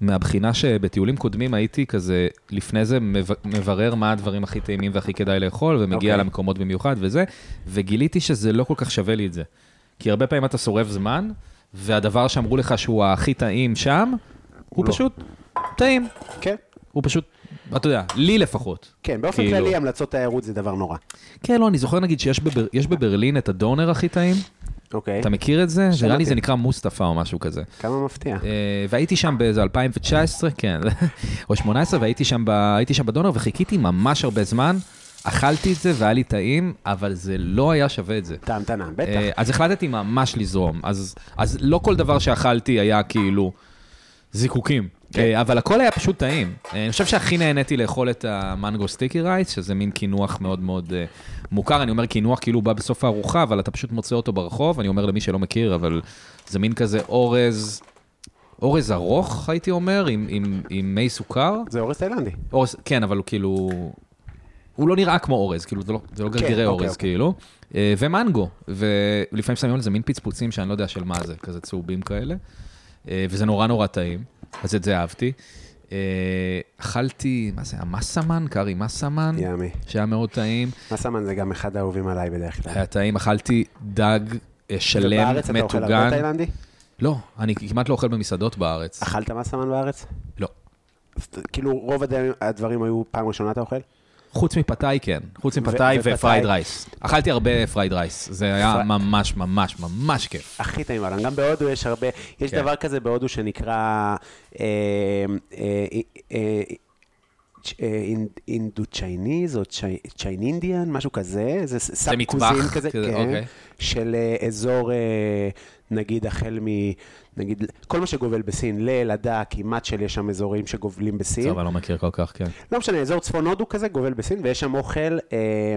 S3: מהבחינה שבטיולים קודמים הייתי כזה, לפני זה מב- מברר מה הדברים הכי טעימים והכי כדאי לאכול, ומגיע
S2: אוקיי.
S3: למקומות במיוחד וזה, וגיליתי שזה לא כל כך שווה לי את זה. כי הרבה פעמים אתה שורף זמן, והדבר שאמרו לך שהוא הכי טעים שם, הוא
S2: לא.
S3: פשוט טעים.
S2: כן.
S3: הוא פשוט, אתה יודע, לי לפחות.
S2: כן, באופן
S3: כאילו-
S2: כללי המלצות תיירות זה דבר נורא.
S3: כן, לא, אני זוכר נגיד שיש בבר- יש בברלין את הדונר הכי טעים.
S2: אוקיי.
S3: אתה מכיר את זה? נראה לי
S2: שמעתי.
S3: זה נקרא מוסטפה או משהו כזה.
S2: כמה מפתיע.
S3: אה, והייתי שם באיזה 2019, כן, (laughs) או 18, והייתי שם, ב, הייתי שם בדונר וחיכיתי ממש הרבה זמן. אכלתי את זה והיה לי טעים, אבל זה לא היה שווה את זה.
S2: טעם תנא,
S3: אה,
S2: בטח.
S3: אז החלטתי ממש לזרום. אז, אז לא כל דבר שאכלתי היה כאילו זיקוקים. אה, אבל הכל היה פשוט טעים. אה, אני חושב שהכי נהניתי לאכול את המנגו סטיקי רייס, שזה מין קינוח מאוד מאוד אה, מוכר. אני אומר קינוח כאילו הוא בא בסוף הארוחה, אבל אתה פשוט מוצא אותו ברחוב. אני אומר למי שלא מכיר, אבל זה מין כזה אורז, אורז ארוך, הייתי אומר, עם, עם, עם מי סוכר.
S2: זה אורז תאילנדי.
S3: אורז, כן, אבל הוא כאילו... הוא לא נראה כמו אורז, כאילו, זה לא, זה לא
S2: כן,
S3: גרגירי
S2: אוקיי,
S3: אורז,
S2: אוקיי.
S3: כאילו. אה, ומנגו, ולפעמים שמים על זה מין פצפוצים שאני לא יודע של מה זה, כזה צהובים כאלה. אה, וזה נורא נורא טעים, אז את זה אהבתי. אה, אכלתי, מה זה, המסמן, קארי מסמן,
S2: ימי.
S3: שהיה מאוד טעים.
S2: מסמן זה גם אחד האהובים עליי בדרך כלל.
S3: היה טעים, אכלתי דג אה, שלם,
S2: ובארץ אתה אוכל הרבה
S3: מטוגן.
S2: תאילנדי?
S3: לא, אני כמעט לא אוכל במסעדות בארץ.
S2: אכלת מסמן בארץ?
S3: לא.
S2: אז ת- כאילו רוב הד- הדברים היו פעם ראשונה אתה אוכל?
S3: חוץ מפתאי כן, חוץ מפתאי
S2: ופתאי.
S3: ופרייד רייס. אכלתי הרבה פרייד רייס, זה היה
S2: פרי-
S3: ממש ממש ממש כיף.
S2: הכי טעים עליהם. גם בהודו יש הרבה, יש
S3: כן.
S2: דבר כזה בהודו שנקרא אה, אה, אה, צ'- אה, אינ- אינדו צ'ייניז או צ'י- צ'יין אינדיאן, משהו כזה, זה ס- סאב
S3: מטבח
S2: קוזין כזה,
S3: כזה,
S2: כן,
S3: אוקיי.
S2: של אה, אזור, אה, נגיד, החל מ... נגיד, כל מה שגובל בסין, ללדה, כמעט של יש שם אזורים שגובלים בסין.
S3: אבל לא מכיר כל כך, כן.
S2: לא משנה, אזור צפון הודו כזה גובל בסין, ויש שם אוכל, אה,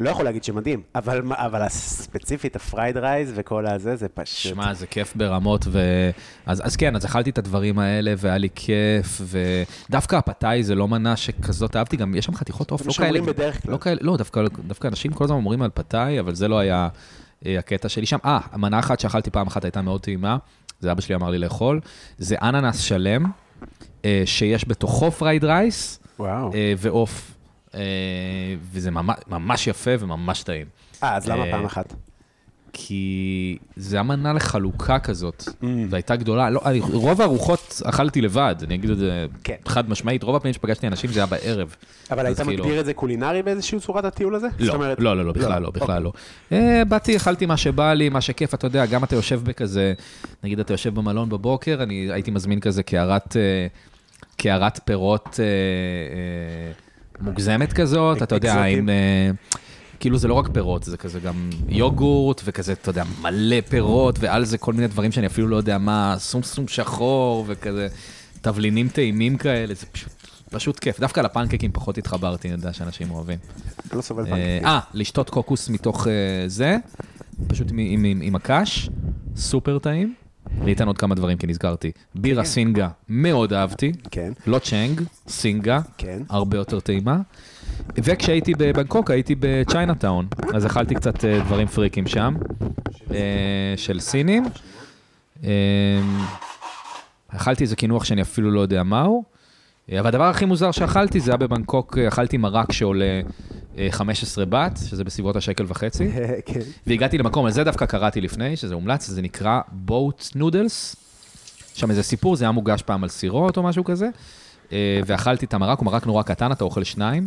S2: לא יכול להגיד שמדהים, אבל, מה- אבל ספציפית הפרייד רייז וכל הזה, זה פשוט...
S3: שמע, זה כיף ברמות, ו... אז, אז כן, אז אכלתי את הדברים האלה, והיה לי כיף, ודווקא הפתאי זה לא מנה שכזאת אהבתי, גם יש שם חתיכות עוף,
S2: זה
S3: לא
S2: מה שאומרים
S3: כאלה-
S2: בדרך כלל.
S3: לא כאלה, לא, דווקא, דווקא אנשים כל הזמן אומרים על פתאי, אבל זה לא היה אה, הקטע שלי שם. אה, מנה אחת שאכלתי פעם אחת הייתה מאוד טעימה, זה אבא שלי אמר לי לאכול, זה אננס שלם, אה, שיש בתוכו פרייד רייס,
S2: וואו.
S3: אה, ועוף, אה, וזה ממש, ממש יפה וממש טעים.
S2: אה, אז למה
S3: אה,
S2: פעם אחת?
S3: כי זה היה מנה לחלוקה כזאת, והייתה גדולה. לא, אני, רוב הארוחות אכלתי לבד, אני אגיד את זה
S2: כן.
S3: חד משמעית, רוב הפעמים שפגשתי אנשים זה היה בערב.
S2: אבל
S3: אז
S2: היית
S3: כאילו-
S2: מגדיר את זה קולינרי באיזושהי צורת הטיול הזה? זאת
S3: לא,
S2: אומרת- אוקיי.
S3: לא, לא, לא, בכלל לא, בכלל לא. אה, באתי, אכלתי מה שבא לי, מה שכיף, אתה יודע, גם אתה יושב בכזה, נגיד אתה יושב במלון בבוקר, אני הייתי מזמין כזה קערת, אה, קערת פירות אה, אה, מוגזמת כזאת, אתה יודע,
S2: אקזוטיים.
S3: עם... אה, כאילו זה לא רק פירות, זה כזה גם יוגורט, וכזה, אתה יודע, מלא פירות, ועל זה כל מיני דברים שאני אפילו לא יודע מה, סומסום שחור, וכזה תבלינים טעימים כאלה, זה פשוט, פשוט כיף. דווקא לפנקקים פחות התחברתי, אני יודע שאנשים אוהבים.
S2: אני לא סובל
S3: אה,
S2: פנקקים.
S3: אה, לשתות קוקוס מתוך אה, זה, פשוט עם, עם, עם, עם הקש, סופר טעים. אני אתן עוד כמה דברים, כי נזכרתי. בירה סינגה, מאוד אהבתי.
S2: כן.
S3: לא צ'נג, סינגה,
S2: כן.
S3: הרבה יותר טעימה. וכשהייתי בבנקוק, הייתי בצ'יינאטאון, אז אכלתי קצת אה, דברים פריקים שם, אה, של סינים. אה, אכלתי איזה קינוח שאני אפילו לא יודע מהו, אה, אבל הדבר הכי מוזר שאכלתי זה היה בבנקוק, אה, אכלתי מרק שעולה אה, 15 בת, שזה בסביבות השקל וחצי.
S2: (laughs) כן.
S3: והגעתי למקום, על זה דווקא קראתי לפני, שזה הומלץ, זה נקרא בוט נודלס. שם איזה סיפור, זה היה מוגש פעם על סירות או משהו כזה, אה, ואכלתי את המרק, הוא מרק נורא קטן, אתה אוכל שניים,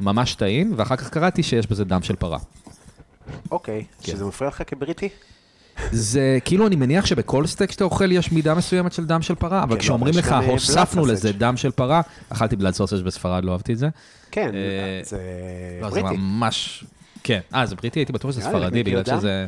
S3: ממש טעים, ואחר כך קראתי שיש בזה דם של פרה.
S2: אוקיי,
S3: כן.
S2: שזה מפריע לך כבריטי?
S3: זה כאילו, אני מניח שבכל סטייק שאתה אוכל יש מידה מסוימת של דם של פרה, אבל
S2: כן,
S3: כשאומרים
S2: אבל יש
S3: לך,
S2: גם, אה,
S3: הוספנו
S2: blood sausage."
S3: לזה דם של פרה, אכלתי בלעד סוסש בספרד, לא אהבתי את זה.
S2: כן,
S3: אה,
S2: זה
S3: לא, זה
S2: בריטי.
S3: ממש... כן. אה, זה בריטי? הייתי בטוח שזה
S2: נראה לי,
S3: ספרדי,
S2: נקניקיות
S3: בגלל
S2: דם?
S3: שזה...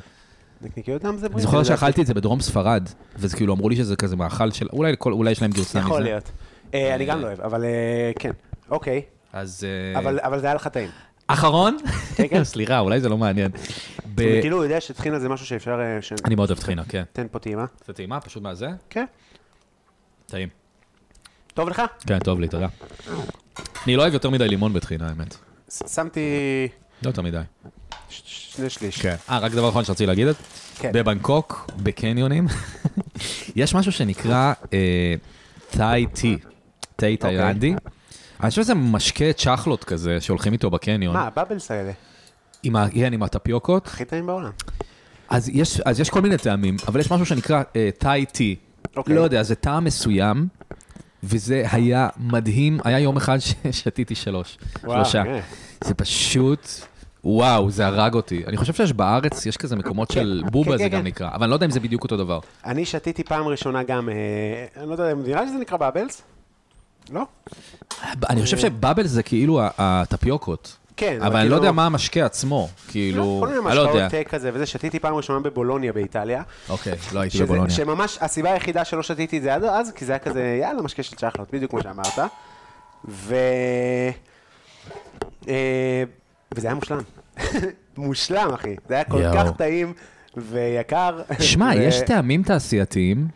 S2: נקניקיות דם זה בריטי.
S3: אני זוכר
S2: לדעתי.
S3: שאכלתי את זה בדרום ספרד, וזה כאילו אמרו לי שזה כזה מאכל של, אולי לכל- אולי יש להם גרסה מזה.
S2: יכול להיות. אה, אני גם לא אוהב, אבל אה, כן. אוקיי,
S3: אז אה,
S2: אבל אבל זה היה לך טעים.
S3: אחרון?
S2: (laughs) כן, כן.
S3: (laughs) סליחה, אולי זה לא מעניין. ב-
S2: אני כאילו יודע שטחינה זה משהו שאפשר... אה, ש-
S3: אני מאוד אוהב טחינה, כן.
S2: תן פה טעימה.
S3: זה טעימה, פשוט מה זה?
S2: כן.
S3: טעים.
S2: טוב לך?
S3: כן, טוב לי, תודה. אני לא אוהב יותר מדי לימון בטחינה, האמת.
S2: ש- שמתי
S3: לא יותר מדי.
S2: ש- שני שליש.
S3: אה, רק דבר אחרון שרציתי להגיד,
S2: כן.
S3: בבנקוק, בקניונים, (laughs) יש משהו שנקרא אה, תאי טי,
S2: אוקיי.
S3: תאי תאילנדי. אני חושב שזה משקה צ'חלות כזה שהולכים איתו בקניון,
S2: מה, הבאבלס האלה?
S3: עם ה- כן, עם הטפיוקות.
S2: הכי טעים בעולם.
S3: אז יש, אז יש כל מיני טעמים, אבל יש משהו שנקרא תאי טי.
S2: אוקיי.
S3: לא יודע, זה טעם מסוים, וזה היה מדהים, היה יום אחד ששתיתי שלוש,
S2: וואו,
S3: שלושה.
S2: כן.
S3: זה פשוט, וואו, זה הרג אותי. אני חושב שיש בארץ, יש כזה מקומות של בובה
S2: כן,
S3: זה
S2: כן,
S3: גם
S2: כן. אה,
S3: נקרא, אבל אני לא יודע אם זה בדיוק אותו דבר.
S2: אני שתיתי פעם ראשונה גם, אה, אני לא יודע, נראה לי שזה נקרא באבלס? לא?
S3: אני חושב שבאבל זה כאילו ה- הטפיוקות.
S2: אה. כן, אבל
S3: אבל אני לא
S2: כאילו-
S3: יודע מה המשקה עצמו,
S2: לא,
S3: כאילו,
S2: כל מיני
S3: אני לא יודע.
S2: משקאות אה, כזה וזה, שתיתי פעם ראשונה בבולוניה באיטליה.
S3: אוקיי, לא הייתי
S2: שזה-
S3: בבולוניה.
S2: שממש, הסיבה היחידה שלא שתיתי את זה עד אז, כי זה היה כזה, יאללה, משקה של צ'חלות, בדיוק כמו שאמרת. ו... אה, וזה היה מושלם. (laughs) מושלם, אחי. זה היה כל
S3: יואו.
S2: כך טעים ויקר.
S3: שמע,
S2: ו-
S3: יש טעמים תעשייתיים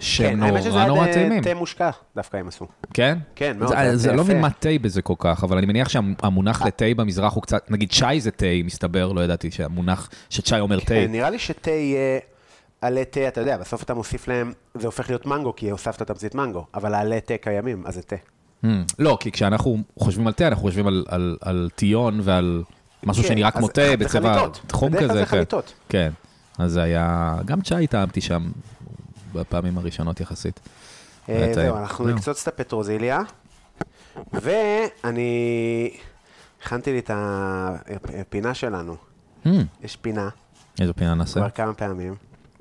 S3: שהם
S2: כן, האמת שזה
S3: נורא
S2: היה
S3: נורא
S2: תה-
S3: טעימים.
S2: תה מושקע, דווקא הם עשו.
S3: כן?
S2: כן, מאוד,
S3: זה-
S2: זה היה
S3: זה לא
S2: יפה. אה.
S3: מבין מה תה בזה כל כך, אבל אני מניח שהמונח לתה במזרח הוא קצת, נגיד שי זה תה, מסתבר, לא ידעתי שהמונח, שצ'אי אומר תה.
S2: אה, נראה לי שתה יהיה עלי תה, אתה יודע, בסוף אתה מוסיף להם, זה הופך להיות מנגו, כי הוספת תמצית מנגו, אבל העלי תה קיימים, אז זה תה. אה,
S3: Hmm, לא, כי כשאנחנו חושבים על תה, אנחנו חושבים על- על- על טיון ועל משהו
S2: כן,
S3: שנראה כמו
S2: אז
S3: תה
S2: זה
S3: בצבע
S2: חליטות.
S3: חום
S2: בדרך כלל
S3: כזה.
S2: זה
S3: כן.
S2: חליטות.
S3: כן, אז זה היה, גם צ'אי טעמתי שם בפעמים הראשונות יחסית.
S2: אה,
S3: טעים.
S2: זהו, אנחנו נקצוץ את הפטרוזיליה, ואני הכנתי לי את הפינה שלנו.
S3: Hmm,
S2: יש פינה,
S3: איזו פינה נעשה?
S2: כבר כמה פעמים,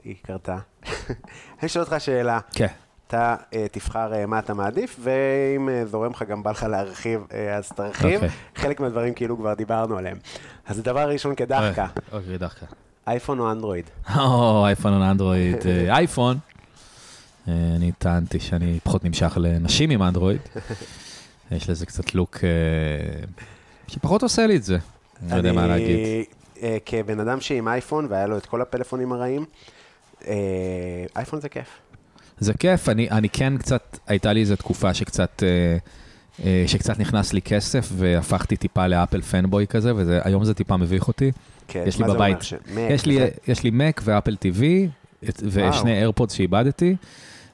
S2: היא קרתה. (laughs) אני אשאל אותך שאלה.
S3: כן.
S2: אתה אה, תבחר אה, מה אתה מעדיף, ואם אה, זורם לך גם בא לך להרחיב, אה, אז תרחיב.
S3: אוקיי.
S2: חלק מהדברים כאילו כבר דיברנו עליהם. אז הדבר הראשון כדחקה,
S3: אוקיי, דחקה.
S2: אייפון או אנדרואיד?
S3: או, אייפון או אנדרואיד, אה, אייפון. אה, אני טענתי שאני פחות נמשך לנשים עם אנדרואיד. יש לזה קצת לוק אה, שפחות עושה לי את זה. אני לא יודע מה להגיד.
S2: אה, כבן אדם שעם אייפון, והיה לו את כל הפלאפונים הרעים, אה, אייפון זה כיף.
S3: זה כיף, אני, אני כן קצת, הייתה לי איזו תקופה שקצת, אה, אה, שקצת נכנס לי כסף והפכתי טיפה לאפל פנבוי כזה, והיום זה טיפה מביך אותי.
S2: כן,
S3: יש לי
S2: מה זה
S3: בבית.
S2: אומר ש- Mac
S3: יש לי, אה,
S2: וזה?
S3: יש לי מק ואפל טיווי, את- ושני איירפודס שאיבדתי.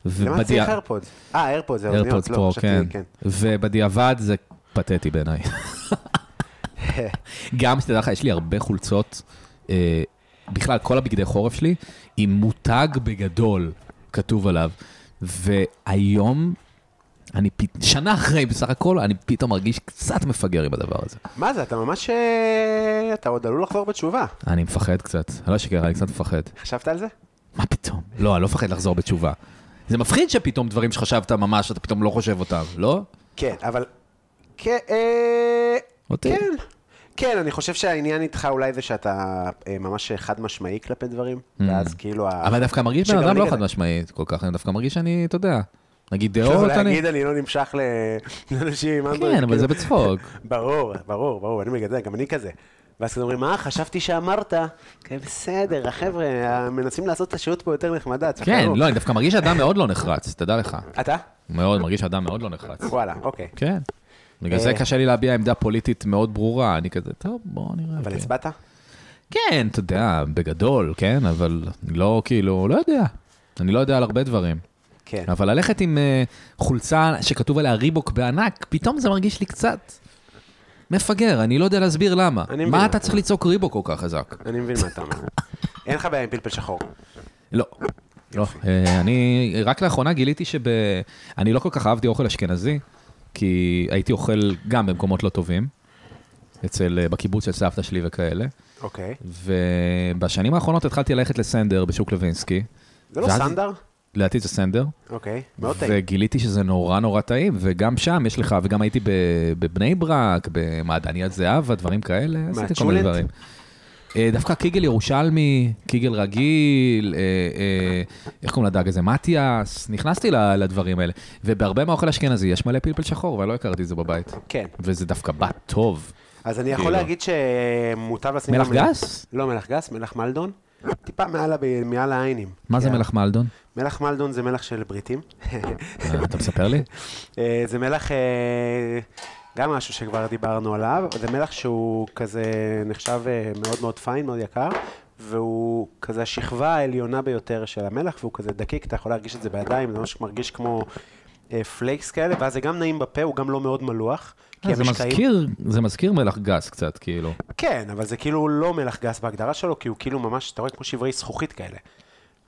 S2: למה צריך איירפוד? אה, איירפוד, זה אוזניות,
S3: איירפודס
S2: לא,
S3: פרו,
S2: חשבתי,
S3: כן. ובדיעבד זה פתטי בעיניי.
S2: (laughs)
S3: גם, שתדע לך, יש לי הרבה חולצות, אה, בכלל, כל הבגדי חורף שלי, עם מותג בגדול כתוב עליו. והיום, אני פת... שנה אחרי, בסך הכל, אני פתאום מרגיש קצת מפגר עם הדבר הזה.
S2: מה זה, אתה ממש... אה, אתה עוד עלול לחזור בתשובה.
S3: אני מפחד קצת. אני לא אשקר, אני קצת מפחד.
S2: חשבת על זה?
S3: מה פתאום? לא, אני לא מפחד לחזור בתשובה. זה מפחיד שפתאום דברים שחשבת ממש, אתה פתאום לא חושב אותם, לא?
S2: כן, אבל... כן, אה,
S3: אותי.
S2: כן. כן, אני חושב שהעניין איתך אולי זה שאתה אה, ממש חד משמעי כלפי דברים, ואז כאילו... ה-
S3: Mm. אבל דווקא מרגיש בן
S2: שגם
S3: אדם
S2: אני
S3: לא
S2: כזה.
S3: חד משמעית כל כך, אני דווקא מרגיש שאני, אתה יודע, נגיד דעות,
S2: לא,
S3: אני...
S2: להגיד אני לא נמשך ל- לאנשים עם אנדרואיד.
S3: כן, אבל
S2: כאילו-
S3: זה
S2: (laughs)
S3: בצחוק.
S2: ברור, ברור, ברור, אני בגלל זה, גם אני כזה. ואז כזה אומרים, אה, חשבתי שאמרת. כן, בסדר, החבר'ה, מנסים לעשות את השהות פה יותר נחמדה, תספרו.
S3: כן, לא, אני דווקא מרגיש שאדם מאוד לא נחרץ, תדע לך.
S2: אתה?
S3: מאוד, מרגיש שאדם מאוד לא נחרץ.
S2: וואלה, אוקיי.
S3: כן. בגלל זה
S2: אה.
S3: קשה לי להביע עמדה פוליטית מאוד ברורה, אני כזה, טוב, בוא נראה.
S2: אבל
S3: כן."
S2: הצבעת?
S3: כן, אתה יודע, בגדול, כן, אבל לא, כאילו, לא יודע. אני לא יודע על הרבה דברים.
S2: כן.
S3: אבל ללכת עם אה, חולצה שכתוב עליה ריבוק בענק, פתאום זה מרגיש לי קצת מפגר, אני לא יודע להסביר למה.
S2: אני מבין.
S3: מה אתה צריך לצעוק ריבוק כל כך חזק?
S2: אני מבין מה אתה אומר. אין לך בעיה עם פלפל שחור.
S3: לא. לא. אה, אני רק לאחרונה גיליתי שב... אני לא כל כך אהבתי אוכל אשכנזי, כי הייתי אוכל גם במקומות לא טובים, אצל, אה, בקיבוץ של סבתא שלי וכאלה.
S2: אוקיי.
S3: ובשנים האחרונות התחלתי ללכת לסנדר בשוק לוינסקי.
S2: זה לא
S3: ואז-
S2: סנדר?
S3: לדעתי זה סנדר.
S2: אוקיי. מאוד טעים.
S3: וגיליתי שזה נורא נורא טעים, וגם שם יש לך, וגם הייתי ב- בבני ברק, במעדניית זהבה, דברים כאלה, עשיתי כל
S2: צ'ולנט?
S3: מיני דברים. אה, דווקא קיגל ירושלמי, קיגל רגיל, אה, אה, איך קוראים לדג הזה? מתיאס, נכנסתי ל- לדברים האלה. ובהרבה מהאוכל האשכנזי יש מלא פלפל שחור, אבל לא הכרתי את זה בבית.
S2: כן.
S3: וזה דווקא בא טוב.
S2: אז אני יכול
S3: כאילו.
S2: להגיד שמוטב לשים...
S3: מלח
S2: גם מלח-
S3: גס?
S2: לא מלח גס, מלח מלדון. טיפה מעל הב- מעל העיינים.
S3: מה זה
S2: כן.
S3: מלח מלדון?
S2: מלח מלדון זה מלח של בריטים. (laughs)
S3: אה, אתה מספר לי?
S2: אה, זה מלח, אה, גם משהו שכבר דיברנו עליו, זה מלח שהוא כזה נחשב אה, מאוד מאוד פיין, מאוד יקר, והוא כזה השכבה העליונה ביותר של המלח, והוא כזה דקיק, אתה יכול להרגיש את זה בידיים, זה ממש מרגיש כמו אה, פלייקס כאלה, ואז זה גם נעים בפה, הוא גם לא מאוד מלוח. כי
S3: אה, זה
S2: המשקעים-
S3: מזכיר, זה מזכיר מלח גס קצת, כאילו.
S2: כן, אבל זה כאילו לא מלח גס בהגדרה שלו, כי הוא כאילו ממש, אתה רואה כמו שברי זכוכית כאלה.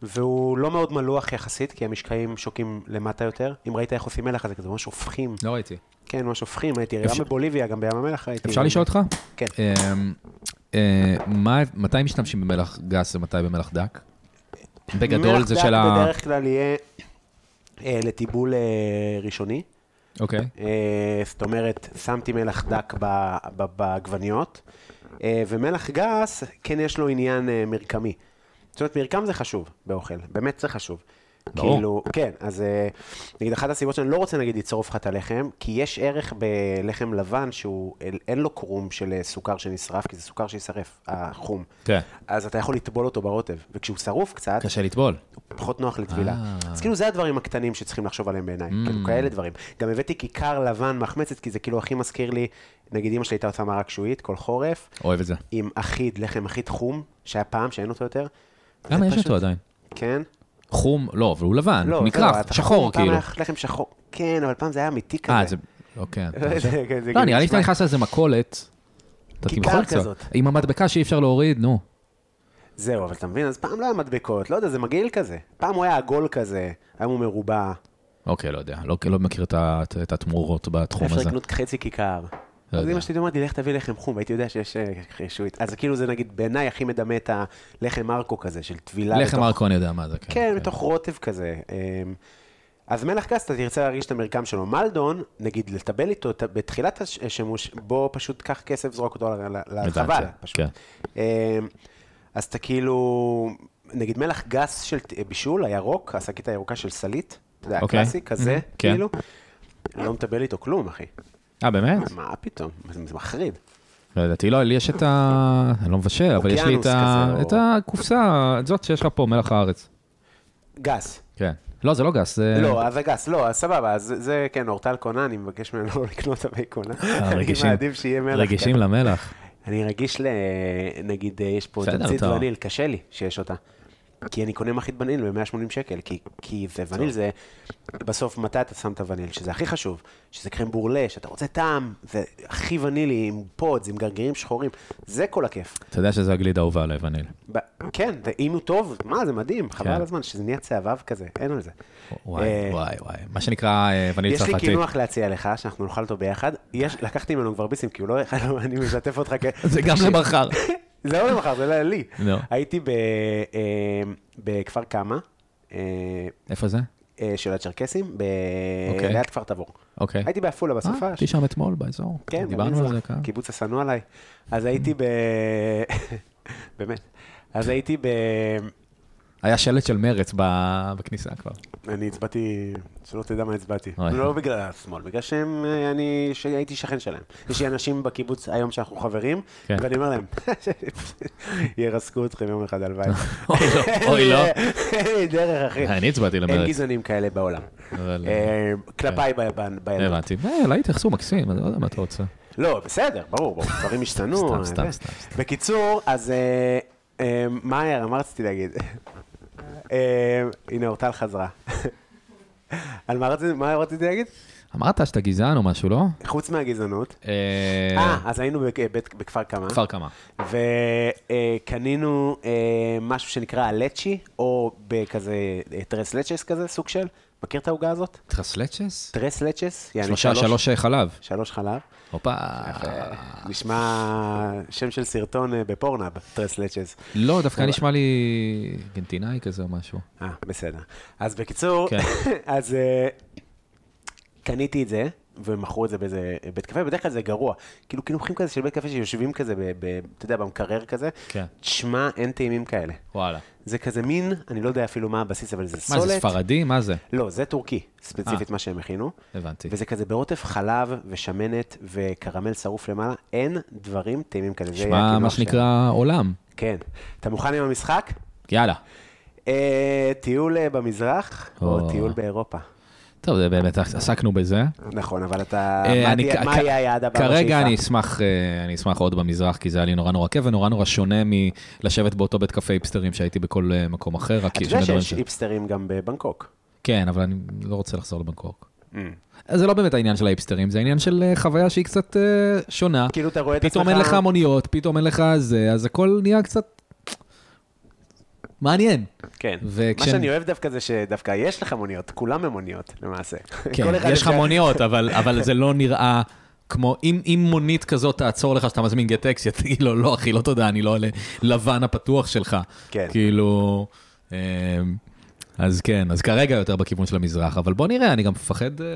S2: והוא לא מאוד מלוח יחסית, כי המשקעים שוקעים למטה יותר. אם ראית איך עושים מלח, אז זה כזה ממש הופכים.
S3: לא ראיתי.
S2: כן, ממש הופכים, הייתי, גם בבוליביה, גם בים המלח הייתי.
S3: אפשר לשאול אותך?
S2: כן.
S3: אמ, אה, מה- מתי משתמשים במלח גס ומתי במלח דק? בגדול
S2: מלח
S3: זה
S2: דק
S3: של ה...
S2: בדרך כלל יהיה אה, לטיבול אה, ראשוני.
S3: אוקיי.
S2: אה, זאת אומרת, שמתי מלח דק ב- ב- בעגבניות, אה, ומלח גס, כן יש לו עניין אה, מרקמי. זאת אומרת, מרקם זה חשוב באוכל, באמת זה חשוב.
S3: ברור.
S2: כאילו, כן, אז אה, נגיד, אחת הסיבות שאני לא רוצה נגיד ליצור אבחת הלחם, כי יש ערך בלחם לבן שהוא, אין- אין לו קרום של אה, סוכר שנשרף, כי זה סוכר שישרף, החום.
S3: כן.
S2: אז אתה יכול לטבול אותו ברוטב, וכשהוא שרוף קצת,
S3: קשה לטבול.
S2: פחות נוח לטבילה.
S3: אה.
S2: אז כאילו זה הדברים הקטנים שצריכים לחשוב עליהם בעיניי,
S3: Mm.
S2: כאילו כאלה דברים. גם הבאתי כיכר לבן מחמצת, כי זה כאילו הכי מזכיר לי, נגיד אמא שלי הייתה עושה מרק שועית כל חורף,
S3: אוהב את זה.
S2: עם אחיד, לחם אחיד חום, שהיה פעם שאין אותו יותר.
S3: למה
S2: זה
S3: יש
S2: פשוט-
S3: אותו עדיין?
S2: כן.
S3: חום, לא, אבל הוא לבן,
S2: לא, זה לא,
S3: מקרח,
S2: אתה
S3: שחור
S2: חום, פעם
S3: כאילו.
S2: היה לחם שחור, כן, אבל פעם זה היה אמיתי כזה.
S3: אה, זה... אוקיי.
S2: (laughs)
S3: אתה
S2: זה-
S3: חושב?
S2: זה- זה
S3: לא,
S2: גם
S3: נראה לי
S2: נשמע-
S3: שאתה נכנס לאיזה מכולת, אתה
S2: כיכר
S3: תמחור קצת.
S2: כזאת.
S3: עם המדבקה שאי אפשר להוריד, נו.
S2: זהו, אבל אתה מבין, אז פעם לא היה מדבקות, לא יודע, זה מגעיל כזה. פעם הוא היה עגול כזה, היום הוא מרובע.
S3: אוקיי, לא יודע, לא- לא מכיר את ה- את התמורות בתחום
S2: אפשר
S3: הזה.
S2: לקנות חצי כיכר.
S3: לא
S2: אז
S3: יודע.
S2: אמא שלי אומרת לי, לך תביא לחם חום, והייתי יודע שיש אה, שועית. אז כאילו זה נגיד בעיניי הכי מדמה את הלחם מרקו כזה, של טבילה.
S3: לחם
S2: בתוך-
S3: ארקו אני יודע מה זה.
S2: כן, בתוך רוטב כזה. אמ, אז מלח גס, אתה תרצה להרגיש את המרקם שלו. מלדון, נגיד לטבל איתו ת- בתחילת הש- השימוש, בוא פשוט קח כסף, זרוק אותו ל- ל- לחבל.
S3: הבנתי, כן.
S2: פשוט. אמ, אז אתה כאילו, נגיד מלח גס של ת- בישול, הירוק, השקית הירוקה של סלית, אתה יודע,
S3: אוקיי.
S2: הקלאסי, כזה,
S3: Mhm, כן.
S2: כאילו. לא מטבל איתו כלום, אחי.
S3: אה, באמת?
S2: מה פתאום? זה זה מחריד.
S3: לא ידעתי, לא, לי יש את ה... אני לא מבשל, אבל יש לי את,
S2: אוקיינוס
S3: ה...
S2: כזה, לא?
S3: את
S2: או-
S3: הקופסה, את זאת שיש לך פה, מלח הארץ.
S2: גס.
S3: כן. לא, זה לא גס, זה...
S2: לא, אז זה גס, לא, אז סבבה, אז זה, כן, אורטל קונה, אני מבקש ממנו לא לקנות תווי קונה. אני
S3: אה, רגישים.
S2: מעדיף שיהיה מלח.
S3: רגישים
S2: כן.
S3: למלח.
S2: אני רגיש ל... נגיד, אה, יש פה
S3: בסדר,
S2: תמצית
S3: אתה-
S2: וניל, קשה לי שיש אותה. כי אני קונה מחית וניל ב-180 שקל, כי- כי זה וניל זה... בסוף, מתי אתה שם את הווניל? שזה הכי חשוב, שזה קרם בורלה, שאתה רוצה טעם, זה הכי ונילי, עם פודס, עם גרגירים שחורים, זה כל הכיף.
S3: אתה יודע שזה הגלידה האהובה עליי, וניל.
S2: ב- כן, זה- אם הוא טוב, מה, זה מדהים, חבל
S3: כן.
S2: על הזמן, שזה נהיה צהבהב כזה, אין על זה.
S3: וואי,
S2: אה,
S3: וואי, וואי. מה שנקרא אה, וניל
S2: יש לי כאילו-
S3: צרפתי.
S2: קינוח להציע לך, שאנחנו נאכל אותו ביחד. יש, לקחתי ממנו כבר ביסים, כי הוא לא... אני משתף אותך כ...
S3: (laughs) זה
S2: (laughs)
S3: גם למחר.
S2: זה לא למחר, זה לא לי.
S3: לא.
S2: הייתי ב- אה, בכפר קמא, אה,
S3: איפה זה?
S2: אה, של הצ'רקסים, ב-
S3: אוקיי.
S2: ליד כפר תבור.
S3: אוקיי.
S2: הייתי בעפולה בסופה.
S3: אה, הייתי שם אתמול באזור.
S2: כן,
S3: דיברנו על זה
S2: במזרח,
S3: כאן.
S2: קיבוץ השנוא עליי. (laughs) אז הייתי ב... באמת. אז הייתי ב...
S3: היה שלט של מרץ ב- בכניסה כבר.
S2: אני הצבעתי, שלא תדע מה הצבעתי.
S3: אוי.
S2: לא בגלל השמאל, בגלל שהם, אה, אני, שהייתי שכן
S3: (laughs)
S2: שלהם. יש לי אנשים בקיבוץ היום שאנחנו חברים,
S3: כן.
S2: ואני אומר להם, (laughs) ירסקו אתכם יום אחד, הלוואי.
S3: (laughs) אוי לא, אוי לא. אה,
S2: אין לי דרך, אחי.
S3: אני הצבעתי
S2: אין
S3: למרץ.
S2: גזענים כאלה בעולם.
S3: אבל- כן.
S2: אה, כלפיי ב- ב- בידיים.
S3: הבנתי. אה, אליי התייחסו מקסים, אני לא יודע מה אתה רוצה.
S2: לא, בסדר, ברור, ברור, דברים השתנו.
S3: סתם, סתם,
S2: אה,
S3: סתם, סתם.
S2: בקיצור, אז אה, אה, מה היה, מה רציתי להגיד? אה, הנה, אורטל חזרה. על מה רציתי- מה רציתי להגיד?
S3: אמרת שאתה גזען או משהו, לא?
S2: חוץ מהגזענות.
S3: אה,
S2: אה, אז היינו בק- בית- בכפר קמא,
S3: כפר קמא.
S2: וקנינו אה, משהו שנקרא הלצ'י, או בכזה אה, טרס לצ'ס כזה, סוג של, מכיר את העוגה הזאת?
S3: טרסלצ'ס?
S2: טרס לצ'ס, יעני
S3: שלושה, שלוש אה, חלב.
S2: שלוש חלב.
S3: הופה.
S2: אה, נשמע שם של סרטון אה, בפורנאב, טרס לצ'ס.
S3: לא, דווקא נשמע לי ארגנטינאי כזה או משהו.
S2: אה, בסדר. אז בקיצור,
S3: כן.
S2: (laughs) אז אה, קניתי את זה, ומכרו את זה באיזה אה, בית קפה, בדרך כלל זה גרוע. כאילו קינוחים כזה של בית קפה שיושבים כזה, ב- ב- אתה יודע, במקרר כזה.
S3: כן.
S2: תשמע, אין טעימים כאלה.
S3: וואלה.
S2: זה כזה מין, אני לא יודע אפילו מה הבסיס, אבל זה
S3: מה
S2: סולת.
S3: זה, ספרדי? מה זה?
S2: לא, זה טורקי, ספציפית
S3: אה.
S2: מה שהם הכינו.
S3: הבנתי.
S2: וזה כזה ברוטף חלב ושמנת וקרמל שרוף למעלה, אין דברים טעימים כאלה. זה היה כאילו
S3: שמע, מה
S2: הקינוח שלהם.
S3: שנקרא עולם.
S2: כן. אתה מוכן עם המשחק?
S3: יאללה.
S2: אה, טיול אה, במזרח או
S3: או.
S2: טיול באירופה?
S3: טוב, זה באמת, עסקנו בזה.
S2: נכון, אבל אתה...
S3: אה,
S2: מה
S3: אני
S2: תהיה-
S3: כ-
S2: מה
S3: כ-
S2: יהיה היעד הבא
S3: כרגע
S2: בשאיפה?
S3: אני אשמח, אה, אני אשמח עוד במזרח, כי זה היה לי נורא נורא כיף ונורא נורא שונה מלשבת באותו בית קפה היפסטרים שהייתי בכל אה, מקום אחר, רק
S2: אתה
S3: שני
S2: יודע
S3: דברים
S2: שיש
S3: ש...
S2: היפסטרים גם בבנקוק.
S3: כן, אבל אני לא רוצה לחזור לבנקוק. אז זה לא באמת העניין של ההיפסטרים, זה העניין של אה, חוויה שהיא קצת אה, שונה.
S2: כאילו, אתה רואה את
S3: פתאום אין
S2: עצמך-
S3: לך מוניות, פתאום אין לך זה, אז הכל נהיה קצת מעניין.
S2: כן. מה
S3: וכשאני-
S2: שאני אוהב דווקא זה שדווקא יש לך מוניות, כולם הם מוניות, למעשה.
S3: כן,
S2: כל אחד
S3: יש לך
S2: אפשר- (laughs)
S3: מוניות, אבל, אבל זה לא נראה כמו, אם, אם מונית כזאת תעצור לך שאתה מזמין גט טקסי, תגיד לו, לא אחי, לא תודה, אני לא על לבן הפתוח שלך.
S2: כן.
S3: כאילו, אמ, אז כן, אז כרגע יותר בכיוון של המזרח, אבל בוא נראה, אני גם מפחד אה,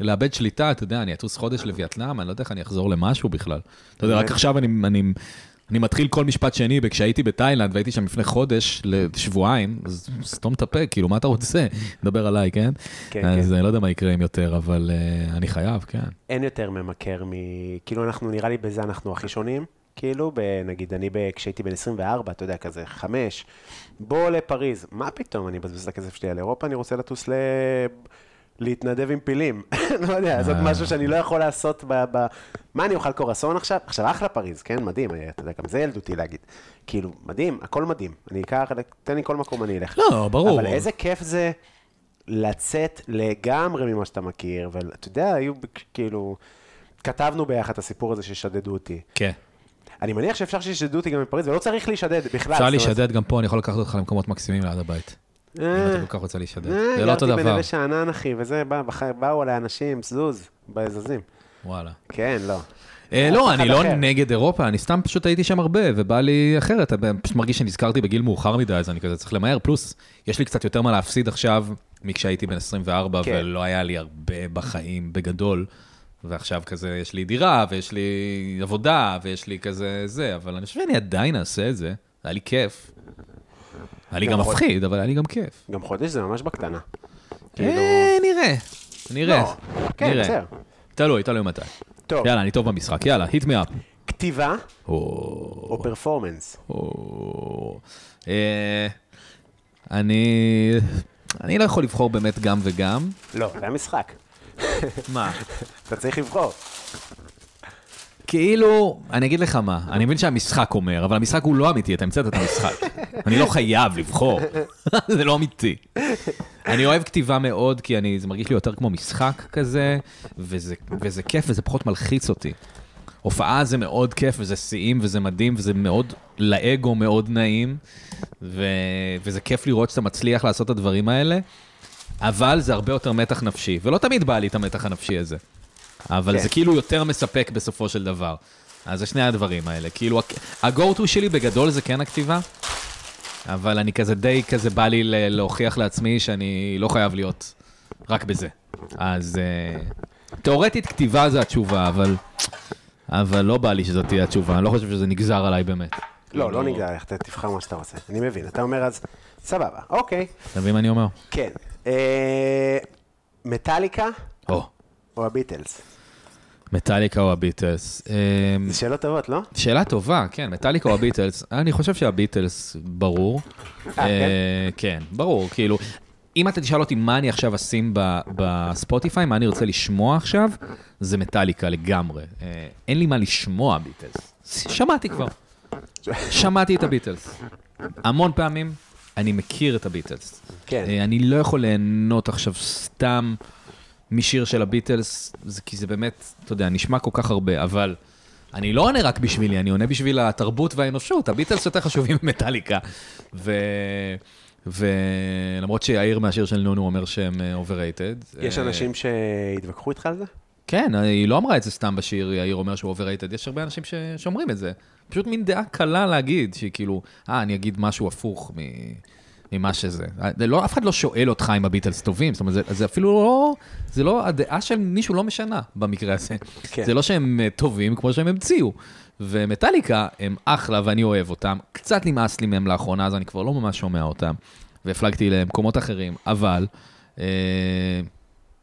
S3: לאבד שליטה, אתה יודע, אני אטוס חודש לווייטנאם, אני לא יודע איך אני אחזור למשהו בכלל. אתה יודע,
S2: כן.
S3: רק עכשיו אני... אני אני מתחיל כל משפט שני, וכשהייתי בתאילנד והייתי שם לפני חודש לשבועיים, אז סתום את הפה, כאילו, מה אתה רוצה? מדבר עליי, כן?
S2: כן,
S3: אז
S2: כן.
S3: אני לא יודע מה יקרה אם יותר, אבל אה, אני חייב, כן.
S2: אין יותר ממכר מ... כאילו, אנחנו, נראה לי בזה אנחנו הכי שונים. כאילו, ב- נגיד, אני ב- כשהייתי בן 24, אתה יודע, כזה, חמש, בוא לפריז. מה פתאום, אני מבזבז את הכסף שלי על אירופה, אני רוצה לטוס ל... להתנדב עם פילים. (laughs) לא יודע, זאת משהו שאני לא יכול לעשות ב... ב... מה, אני אוכל קורסון עכשיו? עכשיו, אחלה פריז, כן? מדהים, אה, אתה יודע, גם זה ילדותי להגיד. כאילו, מדהים, הכל מדהים. אני אקח, תן לי כל מקום, אני אלך.
S3: לא, ברור.
S2: אבל איזה כיף זה לצאת לגמרי ממה שאתה מכיר, ואתה יודע, היו בק- כאילו... כתבנו ביחד את הסיפור הזה ששדדו אותי.
S3: כן.
S2: אני מניח שאפשר שישדדו אותי גם בפריז, ולא צריך להישדד בכלל.
S3: אפשר
S2: זאת אומרת,
S3: להישדד גם פה, אני יכול לקחת אותך למקומות מקסימים ליד הבית. אם
S2: אה,
S3: אתה כל כך רוצה להישדד.
S2: אה,
S3: זה לא אותו
S2: גרתי
S3: דבר.
S2: בנווה שאנן, אחי, וזה, בא- בח- באו עליי אנשים, זוז, בזזים.
S3: וואלה.
S2: כן, לא.
S3: אה, לא,
S2: אחד
S3: אני לא
S2: אחר.
S3: נגד אירופה, אני סתם פשוט הייתי שם הרבה, ובא לי אחרת, אני פשוט מרגיש שנזכרתי בגיל מאוחר מדי, אז אני כזה צריך למהר. פלוס, יש לי קצת יותר מה להפסיד עכשיו מכשהייתי בן 24,
S2: כן.
S3: ולא היה לי הרבה בחיים בגדול. ועכשיו כזה, יש לי דירה, ויש לי עבודה, ויש לי כזה זה, אבל אני חושב שאני עדיין אעשה את זה, היה לי כיף. היה לי גם
S2: נכון.
S3: מפחיד, אבל היה לי גם כיף.
S2: גם חודש זה ממש בקטנה.
S3: אה, נראה, נראה,
S2: כאילו- לא. כן,
S3: נראה.
S2: בסדר.
S3: תלוי, תלוי מתי.
S2: טוב,
S3: יאללה, אני טוב במשחק, יאללה, hit me up.
S2: כתיבה
S3: או.
S2: או פרפורמנס?
S3: או... אה, אני... אני לא יכול לבחור באמת גם וגם.
S2: לא, זה המשחק.
S3: מה?
S2: אתה צריך לבחור.
S3: כאילו, אני אגיד לך מה, אני מבין שהמשחק אומר, אבל המשחק הוא לא אמיתי, אתה המצאת את המשחק. אני לא חייב לבחור, (laughs) זה לא אמיתי. אני אוהב כתיבה מאוד, כי אני, זה מרגיש לי יותר כמו משחק כזה, וזה, וזה כיף וזה פחות מלחיץ אותי. הופעה זה מאוד כיף, וזה שיאים, וזה מדהים, וזה מאוד, לאגו מאוד נעים, ו, וזה כיף לראות שאתה מצליח לעשות את הדברים האלה, אבל זה הרבה יותר מתח נפשי, ולא תמיד בא לי את המתח הנפשי הזה. אבל
S2: כן.
S3: זה כאילו יותר מספק בסופו של דבר. אז זה שני הדברים האלה. כאילו, ה-go-to שלי בגדול זה כן הכתיבה, אבל אני כזה די, כזה בא לי ל- להוכיח לעצמי שאני לא חייב להיות רק בזה. אז אה, תיאורטית כתיבה זה התשובה, אבל, אבל לא בא לי שזאת תהיה התשובה, אני לא חושב שזה נגזר עליי באמת.
S2: לא, לא נגדל לך, ת- תבחר מה שאתה רוצה. אני מבין, אתה אומר אז, סבבה, אוקיי,
S3: אתה מבין מה אני אומר?
S2: כן. אה, מטאליקה
S3: או,
S2: או הביטלס?
S3: מטאליקה או הביטלס. אמ,
S2: זה שאלות טובות, לא?
S3: שאלה טובה, כן, מטאליקה או הביטלס? אני חושב שהביטלס, ברור. אה, כן, ברור, כאילו, אם אתה תשאל אותי מה אני עכשיו אשים ב- בספוטיפיי, מה אני רוצה לשמוע עכשיו, זה מטאליקה לגמרי. אה, אין לי מה לשמוע ביטלס. שמעתי כבר. שמעתי את הביטלס. המון פעמים אני מכיר את הביטלס.
S2: כן.
S3: אה, אני לא יכול ליהנות עכשיו סתם משיר של הביטלס, זה, כי זה באמת, אתה יודע, נשמע כל כך הרבה, אבל אני לא עונה רק בשבילי, אני עונה בשביל התרבות והאנושות, הביטלס יותר חשובים ממטאליקה. ו... ולמרות שיאיר מהשיר של נונו אומר שהם אה, overrated.
S2: יש
S3: אה,
S2: אנשים שהתווכחו איתך על זה?
S3: כן, היא לא אמרה את זה סתם בשיר, יאיר אומר שהוא overrated, יש הרבה אנשים ש... שאומרים את זה. פשוט מין דעה קלה להגיד, שהיא כאילו, אה, אני אגיד משהו הפוך מ... ממה שזה. זה לא, אף אחד לא שואל אותך אם הביטלס טובים, זאת אומרת, זה, זה אפילו לא, זה לא, הדעה של מישהו לא משנה במקרה הזה.
S2: כן.
S3: כן. זה לא שהם אה, טובים כמו שהם המציאו. ומטאליקה הם אחלה ואני אוהב אותם. קצת נמאס לי מהם לאחרונה, אז אני כבר לא ממש שומע אותם. והפלגתי למקומות אחרים, אבל אה,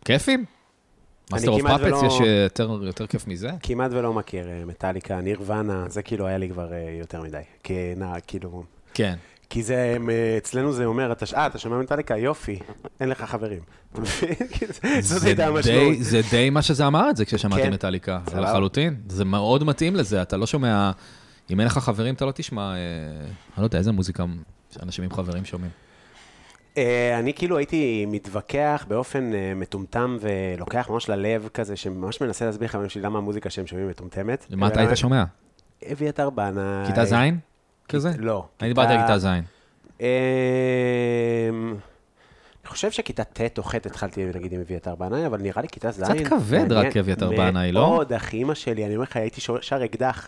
S3: כיפים.
S2: אני
S3: מאסטר אוף
S2: כמעט
S3: פאפץ,
S2: ולא-
S3: יש אה, יותר, יותר כיף מזה?
S2: כמעט ולא מכיר אה, מטאליקה, נירוונה, זה כאילו היה לי כבר אה, יותר מדי. כנער, כאילו...
S3: כן.
S2: כי זה, אה, אצלנו זה אומר, אתה ש- אה, אתה שומע מטאליקה, יופי, אין לך חברים. אתה מבין? (laughs) כאילו, זאת
S3: זה
S2: הייתה המשמעות.
S3: די, זה די מה שזה אמר את זה כששמעתי
S2: כן.
S3: מטאליקה,
S2: סבבה.
S3: לחלוטין. זה מאוד מתאים לזה, אתה לא שומע... אם אין לך חברים, אתה לא תשמע... אה, אני לא יודע, איזה מוזיקה אנשים עם חברים שומעים.
S2: אה, אני כאילו הייתי מתווכח באופן אה, מטומטם ולוקח ממש ללב כזה, שממש מנסה להסביר לחברים שלי למה המוזיקה שהם שומעים מטומטמת.
S3: מה אתה היית שומע?
S2: שומע? אביתר בנאי.
S3: כיתה ז'? כזה?
S2: אה, לא.
S3: אני דיברתי על כיתה ז'.
S2: אמ, אני חושב שכיתה ט' או ח' התחלתי להגיד עם אביתר בנאי, אבל נראה לי כיתה ז'.
S3: קצת כבד רק
S2: מעניין
S3: אביתר בנאי, לא?
S2: מאוד, אחי, אימא שלי, אני אומר לך, הייתי שר- שר אקדח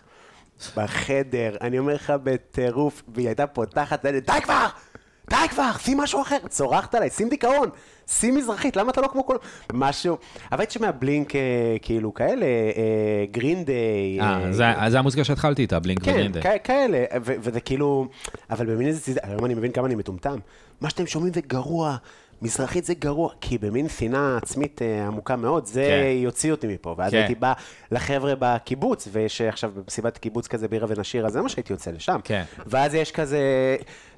S2: בחדר, אני אומר לך בטירוף, והיא הייתה פותחת, ואני, די כבר! די כבר, שים משהו אחר, צורחת עליי, שים דיכאון, שים מזרחית, למה אתה לא כמו כל... משהו. אבל הייתי שומע בלינק אה, כאילו כאלה, אה, גרין דיי.
S3: אה,
S2: אה,
S3: זה- אז זה המוזיקה שהתחלתי איתה, בלינק
S2: כן,
S3: וגרינדה.
S2: כ- כאלה, ו- וזה כאילו, אבל במין איזה צידה, היום אני מבין כמה אני מטומטם. מה שאתם שומעים זה גרוע, מזרחית זה גרוע, כי במין שנאה עצמית אה, עמוקה מאוד, זה
S3: כן.
S2: יוציא אותי מפה. ואז
S3: כן.
S2: הייתי בא לחבר'ה בקיבוץ, ויש עכשיו במסיבת קיבוץ כזה בירה ונשיר, אז זה מה שהייתי יוצא לשם.
S3: כן.
S2: ואז יש כזה,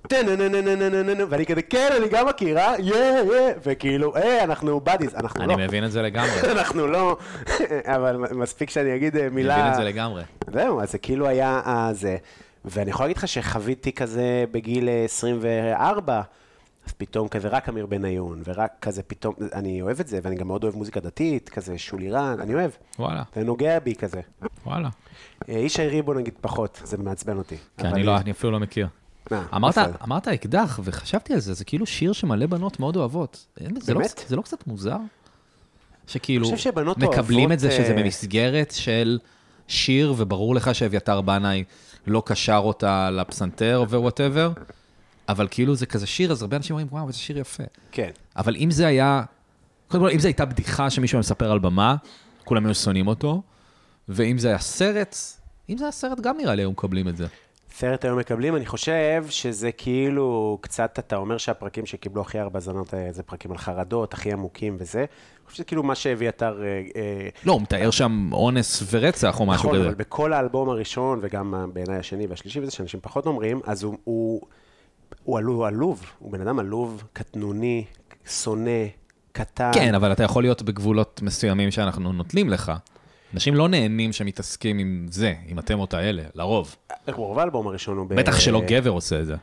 S2: טה-נה-נה-נה-נה-נה-נה, ואני כזה, כן, אני גם מכירה, יא, יא, וכאילו, היי, אנחנו buddies, אנחנו לא.
S3: אני מבין את זה לגמרי.
S2: (laughs) אנחנו לא, (laughs) אבל מספיק שאני אגיד אה,
S3: אני
S2: מילה...
S3: מבין את זה לגמרי.
S2: זהו, אז זה כאילו היה אה, זה. ואני יכול להגיד לך שחוויתי כזה בגיל אה, 24, אז פתאום כזה רק אמיר בניון, ורק כזה פתאום, אני אוהב את זה, ואני גם מאוד אוהב מוזיקה דתית, כזה שולירן, אני אוהב.
S3: וואלה,
S2: זה נוגע בי כזה.
S3: וואלה.
S2: אה, איש הריבו נגיד פחות, זה מעצבן אותי.
S3: כי
S2: אבל
S3: אני לא, אני אפילו לא מכיר.
S2: אה,
S3: אמרת,
S2: בסדר.
S3: אמרת אקדח, וחשבתי על זה, זה כאילו שיר שמלא בנות מאוד אוהבות. אין- זה לא
S2: באמת?
S3: קצת- זה לא קצת מוזר? שכאילו,
S2: אני חושב שבנות
S3: מקבלים
S2: אוהבות,
S3: את זה שזה
S2: אה,
S3: במסגרת של שיר, וברור לך שאביתר בנאי לא קשר אותה לפסנתר ווואטאבר, אבל כאילו זה כזה שיר, אז הרבה אנשים אומרים, וואו, איזה שיר יפה.
S2: כן.
S3: אבל אם זה היה, קודם כל, אם זו הייתה בדיחה שמישהו היה מספר על במה, כולם היו שונאים אותו, ואם זה היה סרט, אם זה היה סרט, גם נראה לי היו מקבלים את זה.
S2: סרט היום מקבלים, אני חושב שזה כאילו קצת, אתה אומר שהפרקים שקיבלו הכי הרבה זנות אה, זה פרקים על חרדות, הכי עמוקים וזה. אני חושב שזה כאילו מה שאביתר אה, אה,
S3: לא, הוא מתאר שם אונס ורצח או משהו
S2: נכון,
S3: כזה.
S2: אבל בכל האלבום הראשון, וגם אה, בעיניי השני והשלישי, וזה שאנשים פחות אומרים, אז הוא, הוא, הוא, עלו, הוא עלוב, הוא בן אדם עלוב, קטנוני, שונא, קטן.
S3: כן, אבל אתה יכול להיות בגבולות מסוימים שאנחנו נוטלים לך. אנשים לא נהנים שמתעסקים עם זה, עם התמות האלה, לרוב.
S2: רוב האלבום הראשון הוא... ב-
S3: בטח שלא גבר עושה את זה.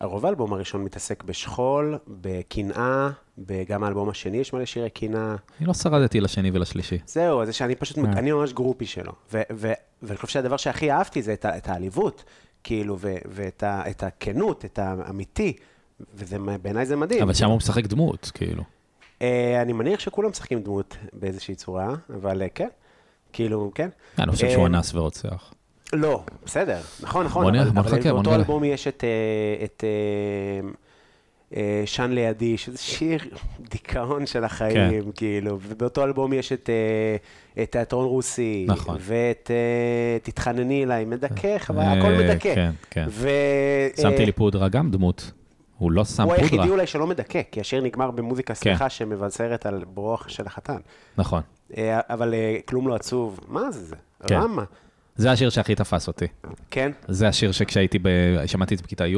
S2: הרוב האלבום הראשון מתעסק בשכול, בקנאה, גם האלבום השני יש מלא שירי קנאה.
S3: אני לא שרדתי לשני ולשלישי.
S2: זהו, זה שאני פשוט,
S3: אה.
S2: אני ממש גרופי שלו. ו- ו- ואני חושב שהדבר שהכי אהבתי זה את ה- את העליבות, כאילו, ו- ואת ה- את הכנות, את האמיתי, ובעיניי זה מדהים.
S3: אבל שם הוא משחק דמות, כאילו.
S2: אה, אני מניח שכולם משחקים דמות באיזושהי צורה, אבל אה, כן, כאילו, כן.
S3: אני לא חושב
S2: אה,
S3: שהוא אנס ורוצח.
S2: לא, בסדר, נכון, נכון.
S3: בוא נראה,
S2: אבל-
S3: בוא
S2: אבל
S3: נחכה, בוא
S2: באותו
S3: נגלה.
S2: אלבום יש את... אה, את אה, אה, שן לידי, שזה שיר דיכאון של
S3: כן.
S2: החיים, כאילו, ובאותו אלבום יש את אה, את תיאטרון רוסי,
S3: נכון.
S2: ואת אה, תתחנני אליי, מדכא, חוויה, הכל
S3: אה,
S2: מדכא.
S3: כן, כן.
S2: ו...
S3: שמתי
S2: אה,
S3: לי פודרה גם דמות. הוא לא שם
S2: הוא היחידי
S3: פודרה. כן.
S2: אולי שלא מדכא, כי השיר נגמר במוזיקה שמחה שמבשרת על ברוח של החתן.
S3: נכון.
S2: אה, אבל אה, כלום לא עצוב, מה זה זה?
S3: כן.
S2: רמה.
S3: זה השיר שהכי תפס אותי.
S2: כן?
S3: זה השיר שכשהייתי, ב... שמעתי את זה בכיתה י',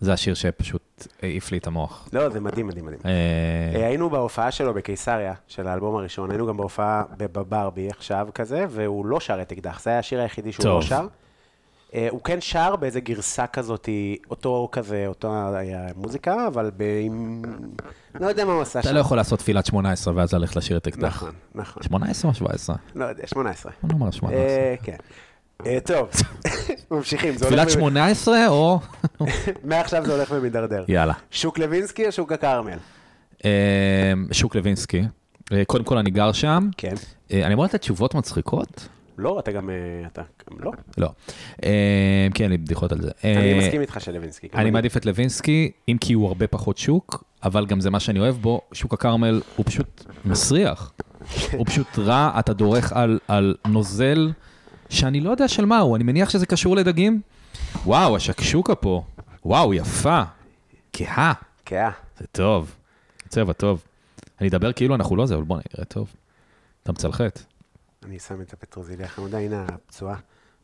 S3: זה השיר שפשוט העיף לי את המוח.
S2: לא, זה מדהים, מדהים, מדהים.
S3: אה,
S2: אה, היינו בהופעה שלו בקיסריה, של האלבום הראשון, היינו גם בהופעה בברבי עכשיו כזה, והוא לא שר את אקדח, זה היה השיר היחידי שהוא
S3: טוב.
S2: לא שר. אה, הוא כן שר באיזה גרסה כזאת, אותו כזה, אותה אה, מוזיקה, אבל ב... עם- לא יודע מה הוא עשה
S3: אתה
S2: שם.
S3: לא יכול לעשות תפילת 18 ואז ללכת לשיר את אקדח.
S2: נכון, נכון.
S3: 18 או 17?
S2: לא יודע, 18.
S3: בוא נאמר 18.
S2: אה, כן. אה, טוב, (laughs) ממשיכים. זה
S3: תפילת
S2: הולך ב-
S3: 18 או...
S2: (laughs)
S3: (laughs)
S2: מעכשיו זה הולך ומידרדר.
S3: יאללה.
S2: שוק לוינסקי או שוק הכרמל?
S3: אה, שוק לוינסקי. אה, קודם כל, אני גר שם.
S2: כן.
S3: אה, אני אמור לתת תשובות מצחיקות?
S2: לא, אתה גם... אה, אתה... גם לא.
S3: לא. אה, כן, אין לי בדיחות על זה.
S2: אני
S3: אה,
S2: מסכים איתך שלוינסקי. גם
S3: אני מעדיף את לוינסקי, אם כי הוא הרבה פחות שוק, אבל גם זה מה שאני אוהב בו, שוק הכרמל הוא פשוט מסריח. הוא פשוט רע, אתה דורך על, על נוזל שאני לא יודע של מה הוא, אני מניח שזה קשור לדגים. וואו, השקשוקה פה, וואו, יפה, כהה,
S2: כן. אה,
S3: זה טוב, צבע טוב. אני אדבר כאילו אנחנו לא זה, אבל בוא נראה טוב. אתה מצלחת.
S2: אני שם את הפטרוזיליה החמודה, הנה הפצועה.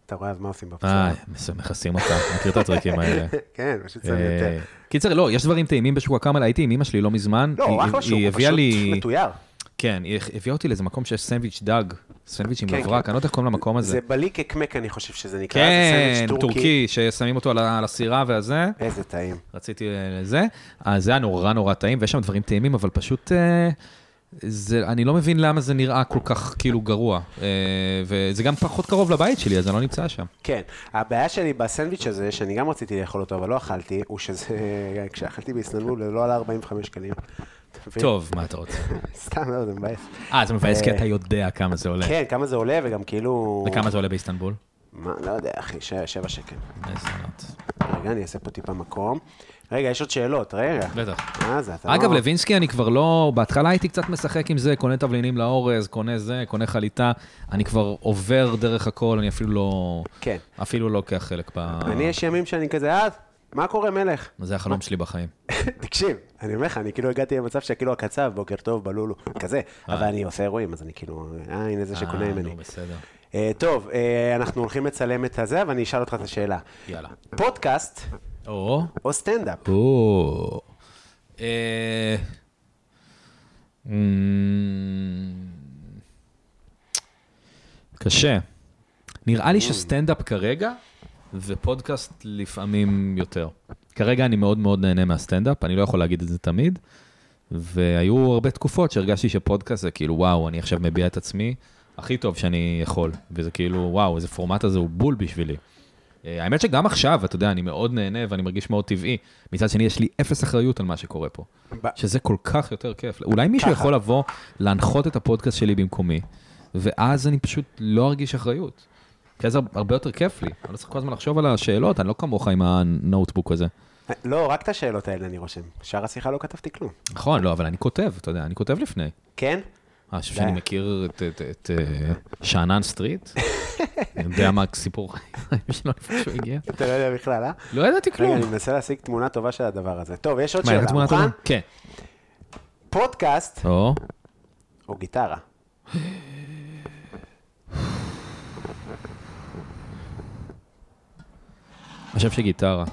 S2: אתה רואה אז מה עושים בפצועה.
S3: אה, מס- מכסים אותה, מכיר את הטריקים האלה.
S2: (laughs) כן, פשוט שם
S3: אה,
S2: יותר.
S3: קיצר, לא, יש דברים טעימים בשוק הכרמל, הייתי עם אמא שלי לא מזמן. היא-
S2: לא,
S3: היא-
S2: אחלה שוק,
S3: היא
S2: הוא
S3: הביאה
S2: פשוט
S3: לי...
S2: מתויר.
S3: כן, היא הביאה אותי לאיזה מקום שיש סנדוויץ' דג, סנדוויץ' עם
S2: כן,
S3: מברק,
S2: כן.
S3: אני לא יודע איך קוראים למקום הזה.
S2: זה בליק אקמק, אני חושב שזה נקרא. זה
S3: כן,
S2: סנדוויץ'
S3: טורקי, ששמים אותו על ה- על הסירה והזה.
S2: איזה טעים.
S3: רציתי אה, לזה. אז זה היה נורא נורא טעים, ויש שם דברים טעימים, אבל פשוט... אה, זה, אני לא מבין למה זה נראה כל כך כאילו גרוע. אה, וזה גם פחות קרוב לבית שלי, אז אני לא נמצא שם.
S2: כן, הבעיה שלי בסנדוויץ' הזה, שאני גם רציתי לאכול אותו, אבל לא אכלתי, הוא שזה, כשאכלתי באיסטנבול, זה לא עלה 45 שקלים. אתה מבין?
S3: טוב, מה אתה רוצה?
S2: סתם, לא, זה מבאס.
S3: אה, זה מבאס כי
S2: אה,
S3: אתה יודע כמה זה עולה.
S2: כן, כמה זה עולה, וגם כאילו...
S3: וכמה זה עולה באיסטנבול?
S2: מה, לא יודע, אחי, ש- שבע שקל.
S3: איזה עונות.
S2: רגע, אני אעשה פה טיפה מקום. רגע, יש עוד שאלות, רגע.
S3: בטח.
S2: מה זה, אתה
S3: אגב,
S2: לא...
S3: לוינסקי אני כבר לא, בהתחלה הייתי קצת משחק עם זה, קונה תבלינים לאורז, קונה זה, קונה חליטה, אני כבר עובר דרך הכל, אני אפילו לא,
S2: כן.
S3: אפילו לא לוקח חלק ב...
S2: אני, יש ימים שאני כזה, אה, מה קורה, מלך? (laughs)
S3: זה החלום שלי בחיים.
S2: תקשיב, אני אומר לך, אני כאילו הגעתי למצב שכאילו הקצב, בוקר טוב, בלולו, כזה. אבל אני עושה אירועים, אז אני כאילו, אה, הנה זה שקונה
S3: אה,
S2: ממני.
S3: נו, בסדר.
S2: אה, טוב, אה, אנחנו הולכים לצלם את הזה, ואני אשאל אותך את השאלה.
S3: יאללה.
S2: פודקאסט
S3: או,
S2: או סטנדאפ?
S3: או. אה, אמ, קשה. נראה לי שסטנדאפ כרגע, ופודקאסט לפעמים יותר. כרגע אני מאוד מאוד נהנה מהסטנדאפ, אני לא יכול להגיד את זה תמיד, והיו הרבה תקופות שהרגשתי שפודקאסט זה כאילו, וואו, אני עכשיו מביע את עצמי הכי טוב שאני יכול, וזה כאילו, וואו, איזה פורמט הזה הוא בול בשבילי. אה, האמת שגם עכשיו, אתה יודע, אני מאוד נהנה ואני מרגיש מאוד טבעי. מצד שני, יש לי אפס אחריות על מה שקורה פה.
S2: ב-
S3: שזה כל כך יותר כיף. אולי מישהו
S2: ככה.
S3: יכול לבוא, להנחות את הפודקאסט שלי במקומי, ואז אני פשוט לא ארגיש אחריות. כי אז הר- הרבה יותר כיף לי. אני לא צריך כל הזמן לחשוב על השאלות, אני לא כמוך עם הנוטבוק הזה.
S2: אה, לא, רק את השאלות האלה אני רושם. שאר השיחה לא כתבתי כלום.
S3: נכון, לא, אבל אני כותב, אתה יודע, אני כותב לפני.
S2: כן?
S3: אה, אני חושב שאני
S2: די.
S3: מכיר את- את- את אה, שאנן סטריט? אני יודע מה (laughs) סיפור החיים שלו לפני שהוא הגיע?
S2: אתה לא יודע בכלל, אה?
S3: לא ידעתי
S2: רגע,
S3: כלום.
S2: אני מנסה להשיג תמונה טובה של הדבר הזה. טוב, יש עוד
S3: מה,
S2: שאלה.
S3: הראית תמונה
S2: מוכן?
S3: טובה? כן.
S2: פודקאסט
S3: או,
S2: או גיטרה?
S3: אני חושב שגיטרה,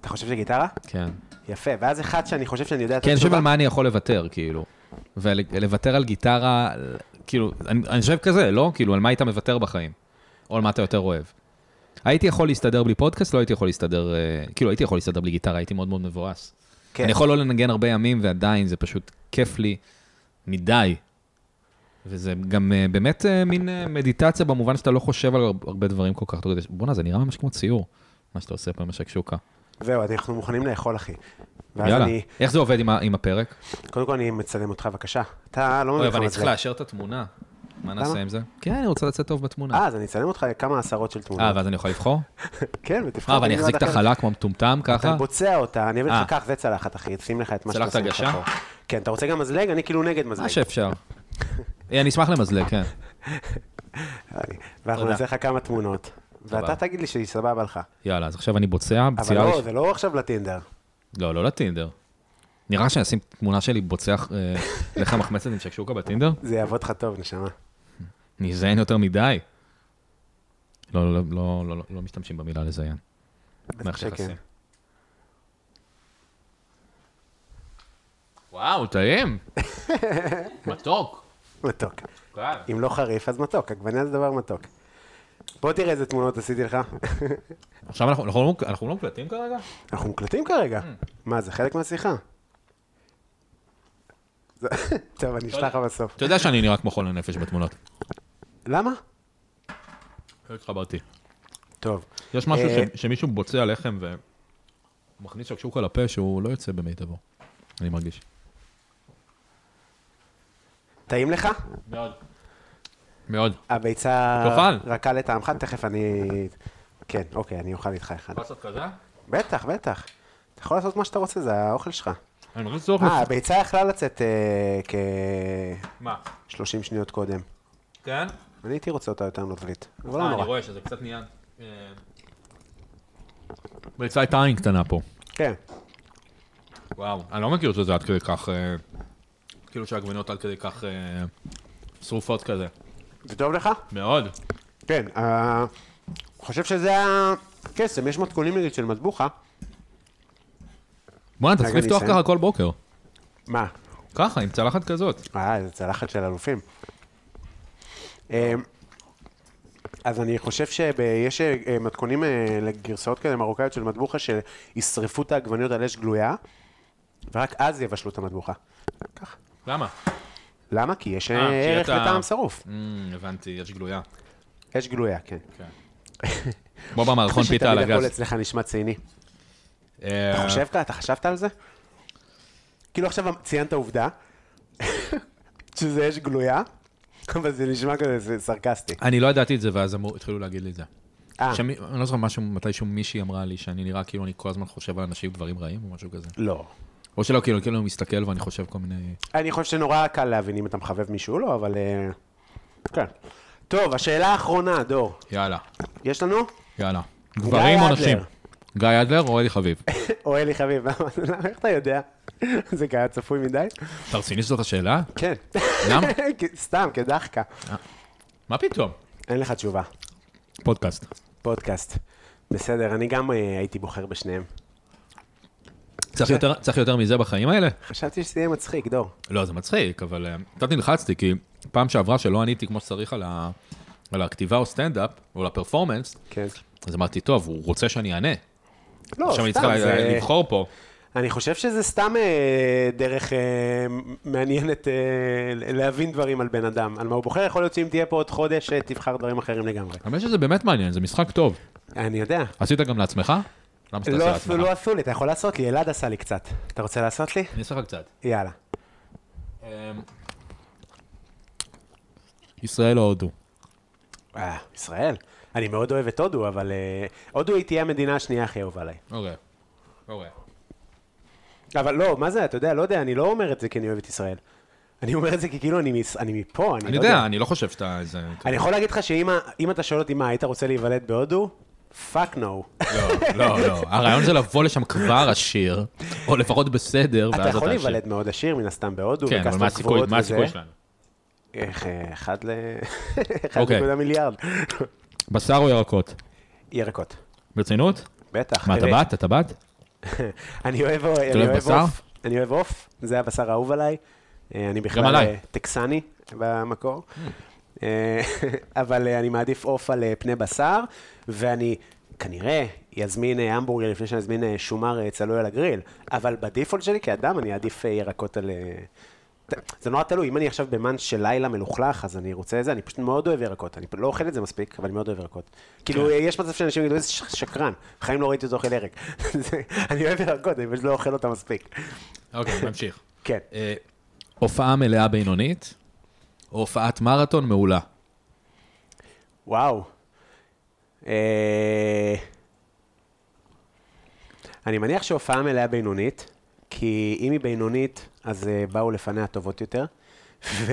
S2: אתה חושב שגיטרה?
S3: כן.
S2: יפה, ואז אחד שאני חושב שאני יודע את
S3: כן, אני חושב
S2: התשובה.
S3: על מה אני יכול לוותר, כאילו. ולוותר על גיטרה, כאילו, אני אני חושב כזה, לא? כאילו, על מה היית מוותר בחיים? או על מה אתה יותר אוהב. הייתי יכול להסתדר בלי פודקאסט, לא הייתי יכול להסתדר, אה, כאילו, הייתי יכול להסתדר בלי גיטרה, הייתי מאוד מאוד מבואס.
S2: כן.
S3: אני יכול לא לנגן הרבה ימים, ועדיין זה פשוט כיף לי מדי. וזה גם אה, באמת אה, מין אה, מדיטציה במובן שאתה לא חושב על הר- הרבה דברים כל כך. אתה יודע, בואנה, זה נראה ממש כמו ציור, מה שאתה עושה פה עם השקשוקה.
S2: זהו, אנחנו מוכנים לאכול, אחי. ואז
S3: יאללה.
S2: אני,
S3: איך זה עובד עם ה- עם הפרק?
S2: קודם כל אני מצלם אותך, בבקשה. אתה לא
S3: אוי,
S2: מבין לך
S3: אבל אני
S2: מה
S3: צריך
S2: זה.
S3: לאשר את התמונה. מה
S2: למה?
S3: נעשה עם זה? כן, אני רוצה לצאת טוב בתמונה.
S2: אה, אז אני אצלם אותך כמה עשרות של תמונות.
S3: אה, ואז אני
S2: (laughs)
S3: יכול לבחור?
S2: כן, ותבחר.
S3: אה, ואני
S2: במיוחד
S3: אחזיק את
S2: אחרת.
S3: החלה כמו מטומטם
S2: אתה
S3: ככה?
S2: בוצע אותה, אני אביא
S3: אה.
S2: לך כך, זה צלחת, אחי, שים לך את מה
S3: צלחת
S2: שאתה עושה
S3: הגשה?
S2: לך פה. כן, אתה רוצה גם מזלג? אני כאילו נגד
S3: מה
S2: מזלג.
S3: שאפשר. אה, אני אשמח למזלג, כן.
S2: ואנחנו
S3: תודה.
S2: נעשה לך כמה תמונות. ואתה תגיד לי שהיא סבבה לך.
S3: יאללה, אז עכשיו אני בוצע,
S2: אבל
S3: בציעה...
S2: לא,
S3: ראש-
S2: זה לא עכשיו לטינדר.
S3: לא, לא לטינדר. נראה שאני אשים תמונה שלי בוצע אה, (laughs) לחם מחמצת עם שקשוקה בטינדר?
S2: זה יעבוד לך טוב, נשמה.
S3: אני אזיין יותר מדי. לא, לא, לא, לא, לא, לא משתמשים במילה לזיין. מערכת
S2: שכן.
S3: יחסים.
S2: (laughs)
S3: וואו, טעים. מתוק.
S2: מתוק.
S3: כן.
S2: אם לא חריף, אז מתוק. עגבניה זה דבר מתוק. בוא תראה איזה תמונות עשיתי לך.
S3: עכשיו אנחנו, אנחנו, לא- אנחנו לא מקלטים כרגע?
S2: אנחנו מוקלטים כרגע.
S3: Mm.
S2: מה, זה חלק מהשיחה. זה- (laughs) טוב, אני אשלח לך בסוף.
S3: אתה יודע שאני נראה כמו חולה נפש בתמונות.
S2: למה?
S3: לא התחברתי.
S2: טוב.
S3: יש משהו
S2: אה,
S3: ש, שמישהו בוצע לחם ומכניס שקשוקה לפה שהוא לא יוצא במיטבו. אני מרגיש.
S2: טעים לך?
S3: מאוד. מאוד.
S2: הביצה
S3: תאכל.
S2: רכה לטעמך, תכף אני... כן, אוקיי, אני אוכל איתך אחד.
S3: לעשות כזה?
S2: בטח, בטח. אתה יכול לעשות מה שאתה רוצה, זה האוכל שלך.
S3: אני מרגיש צורך.
S2: אה, הביצה יכלה לצאת אה,
S3: מה?
S2: כ-30 שניות קודם.
S3: כן?
S2: אני הייתי רוצה אותה יותר נוזלית, אבל
S3: אה,
S2: לא
S3: אני
S2: נורא.
S3: רואה שזה קצת נהיה... אה, ביצה הייתה עין קטנה פה.
S2: כן.
S3: וואו. אני לא מכיר שזה עד כדי כך... אה, כאילו שהעגבניות עד כדי כך אה, שרופות כזה.
S2: זה טוב לך?
S3: מאוד.
S2: כן. אה, חושב שזה הקסם, יש מתכונים נגיד של מטבוחה.
S3: בוא'נה, אתה
S2: רגע,
S3: צריך לפתוח
S2: אני אסיים.
S3: ככה כל בוקר.
S2: מה?
S3: ככה, עם צלחת כזאת.
S2: אה, איזה צלחת של אלופים. אה, אז אני חושב שיש מתכונים אה, לגרסאות כאלה מרוקאיות של מטבוחה שישרפו את העגבניות על אש גלויה, ורק אז יבשלו את המטבוחה. ככה.
S3: למה?
S2: למה? כי יש
S3: אה, כי
S2: אה, ערך
S3: אתה-
S2: לטעם שרוף.
S3: Mm, הבנתי, יש גלויה.
S2: אש גלויה, כן. (laughs)
S3: כמו במערכון פיתה על
S2: שתמיד הכל
S3: הגז.
S2: אצלך נשמע ציני.
S3: אה,
S2: אתה חושב ככה? אתה חשבת על זה? כאילו עכשיו ציינת עובדה, שזה אש גלויה, אבל זה נשמע כזה זה סרקסטי.
S3: אני לא ידעתי את זה, ואז אמרו- התחילו להגיד לי את זה.
S2: אה,
S3: שמי- אני לא זוכר משהו, מתישהו מישהי אמרה לי שאני נראה כאילו אני כל הזמן חושב על אנשים דברים רעים או משהו כזה.
S2: לא.
S3: או שלא, כאילו, כאילו אני מסתכל ואני חושב כל מיני...
S2: אני חושב שנורא קל להבין אם אתה מחבב מישהו או לא, אבל... אה, כן. טוב, השאלה האחרונה, דור.
S3: יאללה,
S2: יש לנו?
S3: יאללה. גברים או
S2: אדלר.
S3: נשים? גיא אדלר או אלי
S2: (laughs)
S3: חביב?
S2: או אלי חביב, (laughs) למה- למה- איך אתה יודע? זה היה צפוי מדי?
S3: אתה רציני שזאת השאלה?
S2: כן.
S3: למה?
S2: (laughs) כי- סתם, כדחקה.
S3: מה פתאום?
S2: אין לך תשובה.
S3: פודקאסט.
S2: פודקאסט. בסדר, אני גם אה, הייתי בוחר בשניהם.
S3: צריך יותר- צריך יותר מזה בחיים האלה?
S2: חשבתי שזה יהיה מצחיק, דור.
S3: לא, זה מצחיק, אבל אה, קצת נלחצתי, כי פעם שעברה שלא עניתי כמו שצריך על ה- על הכתיבה או סטנדאפ, או על הפרפורמנס,
S2: כן.
S3: אז אמרתי, טוב, הוא רוצה שאני אענה.
S2: לא,
S3: עכשיו אני
S2: סתם,
S3: צריך
S2: זה-
S3: לה- לבחור פה.
S2: אני חושב שזה סתם אה, דרך אה, מעניינת אה, להבין דברים על בן אדם, על מה הוא בוחר. יכול להיות שאם תהיה פה עוד חודש, אה, תבחר דברים אחרים לגמרי.
S3: האמת שזה באמת מעניין, זה משחק טוב.
S2: אני יודע.
S3: עשית גם לעצמך? למה
S2: לא
S3: שאתה
S2: עשו,
S3: עושה לעצמך?
S2: לא עשו לי, אתה יכול לעשות לי, אלעד עשה לי קצת. אתה רוצה לעשות לי?
S3: אני אעשה לך קצת.
S2: יאללה.
S3: אמ, ישראל או הודו?
S2: אה, ישראל. אני מאוד אוהב את הודו, אבל אה, הודו היא תהיה המדינה השנייה הכי אהובה עליי.
S3: אוקיי. אוקיי.
S2: אבל לא, מה זה, אתה יודע, לא יודע, אני לא אומר את זה כי אני אוהב את ישראל. אני אומר את זה כי כאילו אני, מס- אני מפה, אני,
S3: אני
S2: לא יודע.
S3: יודע, אני לא חושב שאתה איזה...
S2: אני יכול להגיד לך שאם ה- אם אתה שואל אותי מה, היית רוצה להיוולד בהודו? פאק נו.
S3: לא, לא, לא. הרעיון זה לבוא לשם כבר עשיר, או לפחות בסדר, ואז
S2: אתה
S3: אתה
S2: יכול
S3: עשיר.
S2: להיוולד מאוד עשיר, מן הסתם בהודו,
S3: כן, אבל
S2: בקסטות
S3: מה הסיכוי
S2: גבוהות
S3: מה
S2: וזה.
S3: הסיכוי שלנו?
S2: איך, אה, אחד ל... (laughs) אחד
S3: אוקיי.
S2: נקודה מיליארד.
S3: בשר או ירקות?
S2: ירקות.
S3: ברצינות?
S2: בטח.
S3: מה, אתה
S2: תראה,
S3: בת? אתה בת?
S2: (laughs) אני אוהב אני
S3: אוהב
S2: אוהב
S3: בשר?
S2: עוף. אני אוהב עוף, זה הבשר האהוב עליי. אה, אני בכלל
S3: עליי.
S2: אה, טקסני במקור. אה, (laughs) אבל אה, אני מעדיף עוף על אה, פני בשר, ואני כנראה יזמין אה, המבורגר לפני שאני אזמין אה, שומר אה, צלוי על הגריל. אבל בדיפולט שלי כאדם אני אעדיף אה, ירקות על... אה, ת- זה נורא תלוי, אם אני עכשיו במאנץ' של לילה מלוכלך, אז אני רוצה את זה, אני פשוט מאוד אוהב ירקות, אני לא אוכל את זה מספיק, אבל אני מאוד אוהב ירקות. כאילו, יש מצב שאנשים יגידו, איזה ש- שקרן, בחיים לא ראיתי אותו אוכל ירק. (laughs) זה- אני אוהב ירקות, אני פשוט לא אוכל אותם מספיק.
S3: אוקיי, נמשיך.
S2: כן.
S3: אה, הופעה מלאה בינונית, או הופעת מרתון מעולה.
S2: וואו. אה, אני מניח שהופעה מלאה בינונית, כי אם היא בינונית, אז אה, באו לפניה טובות יותר. ו...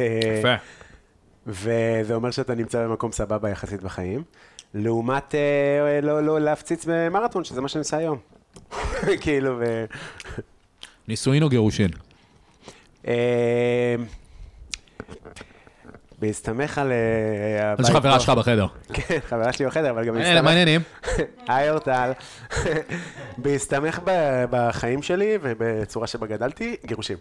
S2: וזה אומר שאתה נמצא במקום סבבה יחסית בחיים. לעומת אה, לא, לא להפציץ במרתון, שזה מה שאני עושה היום. (laughs) כאילו, ו...
S3: נישואין או גירושין?
S2: אה, בהסתמך על... אה,
S3: יש
S2: הבית
S3: חברה
S2: פה.
S3: שלך בחדר.
S2: כן, חברה שלי בחדר, אבל גם
S3: אה, מה העניינים?
S2: היי אורטל. בהסתמך ב- בחיים שלי ובצורה שבה גדלתי, גירושים.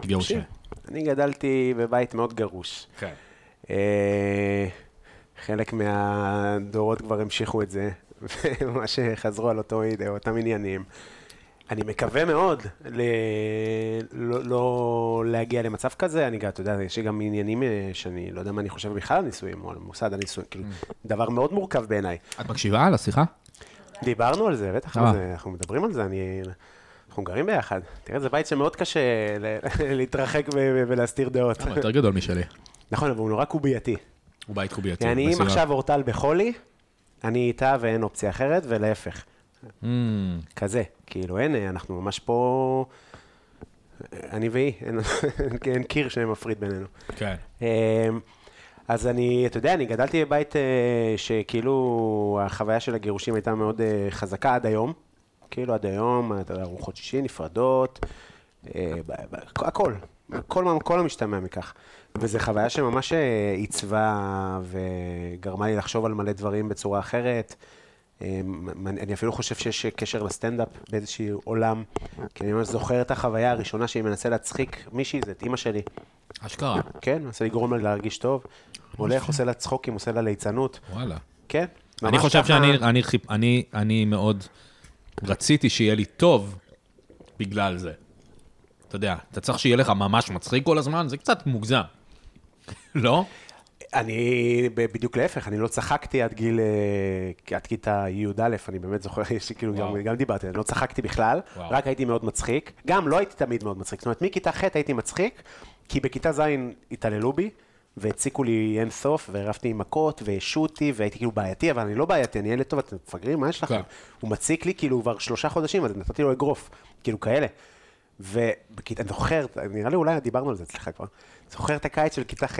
S3: גירושין.
S2: אני גדלתי בבית מאוד גרוש.
S3: כן.
S2: אה, חלק מהדורות כבר המשיכו את זה, (laughs) וממש חזרו על אותו, אותם עניינים. אני מקווה מאוד ל... לא, לא להגיע למצב כזה, אני גם, אתה יודע, יש לי גם עניינים אה, שאני לא יודע מה אני חושב בכלל על נישואים, או על מוסד הנישואים, כאילו, דבר מאוד מורכב בעיניי.
S3: את מקשיבה לשיחה?
S2: כן. דיברנו על זה, בטח,
S3: אה.
S2: על זה, אנחנו מדברים על זה, אני... אנחנו גרים ביחד. תראה, זה בית שמאוד קשה ל- (laughs) להתרחק ו- ו- ולהסתיר דעות.
S3: הוא יותר גדול משלי.
S2: נכון, אבל הוא נורא קובייתי.
S3: הוא בית קובייתי.
S2: אני כן, אם
S3: בסביבה.
S2: עכשיו אורטל בחולי, אני איתה ואין אופציה אחרת, ולהפך.
S3: אמ,
S2: כזה. כאילו, אין, אנחנו ממש פה... אני והיא, אין, (laughs) אין קיר שמפריד בינינו.
S3: כן.
S2: אמ, אז אני, אתה יודע, אני גדלתי בבית אה, שכאילו החוויה של הגירושים הייתה מאוד אה, חזקה עד היום. כאילו עד היום, אתה יודע, ארוחות שישי נפרדות, אה, ב- ב- הכל, כל, מה- כל המשתמע מכך. וזו חוויה שממש אה, עיצבה וגרמה לי לחשוב על מלא דברים בצורה אחרת. אה, מ- אני אפילו חושב שיש קשר לסטנדאפ באיזשהו עולם, כי אני ממש זוכר את החוויה הראשונה שהיא מנסה להצחיק מישהי, זה את אימא שלי.
S3: אשכרה.
S2: כן, מנסה לגרום לה להרגיש טוב. הולך, עושה לה צחוקים, עושה לה ליצנות.
S3: וואלה.
S2: כן.
S3: אני
S2: ממש
S3: חושב
S2: ככה.
S3: שאני אני חיפ- אני- אני מאוד רציתי שיהיה לי טוב בגלל זה. אתה יודע, אתה צריך שיהיה לך ממש מצחיק כל הזמן, זה קצת מוגזם. (laughs) לא?
S2: אני, ב- בדיוק להפך, אני לא צחקתי עד גיל, אה, עד כיתה י"א, אני באמת זוכר, יש לי כאילו, גם,
S3: וואו.
S2: גם דיברתי, אני לא צחקתי בכלל,
S3: וואו.
S2: רק הייתי מאוד מצחיק. גם לא הייתי תמיד מאוד מצחיק, זאת אומרת, מכיתה ח' הייתי מצחיק, כי בכיתה ז' התעללו בי, והציקו לי אין סוף, והרבתי עם מכות, והשותי, והייתי כאילו בעייתי, אבל אני לא בעייתי, אני ילד טוב, אתם מפגרים, מה יש לכם?
S3: כן.
S2: הוא מציק לי כאילו כבר שלושה חודשים, אז נתתי לו אגרוף, כאילו כאלה. ואני זוכר, נראה לי אולי דיברנו על זה אצלך כבר, זוכר את הקיץ של כיתה ח',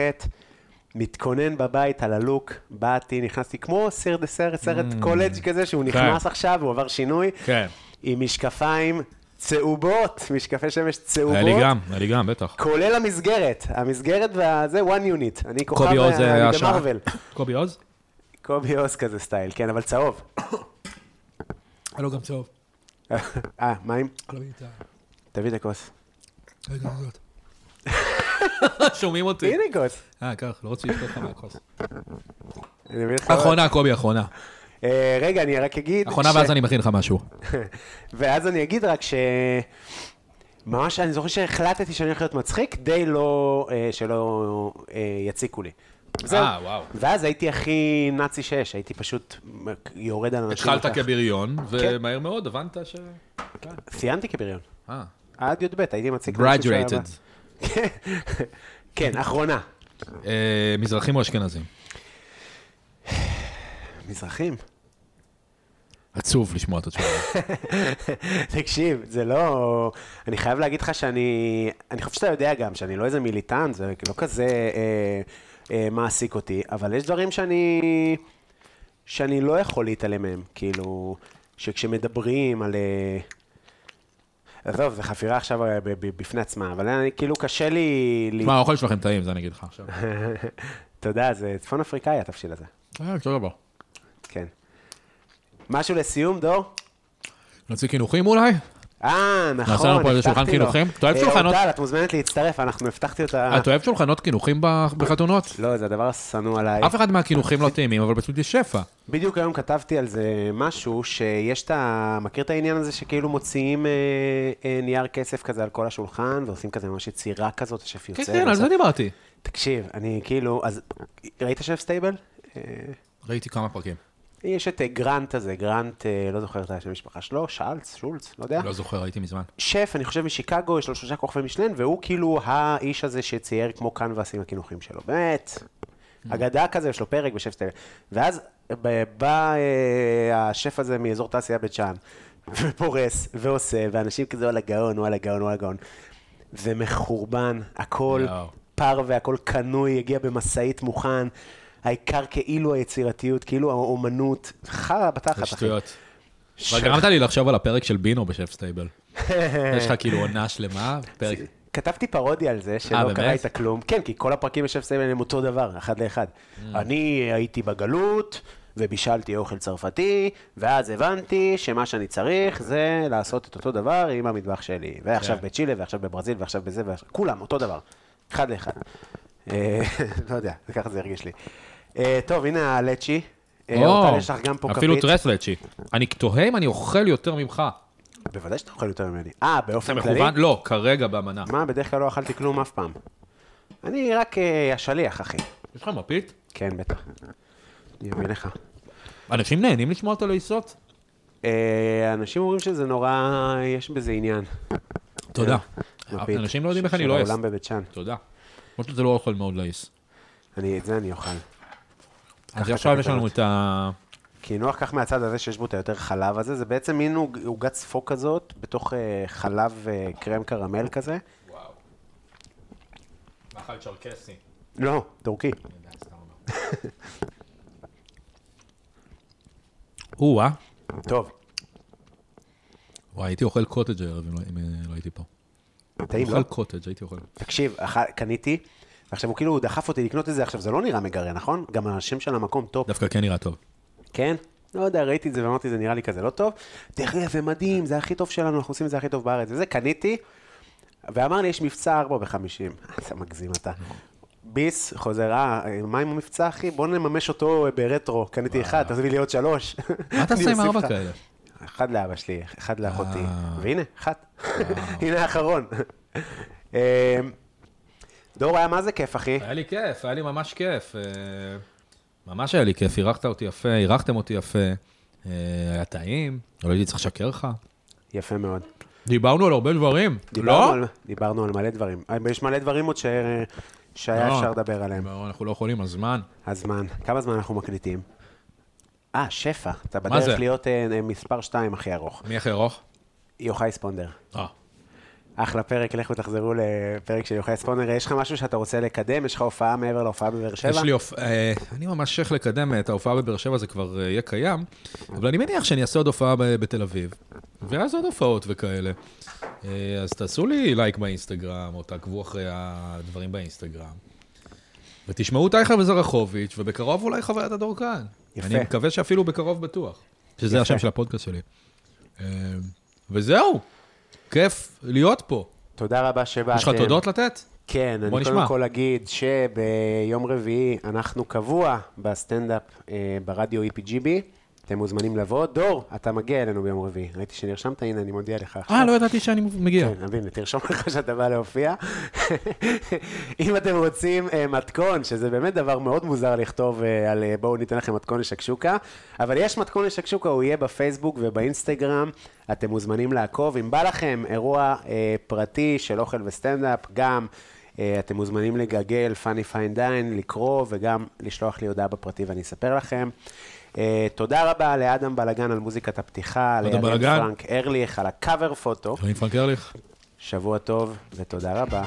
S2: מתכונן בבית על הלוק, באתי, נכנסתי כמו סיר דה סרט, סרט קולג' כזה, שהוא נכנס עכשיו, הוא עבר שינוי,
S3: Mm. כן.
S2: עם משקפיים צהובות, משקפי שמש צהובות.
S3: היה לי גם, היה לי גם, בטח.
S2: כולל המסגרת, המסגרת והזה one unit, אני כוכב, אה,
S3: קובי עוז אה,
S2: אני
S3: היה שם.
S2: במרוויל.
S3: קובי עוז?
S2: קובי עוז כזה סטייל, כן, אבל צהוב.
S4: היה לו גם צהוב.
S2: אה, מים?
S4: היה לו גם צהוב.
S2: תביא את הכוס.
S4: היה לו גם זאת.
S3: (laughs) שומעים אותי.
S2: הנה כוס.
S3: אה, קח, לא רוצה לשתות לך מהכוס.
S2: אני אביא לך...
S3: (laughs) אחרונה, קובי, אחרונה.
S2: אה, רגע, אני רק אגיד...
S3: אחרונה,
S2: ש-
S3: ואז אני מכין לך
S2: (laughs)
S3: משהו.
S2: ואז אני אגיד רק ש... ממש, אני זוכר שהחלטתי שאני הולך להיות מצחיק, די לא... אה, שלא אה, יציקו לי. זהו.
S3: אה, וואו.
S2: ואז הייתי הכי נאצי שיש, הייתי פשוט יורד על אנשים.
S3: התחלת
S2: וכך.
S3: כבריון,
S2: כן.
S3: ומהר מאוד הבנת ש...
S2: סיימתי כבריון.
S3: אה,
S2: עד י"ב, הייתי מציג. מישהו שהיה
S3: graduated.
S2: בא. כן. (laughs) כן, אחרונה.
S3: אה, מזרחים או אשכנזים?
S2: מזרחים.
S3: עצוב לשמוע את התשובה.
S2: תקשיב, זה לא... אני חייב להגיד לך שאני... אני חושב שאתה יודע גם שאני לא איזה מיליטנט, זה לא כזה אה, אה, מעסיק אותי, אבל יש דברים שאני... שאני לא יכול להתעלם מהם, כאילו... שכשמדברים על... אה, עזוב, זו חפירה עכשיו אה, ב- ב- בפני עצמה, אבל אני, כאילו קשה לי... לי...
S3: מה, האוכל שלכם טעים, זה אני אגיד לך עכשיו.
S2: אתה יודע, זה צפון אפריקאי התבשיל הזה,
S3: אה, אותו דבר.
S2: כן. משהו לסיום, דור?
S3: נוציא קינוחים אולי?
S2: אה, נכון,
S3: נעשה לנו פה איזה שולחן
S2: הבטחתי לו.
S3: חינוכים? אתה אוהב
S2: אה,
S3: שולחנות?
S2: אורטל, את מוזמנת להצטרף, אנחנו הבטחתי אותה.
S3: את אוהב שולחנות קינוחים ב- בחתונות?
S2: לא, זה הדבר השנוא עליי.
S3: אף אחד מהקינוחים לא טעימים, אבל פשוט יש שפע. כן,
S2: בדיוק היום כתבתי על זה משהו שיש את ה... מכיר את העניין הזה שכאילו מוציאים אה, אה, נייר כסף כזה על כל השולחן, ועושים כזה ממש יצירה כזאת, השף
S3: כן,
S2: יוצא.
S3: כן, על
S2: וזה-
S3: זה דיברתי.
S2: תקשיב, אני כאילו... אז ראית שף סטייבל? אה,
S3: ראיתי כמה פרקים.
S2: יש את אה, גרנט הזה, גרנט, אה, לא זוכר את השם המשפחה שלו, שולץ, שולץ, לא יודע.
S3: לא זוכר, הייתי מזמן.
S2: שף, אני חושב משיקגו, יש לו שלושה כוכבי משלן, והוא כאילו האיש הזה שצייר כמו קנבס עם הקינוחים שלו. באמת. אגדה כזה, יש לו פרק בשף סטייל. ואז ב- בא אה, השף הזה מאזור תעשייה בית שאן, ופורס, ועושה, ואנשים כזה, וואלה גאון, וואלה גאון, וואלה גאון. זה מחורבן, הכל
S3: יואו.
S2: פר והכל קנוי, הגיע במשאית מוכן. העיקר כאילו היצירתיות, כאילו האומנות, חרא בתחת,
S3: זה
S2: אחי.
S3: שטויות. אבל
S2: ש-
S3: גרמת לי לחשוב על הפרק של בינו בשף
S2: (laughs)
S3: סטייבל. יש לך כאילו עונה שלמה, פרק...
S2: אה, כתבתי פרודיה על זה, שלא
S3: אה, באמת?
S2: קרה איתה כלום. כן, כי כל הפרקים בשף סיימן הם אותו דבר, אחד לאחד.
S3: Mm.
S2: אני הייתי בגלות, ובישלתי אוכל צרפתי, ואז הבנתי שמה שאני צריך זה לעשות את אותו דבר עם המטבח שלי. ועכשיו
S3: כן.
S2: בצ'ילה, ועכשיו בברזיל, ועכשיו בזה, ועכשיו... כולם אותו דבר. אחד לאחד. אה, (laughs) לא יודע, זה ככה זה הרגיש לי. אה, טוב, הנה הלצ'י. אה,
S3: או,
S2: אורטל, יש לך גם פה כפית.
S3: אפילו טרסלצ'י. אני תוהה אם אני אוכל יותר ממך.
S2: בוודאי שאתה אוכל יותר ממני. אה,
S3: אתה
S2: באופן כללי?
S3: מכוון? לא, כרגע במנה.
S2: מה, בדרך כלל לא אכלתי כלום אף פעם. אני רק אה, השליח, אחי.
S3: יש לך מפית?
S2: כן, בטח. אני אביא לך.
S3: אנשים נהנים לשמוע את הלעיסות?
S2: אה, אנשים אומרים שזה נורא, יש בזה עניין.
S3: תודה.
S2: מפית.
S3: אנשים לא יודעים איך
S2: אה, של
S3: אני לא אוהב.
S2: העולם בבית שאן.
S3: תודה. למרות שזה לא אוכל מאוד לעיס.
S2: אני, את זה אני אוכל.
S3: אז עכשיו יש לנו את ה...
S2: קינוח, קח מהצד הזה שיש בו את היותר חלב הזה, זה בעצם מין עוג- עוגת צפוק כזאת, בתוך אה, חלב אה, קרם קרמל כזה.
S3: מאכל צ'רקסי.
S2: לא, טורקי.
S3: (laughs) או-אה.
S2: טוב,
S3: אה? וואי, הייתי אוכל קוטג' הערב אם לא- אם אה, לא הייתי פה.
S2: טעים, לא?
S3: אוכל קוטג', הייתי אוכל.
S2: תקשיב, אח- קניתי, ועכשיו הוא כאילו דחף אותי לקנות את זה, עכשיו זה לא נראה מגרה, נכון? גם השם של המקום טופ.
S3: דווקא כן נראה
S2: (laughs)
S3: טוב.
S2: כן? לא יודע, ראיתי את זה ואמרתי, זה נראה לי כזה לא טוב. תראה, זה מדהים, זה הכי טוב שלנו, אנחנו עושים את זה הכי טוב בארץ. וזה, קניתי, ואמר לי, יש מבצע 4 (laughs) ב-50. אתה מגזים אתה. ביס, חוזר, אה, מה עם המבצע, אחי? בוא נממש אותו ברטרו. קניתי אחד, תביא לי עוד שלוש.
S3: מה
S2: (laughs)
S3: אתה
S2: אני
S3: עושה עם
S2: אוסיף
S3: ארבע
S2: לך.
S3: כאלה?
S2: אחד לאבא שלי, אחד לאחותי,
S3: אה.
S2: והנה, אחת. (laughs) הנה האחרון. (laughs) אה, דור היה מה זה כיף, אחי.
S3: היה לי כיף, היה לי ממש כיף. אה, ממש היה לי כיף, אירחת אותי יפה, אירחתם אותי יפה. אה, היה טעים, לא הייתי צריך לשקר לך.
S2: יפה מאוד.
S3: דיברנו על הרבה דברים,
S2: דיברנו
S3: לא?
S2: על, דיברנו על מלא דברים. אה, יש מלא דברים עוד ש... שהיה
S3: לא.
S2: אפשר לדבר עליהם.
S3: לא, אנחנו לא יכולים, הזמן.
S2: הזמן, כמה זמן אנחנו מקליטים? אה, שפע. אתה
S3: מה
S2: בדרך
S3: זה?
S2: להיות אה, אה, מספר 2 הכי ארוך.
S3: מי הכי ארוך?
S2: יוחאי ספונדר.
S3: אה.
S2: אחלה פרק, לכו תחזרו לפרק של יוחאי ספונדר. יש לך משהו שאתה רוצה לקדם? יש לך הופעה מעבר להופעה בבאר שבע?
S3: יש לי הופ... אה, אני ממש שייך לקדם את ההופעה בבאר שבע, זה כבר אה, יהיה קיים, אבל אני מניח שאני אעשה עוד הופעה ב- בתל אביב, ואז עוד הופעות וכאלה. אה, אז תעשו לי לייק באינסטגרם, או תעקבו אחרי הדברים באינסטגרם. ותשמעו את אייכלר וזרחוביץ', ובקרוב אולי חוויית הדור כאן.
S2: יפה.
S3: אני מקווה שאפילו בקרוב בטוח, שזה
S2: יפה.
S3: השם של הפודקאסט שלי. אה, וזהו, כיף להיות פה.
S2: תודה רבה אה, שבאתם.
S3: יש לך תודות לתת?
S2: כן,
S3: בוא
S2: אני
S3: נשמע.
S2: קודם כל אגיד שביום רביעי אנחנו קבוע בסטנדאפ אה, ברדיו EPGB. אתם מוזמנים לבוא. דור, אתה מגיע אלינו ביום רביעי. ראיתי שנרשמת, הנה, אני מודיע לך עכשיו.
S3: אה, לא ידעתי שאני מגיע.
S2: כן, אז הנה, תרשום לך שאתה בא להופיע. אם אתם רוצים אה, מתכון, שזה באמת דבר מאוד מוזר לכתוב אה, על אה, בואו ניתן לכם מתכון לשקשוקה, אבל יש מתכון לשקשוקה, הוא יהיה בפייסבוק ובאינסטגרם, אתם מוזמנים לעקוב. אם בא לכם אירוע אה, פרטי של אוכל וסטנדאפ, גם אה, אתם מוזמנים לגגל, פאני פיין דיין, לקרוא וגם לשלוח לי הודעה בפרטי ואני אספר לכם. אה, תודה רבה לאדם בלגן על מוזיקת הפתיחה,
S3: אדם
S2: לאדם
S3: בלגן.
S2: פרנק ארליך על הקאבר פוטו.
S3: אלוהים פרנק ארליך.
S2: שבוע טוב ותודה רבה.